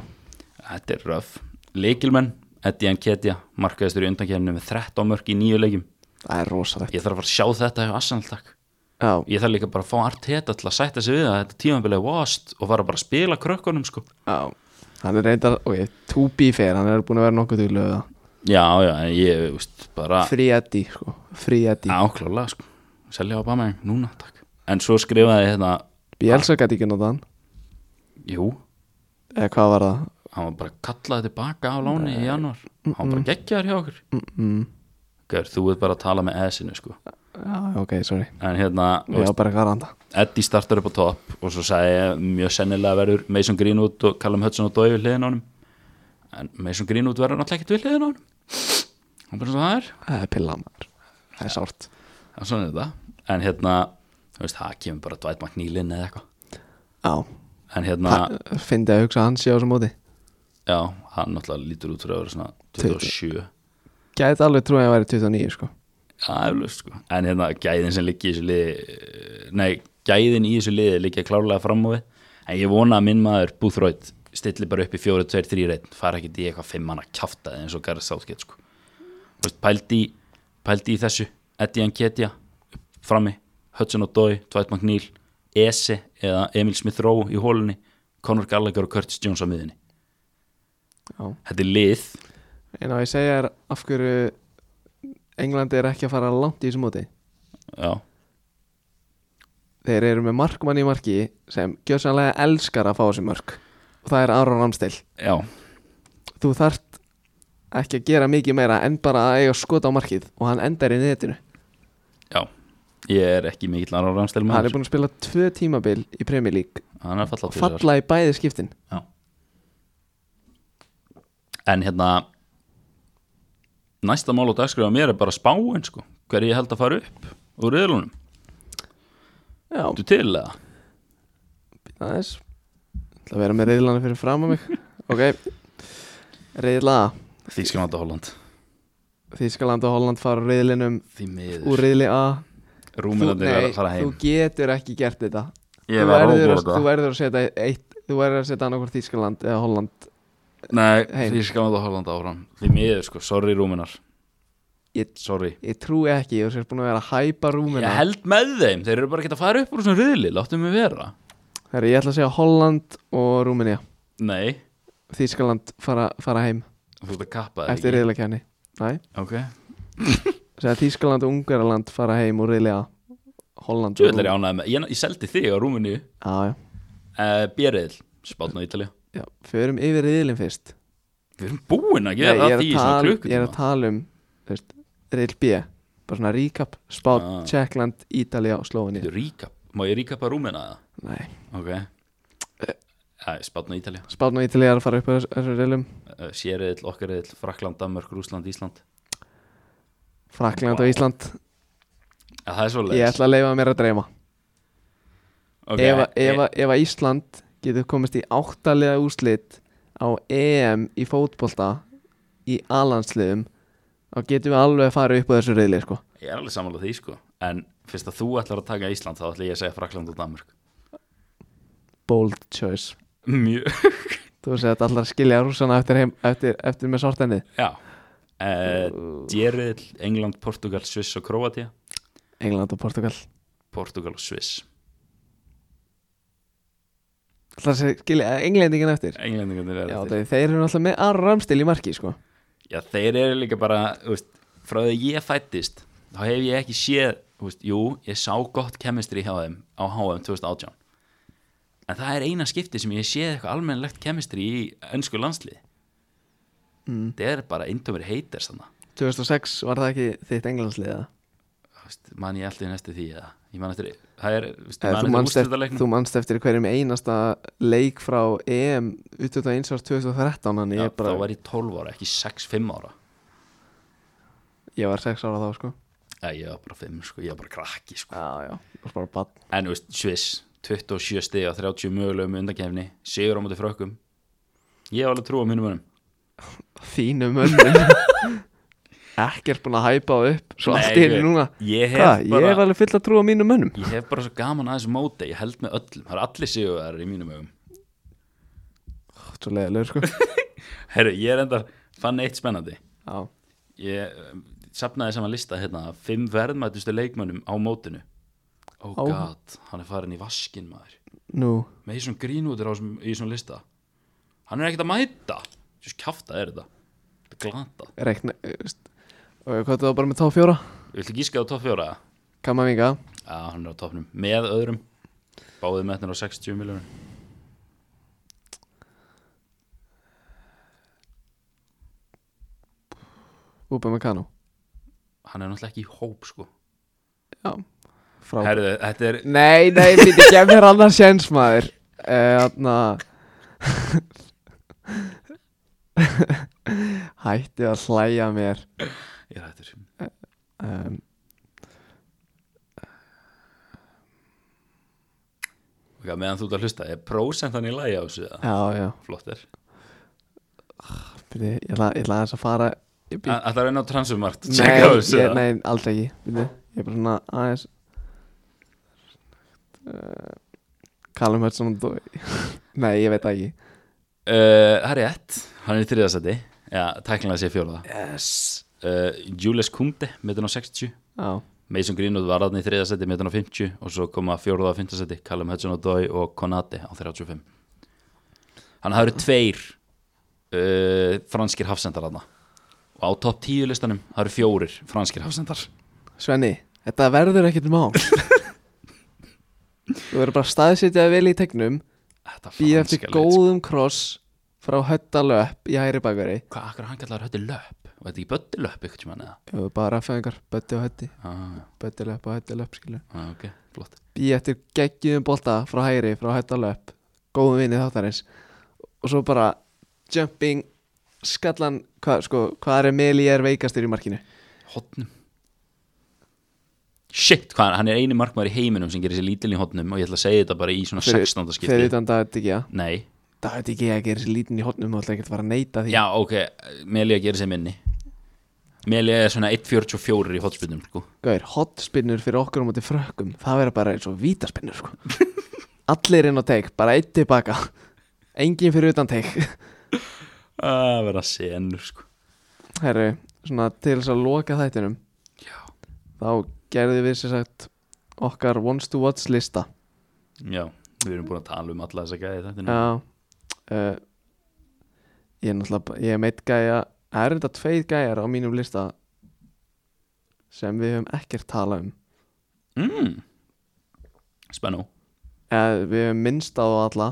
Þetta er röf Leikilmenn, Eddie Nketja markaðistur í undankefninu með 13 mörg í nýju leikjum það er rosalegt Ég þarf að fara að sjá þetta hjá Arsenal takk já, ég þarf líka bara að fá Arteta til að sætta sig við að þetta tímabilið vast og fara bara að spila krökkunum sko já hann er reyndar, ok, to be fair hann er búin að vera nokkuð til löða já, já, en ég, veist, bara free Eddie, sko, free Eddie áklálega sko, selja á Bameng núna, takk en svo skrifaði ég hérna, Bielsa gæti ekki notað hann jú eða hvað var það hann var bara kallaði tilbaka á láni í januar hann var bara geggjaður hjá okkur mm -mm. Gaur, þú ert bara að tala með eðsinu sko já, ok, sorry, en hérna, þú ég var bara hvað randa Eddie startar upp á topp og svo sagði ég mjög sennilega verður Mason Greenwood og Callum Hudson og Dói við hliðin á honum en Mason Greenwood verður náttúrulega ekkert við hliðin á honum hann bara svo það er það er pillamar, það er sárt en svona er þetta en hérna, þú veist, það kemur bara Dwight McNeilin eða eitthvað já, en hérna, það fyndi að hugsa að hann sé á þessu móti já, hann náttúrulega lítur út fyrir að vera svona 27 gæti alveg trúið að hann væri 29, sko Já, eflaust sko En hérna, gæðin sem liggi í þessu liði eh, Nei, gæðin í þessu liði liggja klárlega fram á við En ég vona að minn maður Búþróitt stilli bara upp í 4-2-3-1 fara ekkert í eitthvað fimm manna kjaftaði eins og Gareth Southgate sko Þú veist, pældi, í- pældi í þessu Eddie Nketja, frammi Hudson O'Doy, Dwight McNeil Ese eða Emil Smith Rowe í hólunni Conor Gallagher og Curtis Jones á miðunni já. Þetta er lið en á ég segja er af hverju Englandi er ekki að fara langt í þessu móti Já, þeir eru með markmann í marki sem gjörsanlega elskar að fá þessu mörk og það er Aron Ramstil já, þú þart ekki að gera mikið meira en bara að eiga skot á markið og hann endar í netinu já Ég er ekki mikill annar rannstil hann maður er búin að spila tvö tímabil í Premier League Hann er fallað og falla í bæði skiptin Já En hérna Næsta mál og dagskrifa mér er bara spáin sko Hver ég held að fara upp úr riðlunum já, Þú til eða? aðeins ætla að vera með reyðlana fyrir fram á mig ok, reyðla Þýskananda Holland Þískaland og Holland fara úr reyðlinum Því úr miður reyðli A þú, Rúminandi er nei, að fara þú heim getur ekki gert þetta Ég þú, var verður að, óbúða þú verður að setja eitt þú verður að setja annarkvort Þískaland eða Holland Nei, heim. Þýskananda Holland áfram Því miður sko, sorry Rúminar Ég- Sorry ég trúi ekki, þú sést búin að vera að hæpa rúmina Ég held með þeim, þeir eru bara ekki að fara upp úr þessum riðli Láttu mig vera Herri, ég ætla að segja Holland og Rúmenía Nei, Þískaland fara, fara heim þú ert að kappa eftir það ekki riðlakefni Næ, Ok, segja Þískaland og Ungaraland fara heim úr riðlega Holland þú ætlar ég ánæði með Ég, ég seldi þig á Rúminu Já, já, uh, Bjerriðil, Spátn og Ítalja já, förum yfir riðlinn fyrst Við erum búin að Nei, ég, gera er það því í að svona tala, ég er klukkutíma að tala um þú veist, riðl B Bara svona recap, Spát, Ah. Tjekkland, Ítalía og Slóinía Þetta er Recap, má ég recapa rúmina það? Nei, Ok Æ, Spátn og Ítalja Spátn og Ítalía er að fara upp á þess- þessu riðlum uh, Sérriðil, okkariðil, Frakland, Danmörk, Rúsland, Ísland Frakland Vá. og Ísland ja, Það er svo Ég leiðis ætla að leifa mér að dreyma okay. ef, e- að- ef, að- ef að Ísland getur komist í áttalega úrslit á EM í fótbolta í alansliðum þá getum við alveg að fara upp á þessu reyðli sko. Ég er alveg samanlega því sko En fyrst að þú ætlar að taka Ísland þá ætla ég að segja Frakland og Danmörk bold choice Mjög, þú veist að þetta allar skilja rússana eftir, heim, eftir, eftir með sortennið já *laughs* Sérriðil, uh, Eh, England, Portugal, Sviss og Kroatia England og Portugal Portugal og Sviss allar skilja englendingin eftir Englendingarnir eru Já, eftir. þeir, þeir eru náttúrulega með Aron Ramstil í marki sko. Já, þeir eru líka bara, þú veist, frá því að ég fættist, þá hef ég ekki séð, þú veist, jú, ég sá gott kemistri hjá þeim á HM 2018. En það er eina skipti sem ég séð eitthvað almennlegt kemistri í önsku landslið. Mm. Það er bara eintöfur heitir þannig. 2006 var það ekki þitt englandsliða Þú veist, man ég alltaf næstu því að, ég man eftir, það er, þú veist, Eh, man þú manst, eftir eftir, úrslutaleiknum. þú manst eftir hverjum einasta leik frá EM 21. árs 2013 hann Já, ég, bara, Þá var ég 12 ára, ekki 6-5 ára. ég var 6 ára þá sko Já, ég var bara 5, sko, ég var bara krakki, sko. já, já, það var bara bann En, þú veist, Sviss, 27 stið og 30 mögulegum undakefni, sigur á móti frökkum. Ég hef alveg trú á mínum önum. þínu mönnum *laughs* ekkert búin að hæpa það upp svo allt í einu núna Ég hef hvað, bara, ég hef alveg full að trúa mínum mönnum ég hef bara svo gaman að þessu móti, ég held með öllum. Það eru allir sigurverðar í mínum ögum. svo leiðilegur sko *laughs* Herru, ég er enda, fann eitt spennandi. eh, já, Ég um, safnaði saman lista hérna, af fimm verðmætustu leikmönnum á mótinu. oh Á- god, hann er farin í vaskin maður Nú, með því svona grínútur á þessum- í svona lista hann er ekkert að mæta þessu kjafta er þetta þetta er glata, rekna eh, veist, Og hvað er það bara með top fjóra? viltu gíska á topp fjóra? Kamavinga Já, hann er á toppnum með öðrum báðið metnir á 60 miljónur Upamecano hann er náttúrulega ekki í hóp sko Já, frá Herðu, þetta er Nei, nei, býtti, gef mér annar séns maður Eh, hérna. Þannig að *laughs* Hætti að hlæja mér ég er hættur um, ok, meðan þú ert að hlusta, er prósentan í lagi á þessu eða? Já, já, flott er býtti, ég ætla ég ætla aðeins að fara Ég bý- Æ- Ætla að reyna á transumart Nei, Tjekka á þessu ég, eða? nei, aldrei ekki býtti, Ég er bara svona aðeins Eh, Callum Hudson og Doi *laughs* Nei, ég veit það ekki Uh, Það er rétt, hann er í þriðasæti Já, tæklinlega sé fjóraða Yes uh, Jules Kunde, metin á 60 Já, Mason Greenwood var aðna í þriðasæti, metin á 50 Og svo koma fjóraða á fimmtasæti Callum Hudson Odoi og Konate á 35 Hann hafði tveir uh, franskir hafsendar aðna Og á topp 10 listanum það eru fjórir franskir hafsendar Svenni, þetta verður ekkert *laughs* mál Þú verður bara staðsetjað vel í tegnum Þetta Býð eftir franska lið, sko. góðum kross Frá höttalöp í hæri bakveri Hvað, akkur hann kallar hötti löp? Og þetta ekki bötti löp ykkur tjúman eða? Jú, bara fæðingar, bötti og hötti Ah, Bötti löp og hötti löp, skilur ah, ok, flott Býð eftir geggjum bolta frá hæri, frá höttalöp Góðum vinni þáttarins Og svo bara jumping Skallan, hva, sko, hvað er Meli er veikastur í markinu? hotnum shit, hvað, hann- hann er eini markmaður í heiminum sem gerir sér lítil í hotnum og ég ætla að segja þetta bara í svona 16. skipti Fyrir utan David Digea nei, David Digea gerir sér lítinn í hotnum og ætla ekkert að fara að neita því já ok Melia gerir sér minni Melia er svona 1.44 í hotspinnum sko. Gauðir, hotspinnur fyrir okkur á móti frökkum Það verður bara eins og vítaspinnur sko. *laughs* Allir inn á teik, bara eitt tilbaka Engin fyrir utan teik *laughs* að vera senur sko. Herru, svona til þess að loka þættinum já, Þá gerðum við sér sagt Okkar wants to watch lista já, við erum búin að tala um alla þessa gæði þetta Já uh, Ég er náttúrulega bara- Ég er meitt gæja Það eru þetta tveið gæjar á mínum lista Sem við höfum ekkert talað um mm. spennu Eða Eh, við höfum minnst á þá alla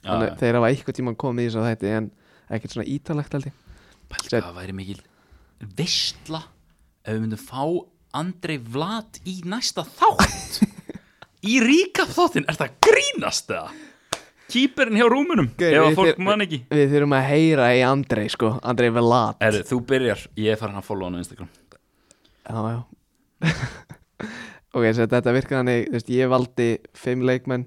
Þannig, Já, að Þeir hafa eitthvað tíma komið í þess að þetta En ekkert svona ítalegt held ég pælta að væri mikil veistla ef við myndum fá Andrei Vlad í næsta þátt í ríkap þáttin er það að grínast eða kýperinn hjá rúmunum Gaur, ef að við fólk þyr- man ekki Við þurfum að heyra í Andrei sko Andrei Velat Erðu, þú byrjar, ég er farin að follow hann á Instagram Já, já *laughs* Ok, svo þetta virkar þannig þú veist, Ég valdi fimm leikmenn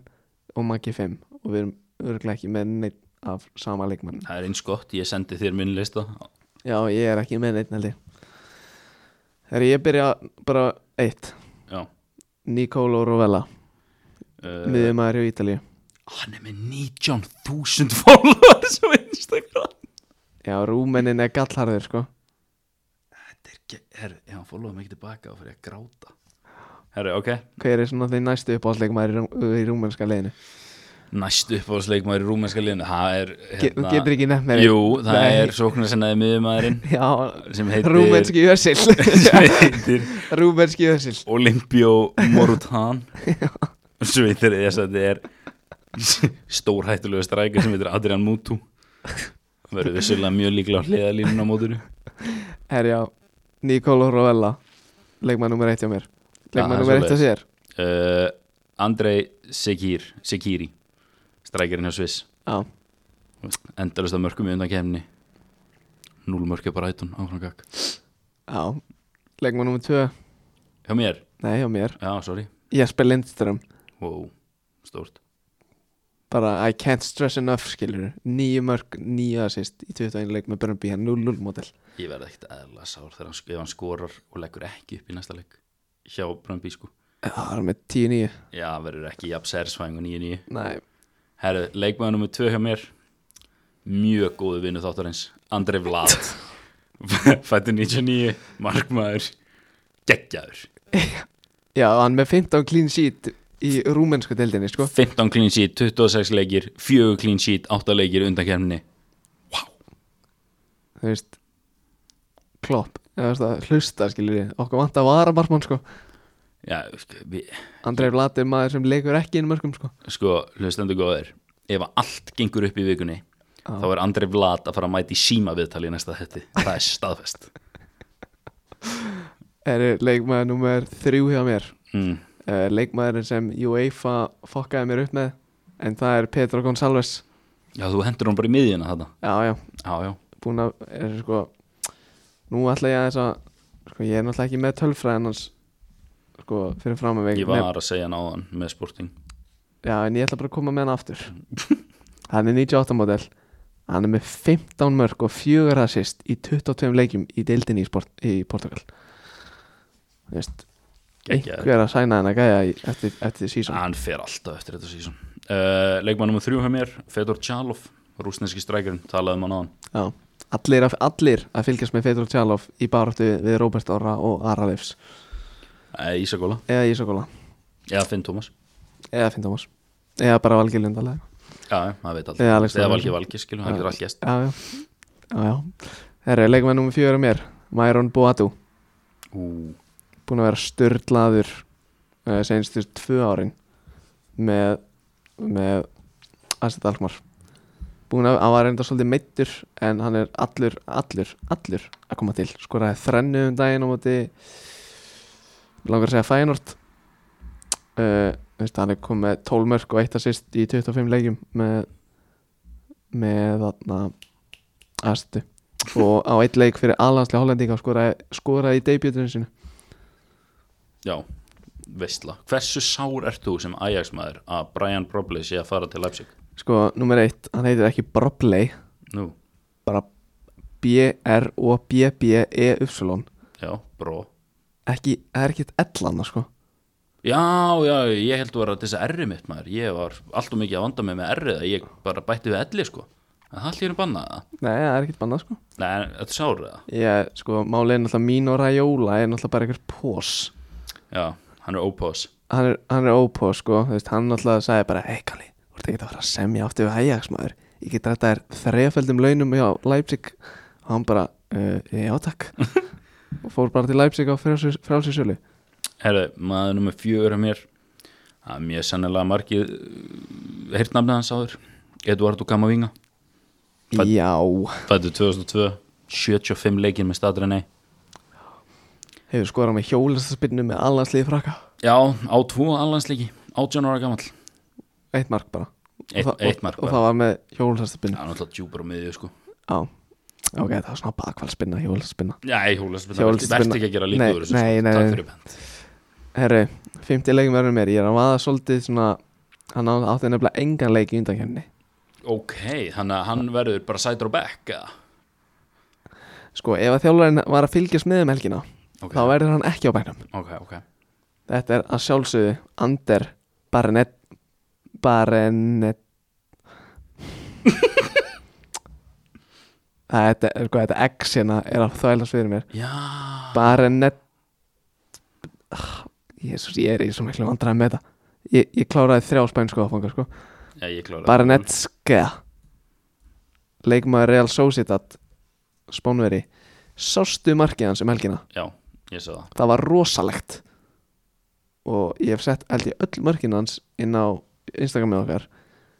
og Maggi fimm og við erum örgulega ekki með neitt af sama leikmann Það er eins gott, ég sendi þér minn lista Já, ég er ekki með neitt næli Þegar ég byrja bara eitt Já Nicolo Rovella, uh, miðumæður í Ítalíu Hann er með 19.000 followers á Instagram Já, rúmennin er gallharður sko Þetta er ekki, herru, ef hann followa mig ekki tilbaka þá fyrir ég að gráta Herru, ok, Hver er svona þeir næstu uppáhaldsleikmaður í, rú- í rúmennska leiðinu? næstu uppáðsleikmaður í rúmenska liðinu Það er hérna- Get, þú getur ekki nefn með Jú, það er sóknarsennaði miðumæðurinn *laughs* Já, sem heitir Rúmenski Össil *laughs* sem heitir *laughs* Rúmenski Össil Olympio Morutan Sveitir þess að þetta er stórhættulegu strækir sem heitir Adrian Mutu Það verður vissulega mjög líklega á hliðalínun á mótinu Herjá, Nicolo Rovella Leikmann nummer eitt hjá mér Ah, Leikmann nummer eitt hjá sér uh, Andrei Sekir Sekiri, strækirinn hjá Sviss Já, endalist að mörgum í undan kemni Núl mörgja bara hættun áfram gag já Leikmann nummer tvö Hjá mér, Nei, hjá mér já, sorry Jesper Lindström Wow, stórt Bara I can't stress enough skilur Nýju mörg, nýju assist Í 21 leik með Brönnby Hann 0-0 mótel Ég verði ekkert eðla sár þegar hann, sk- ef hann skorar og leggur ekki upp í næsta leik hjá Bröndby sko. Já, það er með 10-9 Já, verður ekki jafn særsvæðing og 9-9. Nei, Herru, leikmaður nummer 2 hjá mér, mjög góðu vinnu þáttarins, Andrei Vlad. *laughs* Fættu 99, markmaður, geggjaður. Já, hann með 15 clean sheet í rúmensku deildinni, sko 15 clean sheet, 26 leikir 4 clean sheet, 8 leikir undan kemni Þú veist Klopp, eða veist að hlusta, skilur ég Okkur vant að vara marmann, sko Já, sko, við, Andrei Vlad er maður sem leikur ekki inn mörgum, sko sko, hlustendur góðir ef að allt gengur upp í vikunni þá er Andri Vlad að fara að mæta í síma viðtali í næsta þetti, það er staðfest Er leikmaður númer þrjú hjá mér mm. uh, Leikmaðurinn sem UEFA fokkaði mér upp með En það er Pedro Gonçalves Já, þú hendur hún bara í miðjuna þetta Já, já, Já, já, búin að er, sko, Nú ætla ég aðeins að sko, Ég er náttúrulega ekki með tölfræðin hans sko, Fyrir fram að veik ég var að segja náðan með sporting Já, en ég ætla bara að koma með hann *laughs* aftur Hann er 98 model Hann er með 15 mörg og 4 assist í 22 leikjum í deildinni í, sport, í Portugal Þú veist, Gekkjaður. Ah. Einhver að sæna hann að gæja í- eftir, eftir sísón Hann fer alltaf eftir þetta sísón uh, Leikmann nummer þrjú hjá mér, Fedor Tjalov rúsneski strækjurinn, talaði um hann áðan Já, allir að, allir að fylgjast með Fedor Tjalov í baráttu við Robert Orra og Ara Leifs Æ, Ísakóla, eða Ísakóla, eða Finn Tómas eða Finn Thomas eða bara Valgi Lundalega Já, já, maður veit Eða alltaf Alex Eða Þór. Valgi Valgi, skilum, hann getur allt gæst Já, já, já, já. Herra, leikmenn nummer fjögur á mér Myron Boadu Ú, búin að vera störlaður uh, senstu tvö árin með með Astrid Alkmar búin að, hann var reynda svolítið meittur en hann er allur, allur, allur að koma til, skoraði þrennu um daginn á móti mig langar að segja Feyenoord uh, veist, hann er komið með 12 mörg og eitt assist í 25 leikjum með með þarna Astrid og á eitt leik fyrir alhanslega hollendinga skoraði, skoraði í debutunum sinu já, veistla Hversu sár ert þú sem Ajax-maður að Brian Brobley sé að fara til Leipzig? Sko, nummer eitt, hann heitir ekki Brobley Nú, bara B-R-O-B-B-E-Y já, bró E ekki, það er ekkert ellan sko. Já, já, ég held að vera þess að erri mitt maður Ég var allt og mikið að vanda mig með errið að Ég bara bætti við elli sko En það allir er bannað það Nei, það er ekkert bannað sko Nei, en þetta sárið það Ég, sko, málið er náttúrulega mín og Rajóla er náttúrulega bara einhver pós Já, hann er ópós hann er, hann er ópós sko, þú veist, hann náttúrulega sagði bara hei Kalli, þú ert ekki að fara að semja aftur við Ajax maður, ég get þetta er þreföldum launum hjá Leipzig og hann bara, uh, já *laughs* takk og fór bara til Leipzig á frálsinsölu Herðu, maður nummer fjögur að mér Það er mjög sennilega margið Heyrt nafnið hans áður Eduardo Camavinga Fædd- Já, Fættu 2002 75 leikir með stadreinni hefur skorað með hjólastaspinnu með allansliði frakka Já, á tvo allansleiki 18 ára gamall Eitt mark bara Eitt- Og það- eitt mark og, og bara. það var með Það hjólhaldspinna er náttúrulega djúpar á miðju sko Já Ok, það var svona bakvaldspinna, hjólhaldspinna Nei, hjólaspinna, Hjólastspyrna. verðt ekki að gera lítið Nei, úr þessu, nei, sko. nei, Takk nei. fyrir bent Herri, 50 leikum verður mér Ég er að vaða svolítið svona Hann á- átti nefnilega engan leik í undankjörni Ok, þannig að hann verður bara sætur á bekk eða? Sko, ef að þjálfarinn var að fylgjast með um helgina Ok, Þá verður hann ekki á bænum ok, ok Þetta er að sjálfsögðu Ander Barnett *laughs* Barnett Það er þetta, sko, þetta X hérna er að þvælast fyrir mér Já, bara nett Jésús, Ah, ég er í svo miklu vandræði með þetta ég, ég kláraði þrjá spænsku áfanga sko. já ég klára bara nett skea leikmaður Real Sociedad spónveri sástu markið hans um helgina Já, ég sagði það það var rosalegt og ég hef sett held ég öll mörkin hans inn á Instagramið okkar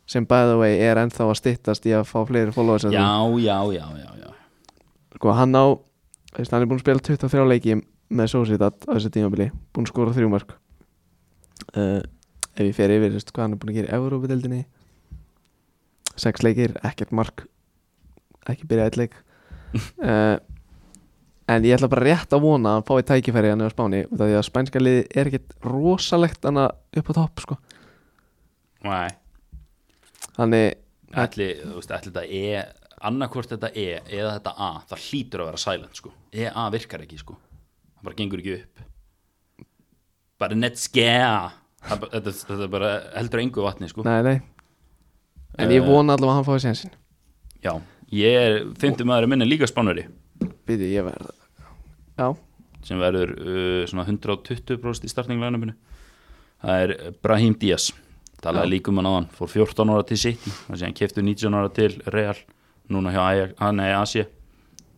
sem by the way er ennþá að styttast í að fá fleiri followers en þú. Já, já, já, já, já sko hann á veist, hann er búin að spila 23 leiki með Sociedad á þessu tímabili, búin að skora þrjú mark uh, ef ég fer yfir veist, hvað hann er búin að gera í Európa-deildinni sex leikir, ekkert mark ekki byrja eitt leik uh, en ég ætla bara rétt að vona að hann fái tækifæri hann á Spáni út af því að spænska liði er ekkert rosalegt hann upp á topp sko Nei, þannig, ætli, þú veist, ætli þetta E annarkvort þetta E eða þetta A það hlýtur að vera silent, sko EA virkar ekki, sko það bara gengur ekki upp bara net skea Það bara- þetta, þetta er bara heldur engu vatni, sko nei nei en ég vona allavega að hann fái sénsinn Já, ég er, fyndi maður að minna líka spánveri Býti, ég verð Já, sem verður uh, svona 120% í startinglæðanöfninu það er Brahim Díaz talaði Já. líkum hann áðan, fór 14 ára til City þannig að hann keftu 19 ára til Real núna hjá Ajax, ah, nei, Asia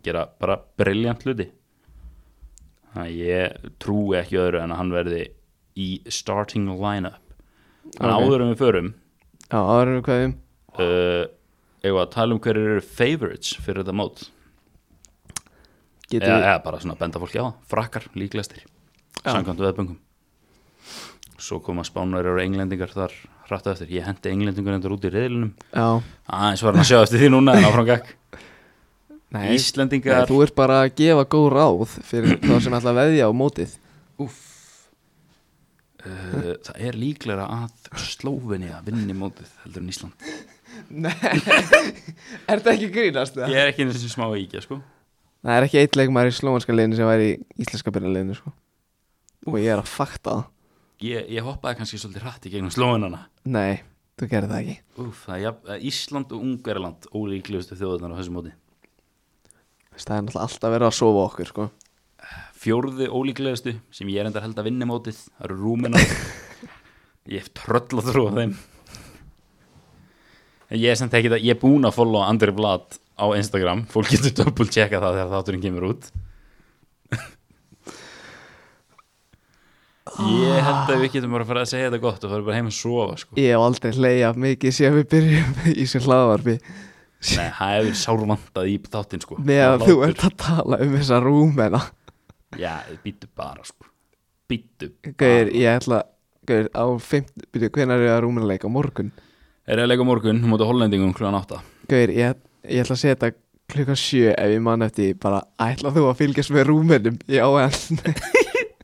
gera bara briljant hluti þannig að ég trúi ekki öðru en að hann verði í starting lineup Ok. þannig okay. áður en við förum Já, áður við kveðum uh, eigum við að tala um hverjir eru favorites fyrir þetta mót Getum eða, við- eða bara svona benda fólki á það, frakkar líklegastir Já. samkvæmt veðböngum svo koma spánverjar og englendingar þar hratt á eftir, ég hendi englendingar endur út í reyðlinum Já, aðeins var hann að sjá eftir því núna en áfram gakk nei, nei, Íslendingar þú ert bara að gefa góð ráð fyrir þá sem ætla að veðja á mótið uh, það er líklega að Slóveni að vinni mótið heldur en Ísland Nei, *laughs* er þetta ekki grínast ég er ekki eins og smá íkja sko Það er ekki eitt leikmaður í slóanska liðinu sem væri í íslenska byrjarliðinu sko. og ég er að fakta það ég, ég hoppaði kannski svolítið hratt í gegnum Slóvenana Nei, þú gerir það ekki Úf, það er jafn, Ísland og Ungarland ólíklegustu þjóðunar á þessu móti Veist, Það er náttúrulega alltaf verið að sofa okkur sko. fjórðu ólíklegustu sem ég er endar held að vinni mótið það eru *laughs* Rúmenar ég hef tröll að trúa þeim En ég er samt ekki það ég er búinn að followa Andri Vlad á Instagram fólk getur double checka það þegar þátturinn kemur út ég held að við getum bara að fara að segja þetta gott og fara bara heim að sofa sko. Ég hef aldrei hleyjað mikið síðan við byrjum *laughs* í þessu hlaðvarpi Nei, það hefur sárvandað í þáttinn sko. með að þú Hlátur. ert að tala um þessa rúmena Já, býttu bara sko Býttu Gauðir, ég ætla Gauðir, á fimmt Byrju, hvenær er að rúmena leika? Á Morgun Er ég að leika á morgun mútið hollendingum klugan átta Gauðir, ég, ég ætla að setja klukkan sjö ef ég man eftir því. bara ætla þú að fylgjast með rúmenum já en *laughs*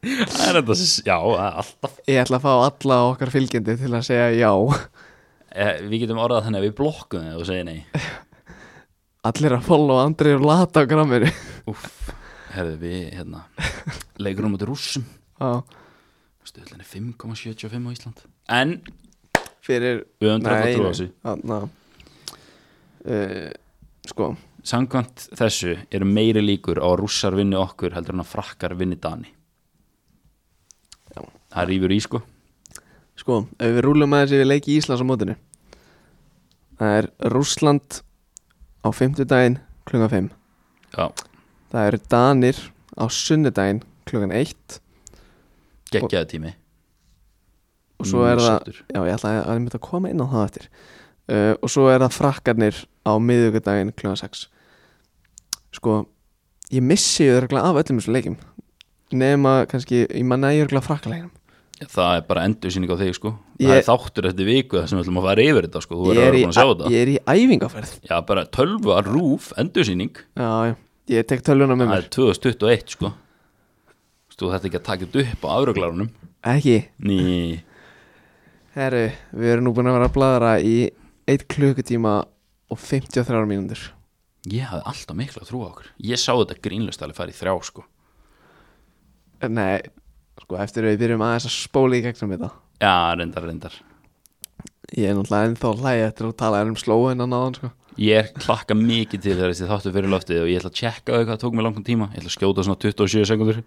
Það er þetta, já, það er alltaf ég ætla að fá alla okkar fylgjandi til að segja já eh, Við getum orðað þannig að við blokkum þið og segja nei allir að follow Andri og lata á gramminu Úff, herðu við, hérna Leikurum út í rússum Já, Stöðlun er 5,75 á Ísland En fyrir við höfum tröfn að trúa þessu þarna uh, sko Samkvæmt þessu eru meiri líkur á að rússar vinni okkur heldur en að frakkar vinni Dani Já. Það rýfur í sko Sko, ef við rúlum aðeins yfir leiki Íslands á mótinu Það er Rússland á fimmtudaginn klunga 5 Já, Það eru Danir á sunnudaginn klungan 1 geggjaði tími og svo er það Sáttur. Já, ég ætla að, að ég myndi að koma inn á það eftir uh, og svo er það frakkarnir á miðvikudaginn klungan 6 Sko, ég missi öðruglega af öllum þessum leikim nema kannski, ég manna ég öðruglega frakkarleginum Það er bara endur síning á þig sko Það Ég- er þáttur eftir viku þar sem við ætlum að fara yfir þetta sko Þú ég, er verður í að vera búin að sjá þetta a- ég er í æfingaferð Já bara 12 að rúf endur síning Já, já, ég tek tölvuna með Það mér er 2021 sko Þú þetta ekki að taka þetta upp á afruglarunum Ekki Ný Herru, við erum nú búin að vera að bladra í 1 klukkutíma og 53 mínútur Ég hafði alltaf miklu að trúa okkur Ég sá þetta grínlust alveg fara í þrjá sko Eh, Nei, sko eftir að við byrjum aðeins að spóla í gegnum þetta Já reyndar reyndar Ég er náttúrulega ennþá hlæg eftir að tala um slóinan áðan sko. Ég er klakka mikið til þegar þessi þáttu fyrir loftið og ég ætla að checka á hvað tók mig langan tíma Ég ætla að skjóta svona 27 sekundur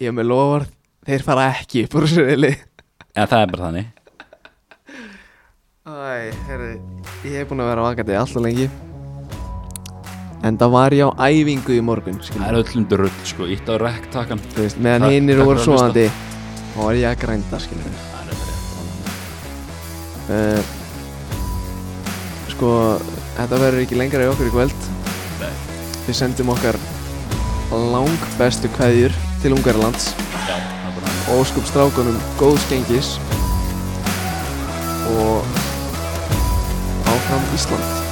Ég er með lofar, þeir fara ekki upp úr þessu reyli En það er bara þannig Æ, herru, ég hef búin að vera vakandi alltaf lengi En það var ég á æfingu í morgun Það skilur. er öllum drull sko, ítt á rektakkan Þú veist, meðan Takk- hinnir takk voru fyrir að hlusta. svoandi þá var ég að grænda skilur við. Það er bara Eh, Sko, þetta verður ekki lengra í okkur í kvöld Nei. Við sendum okkar langbestu kveðjur til Ungarlands Já, það er bara þannig og óskup strákunum góðs gengis og áfram Ísland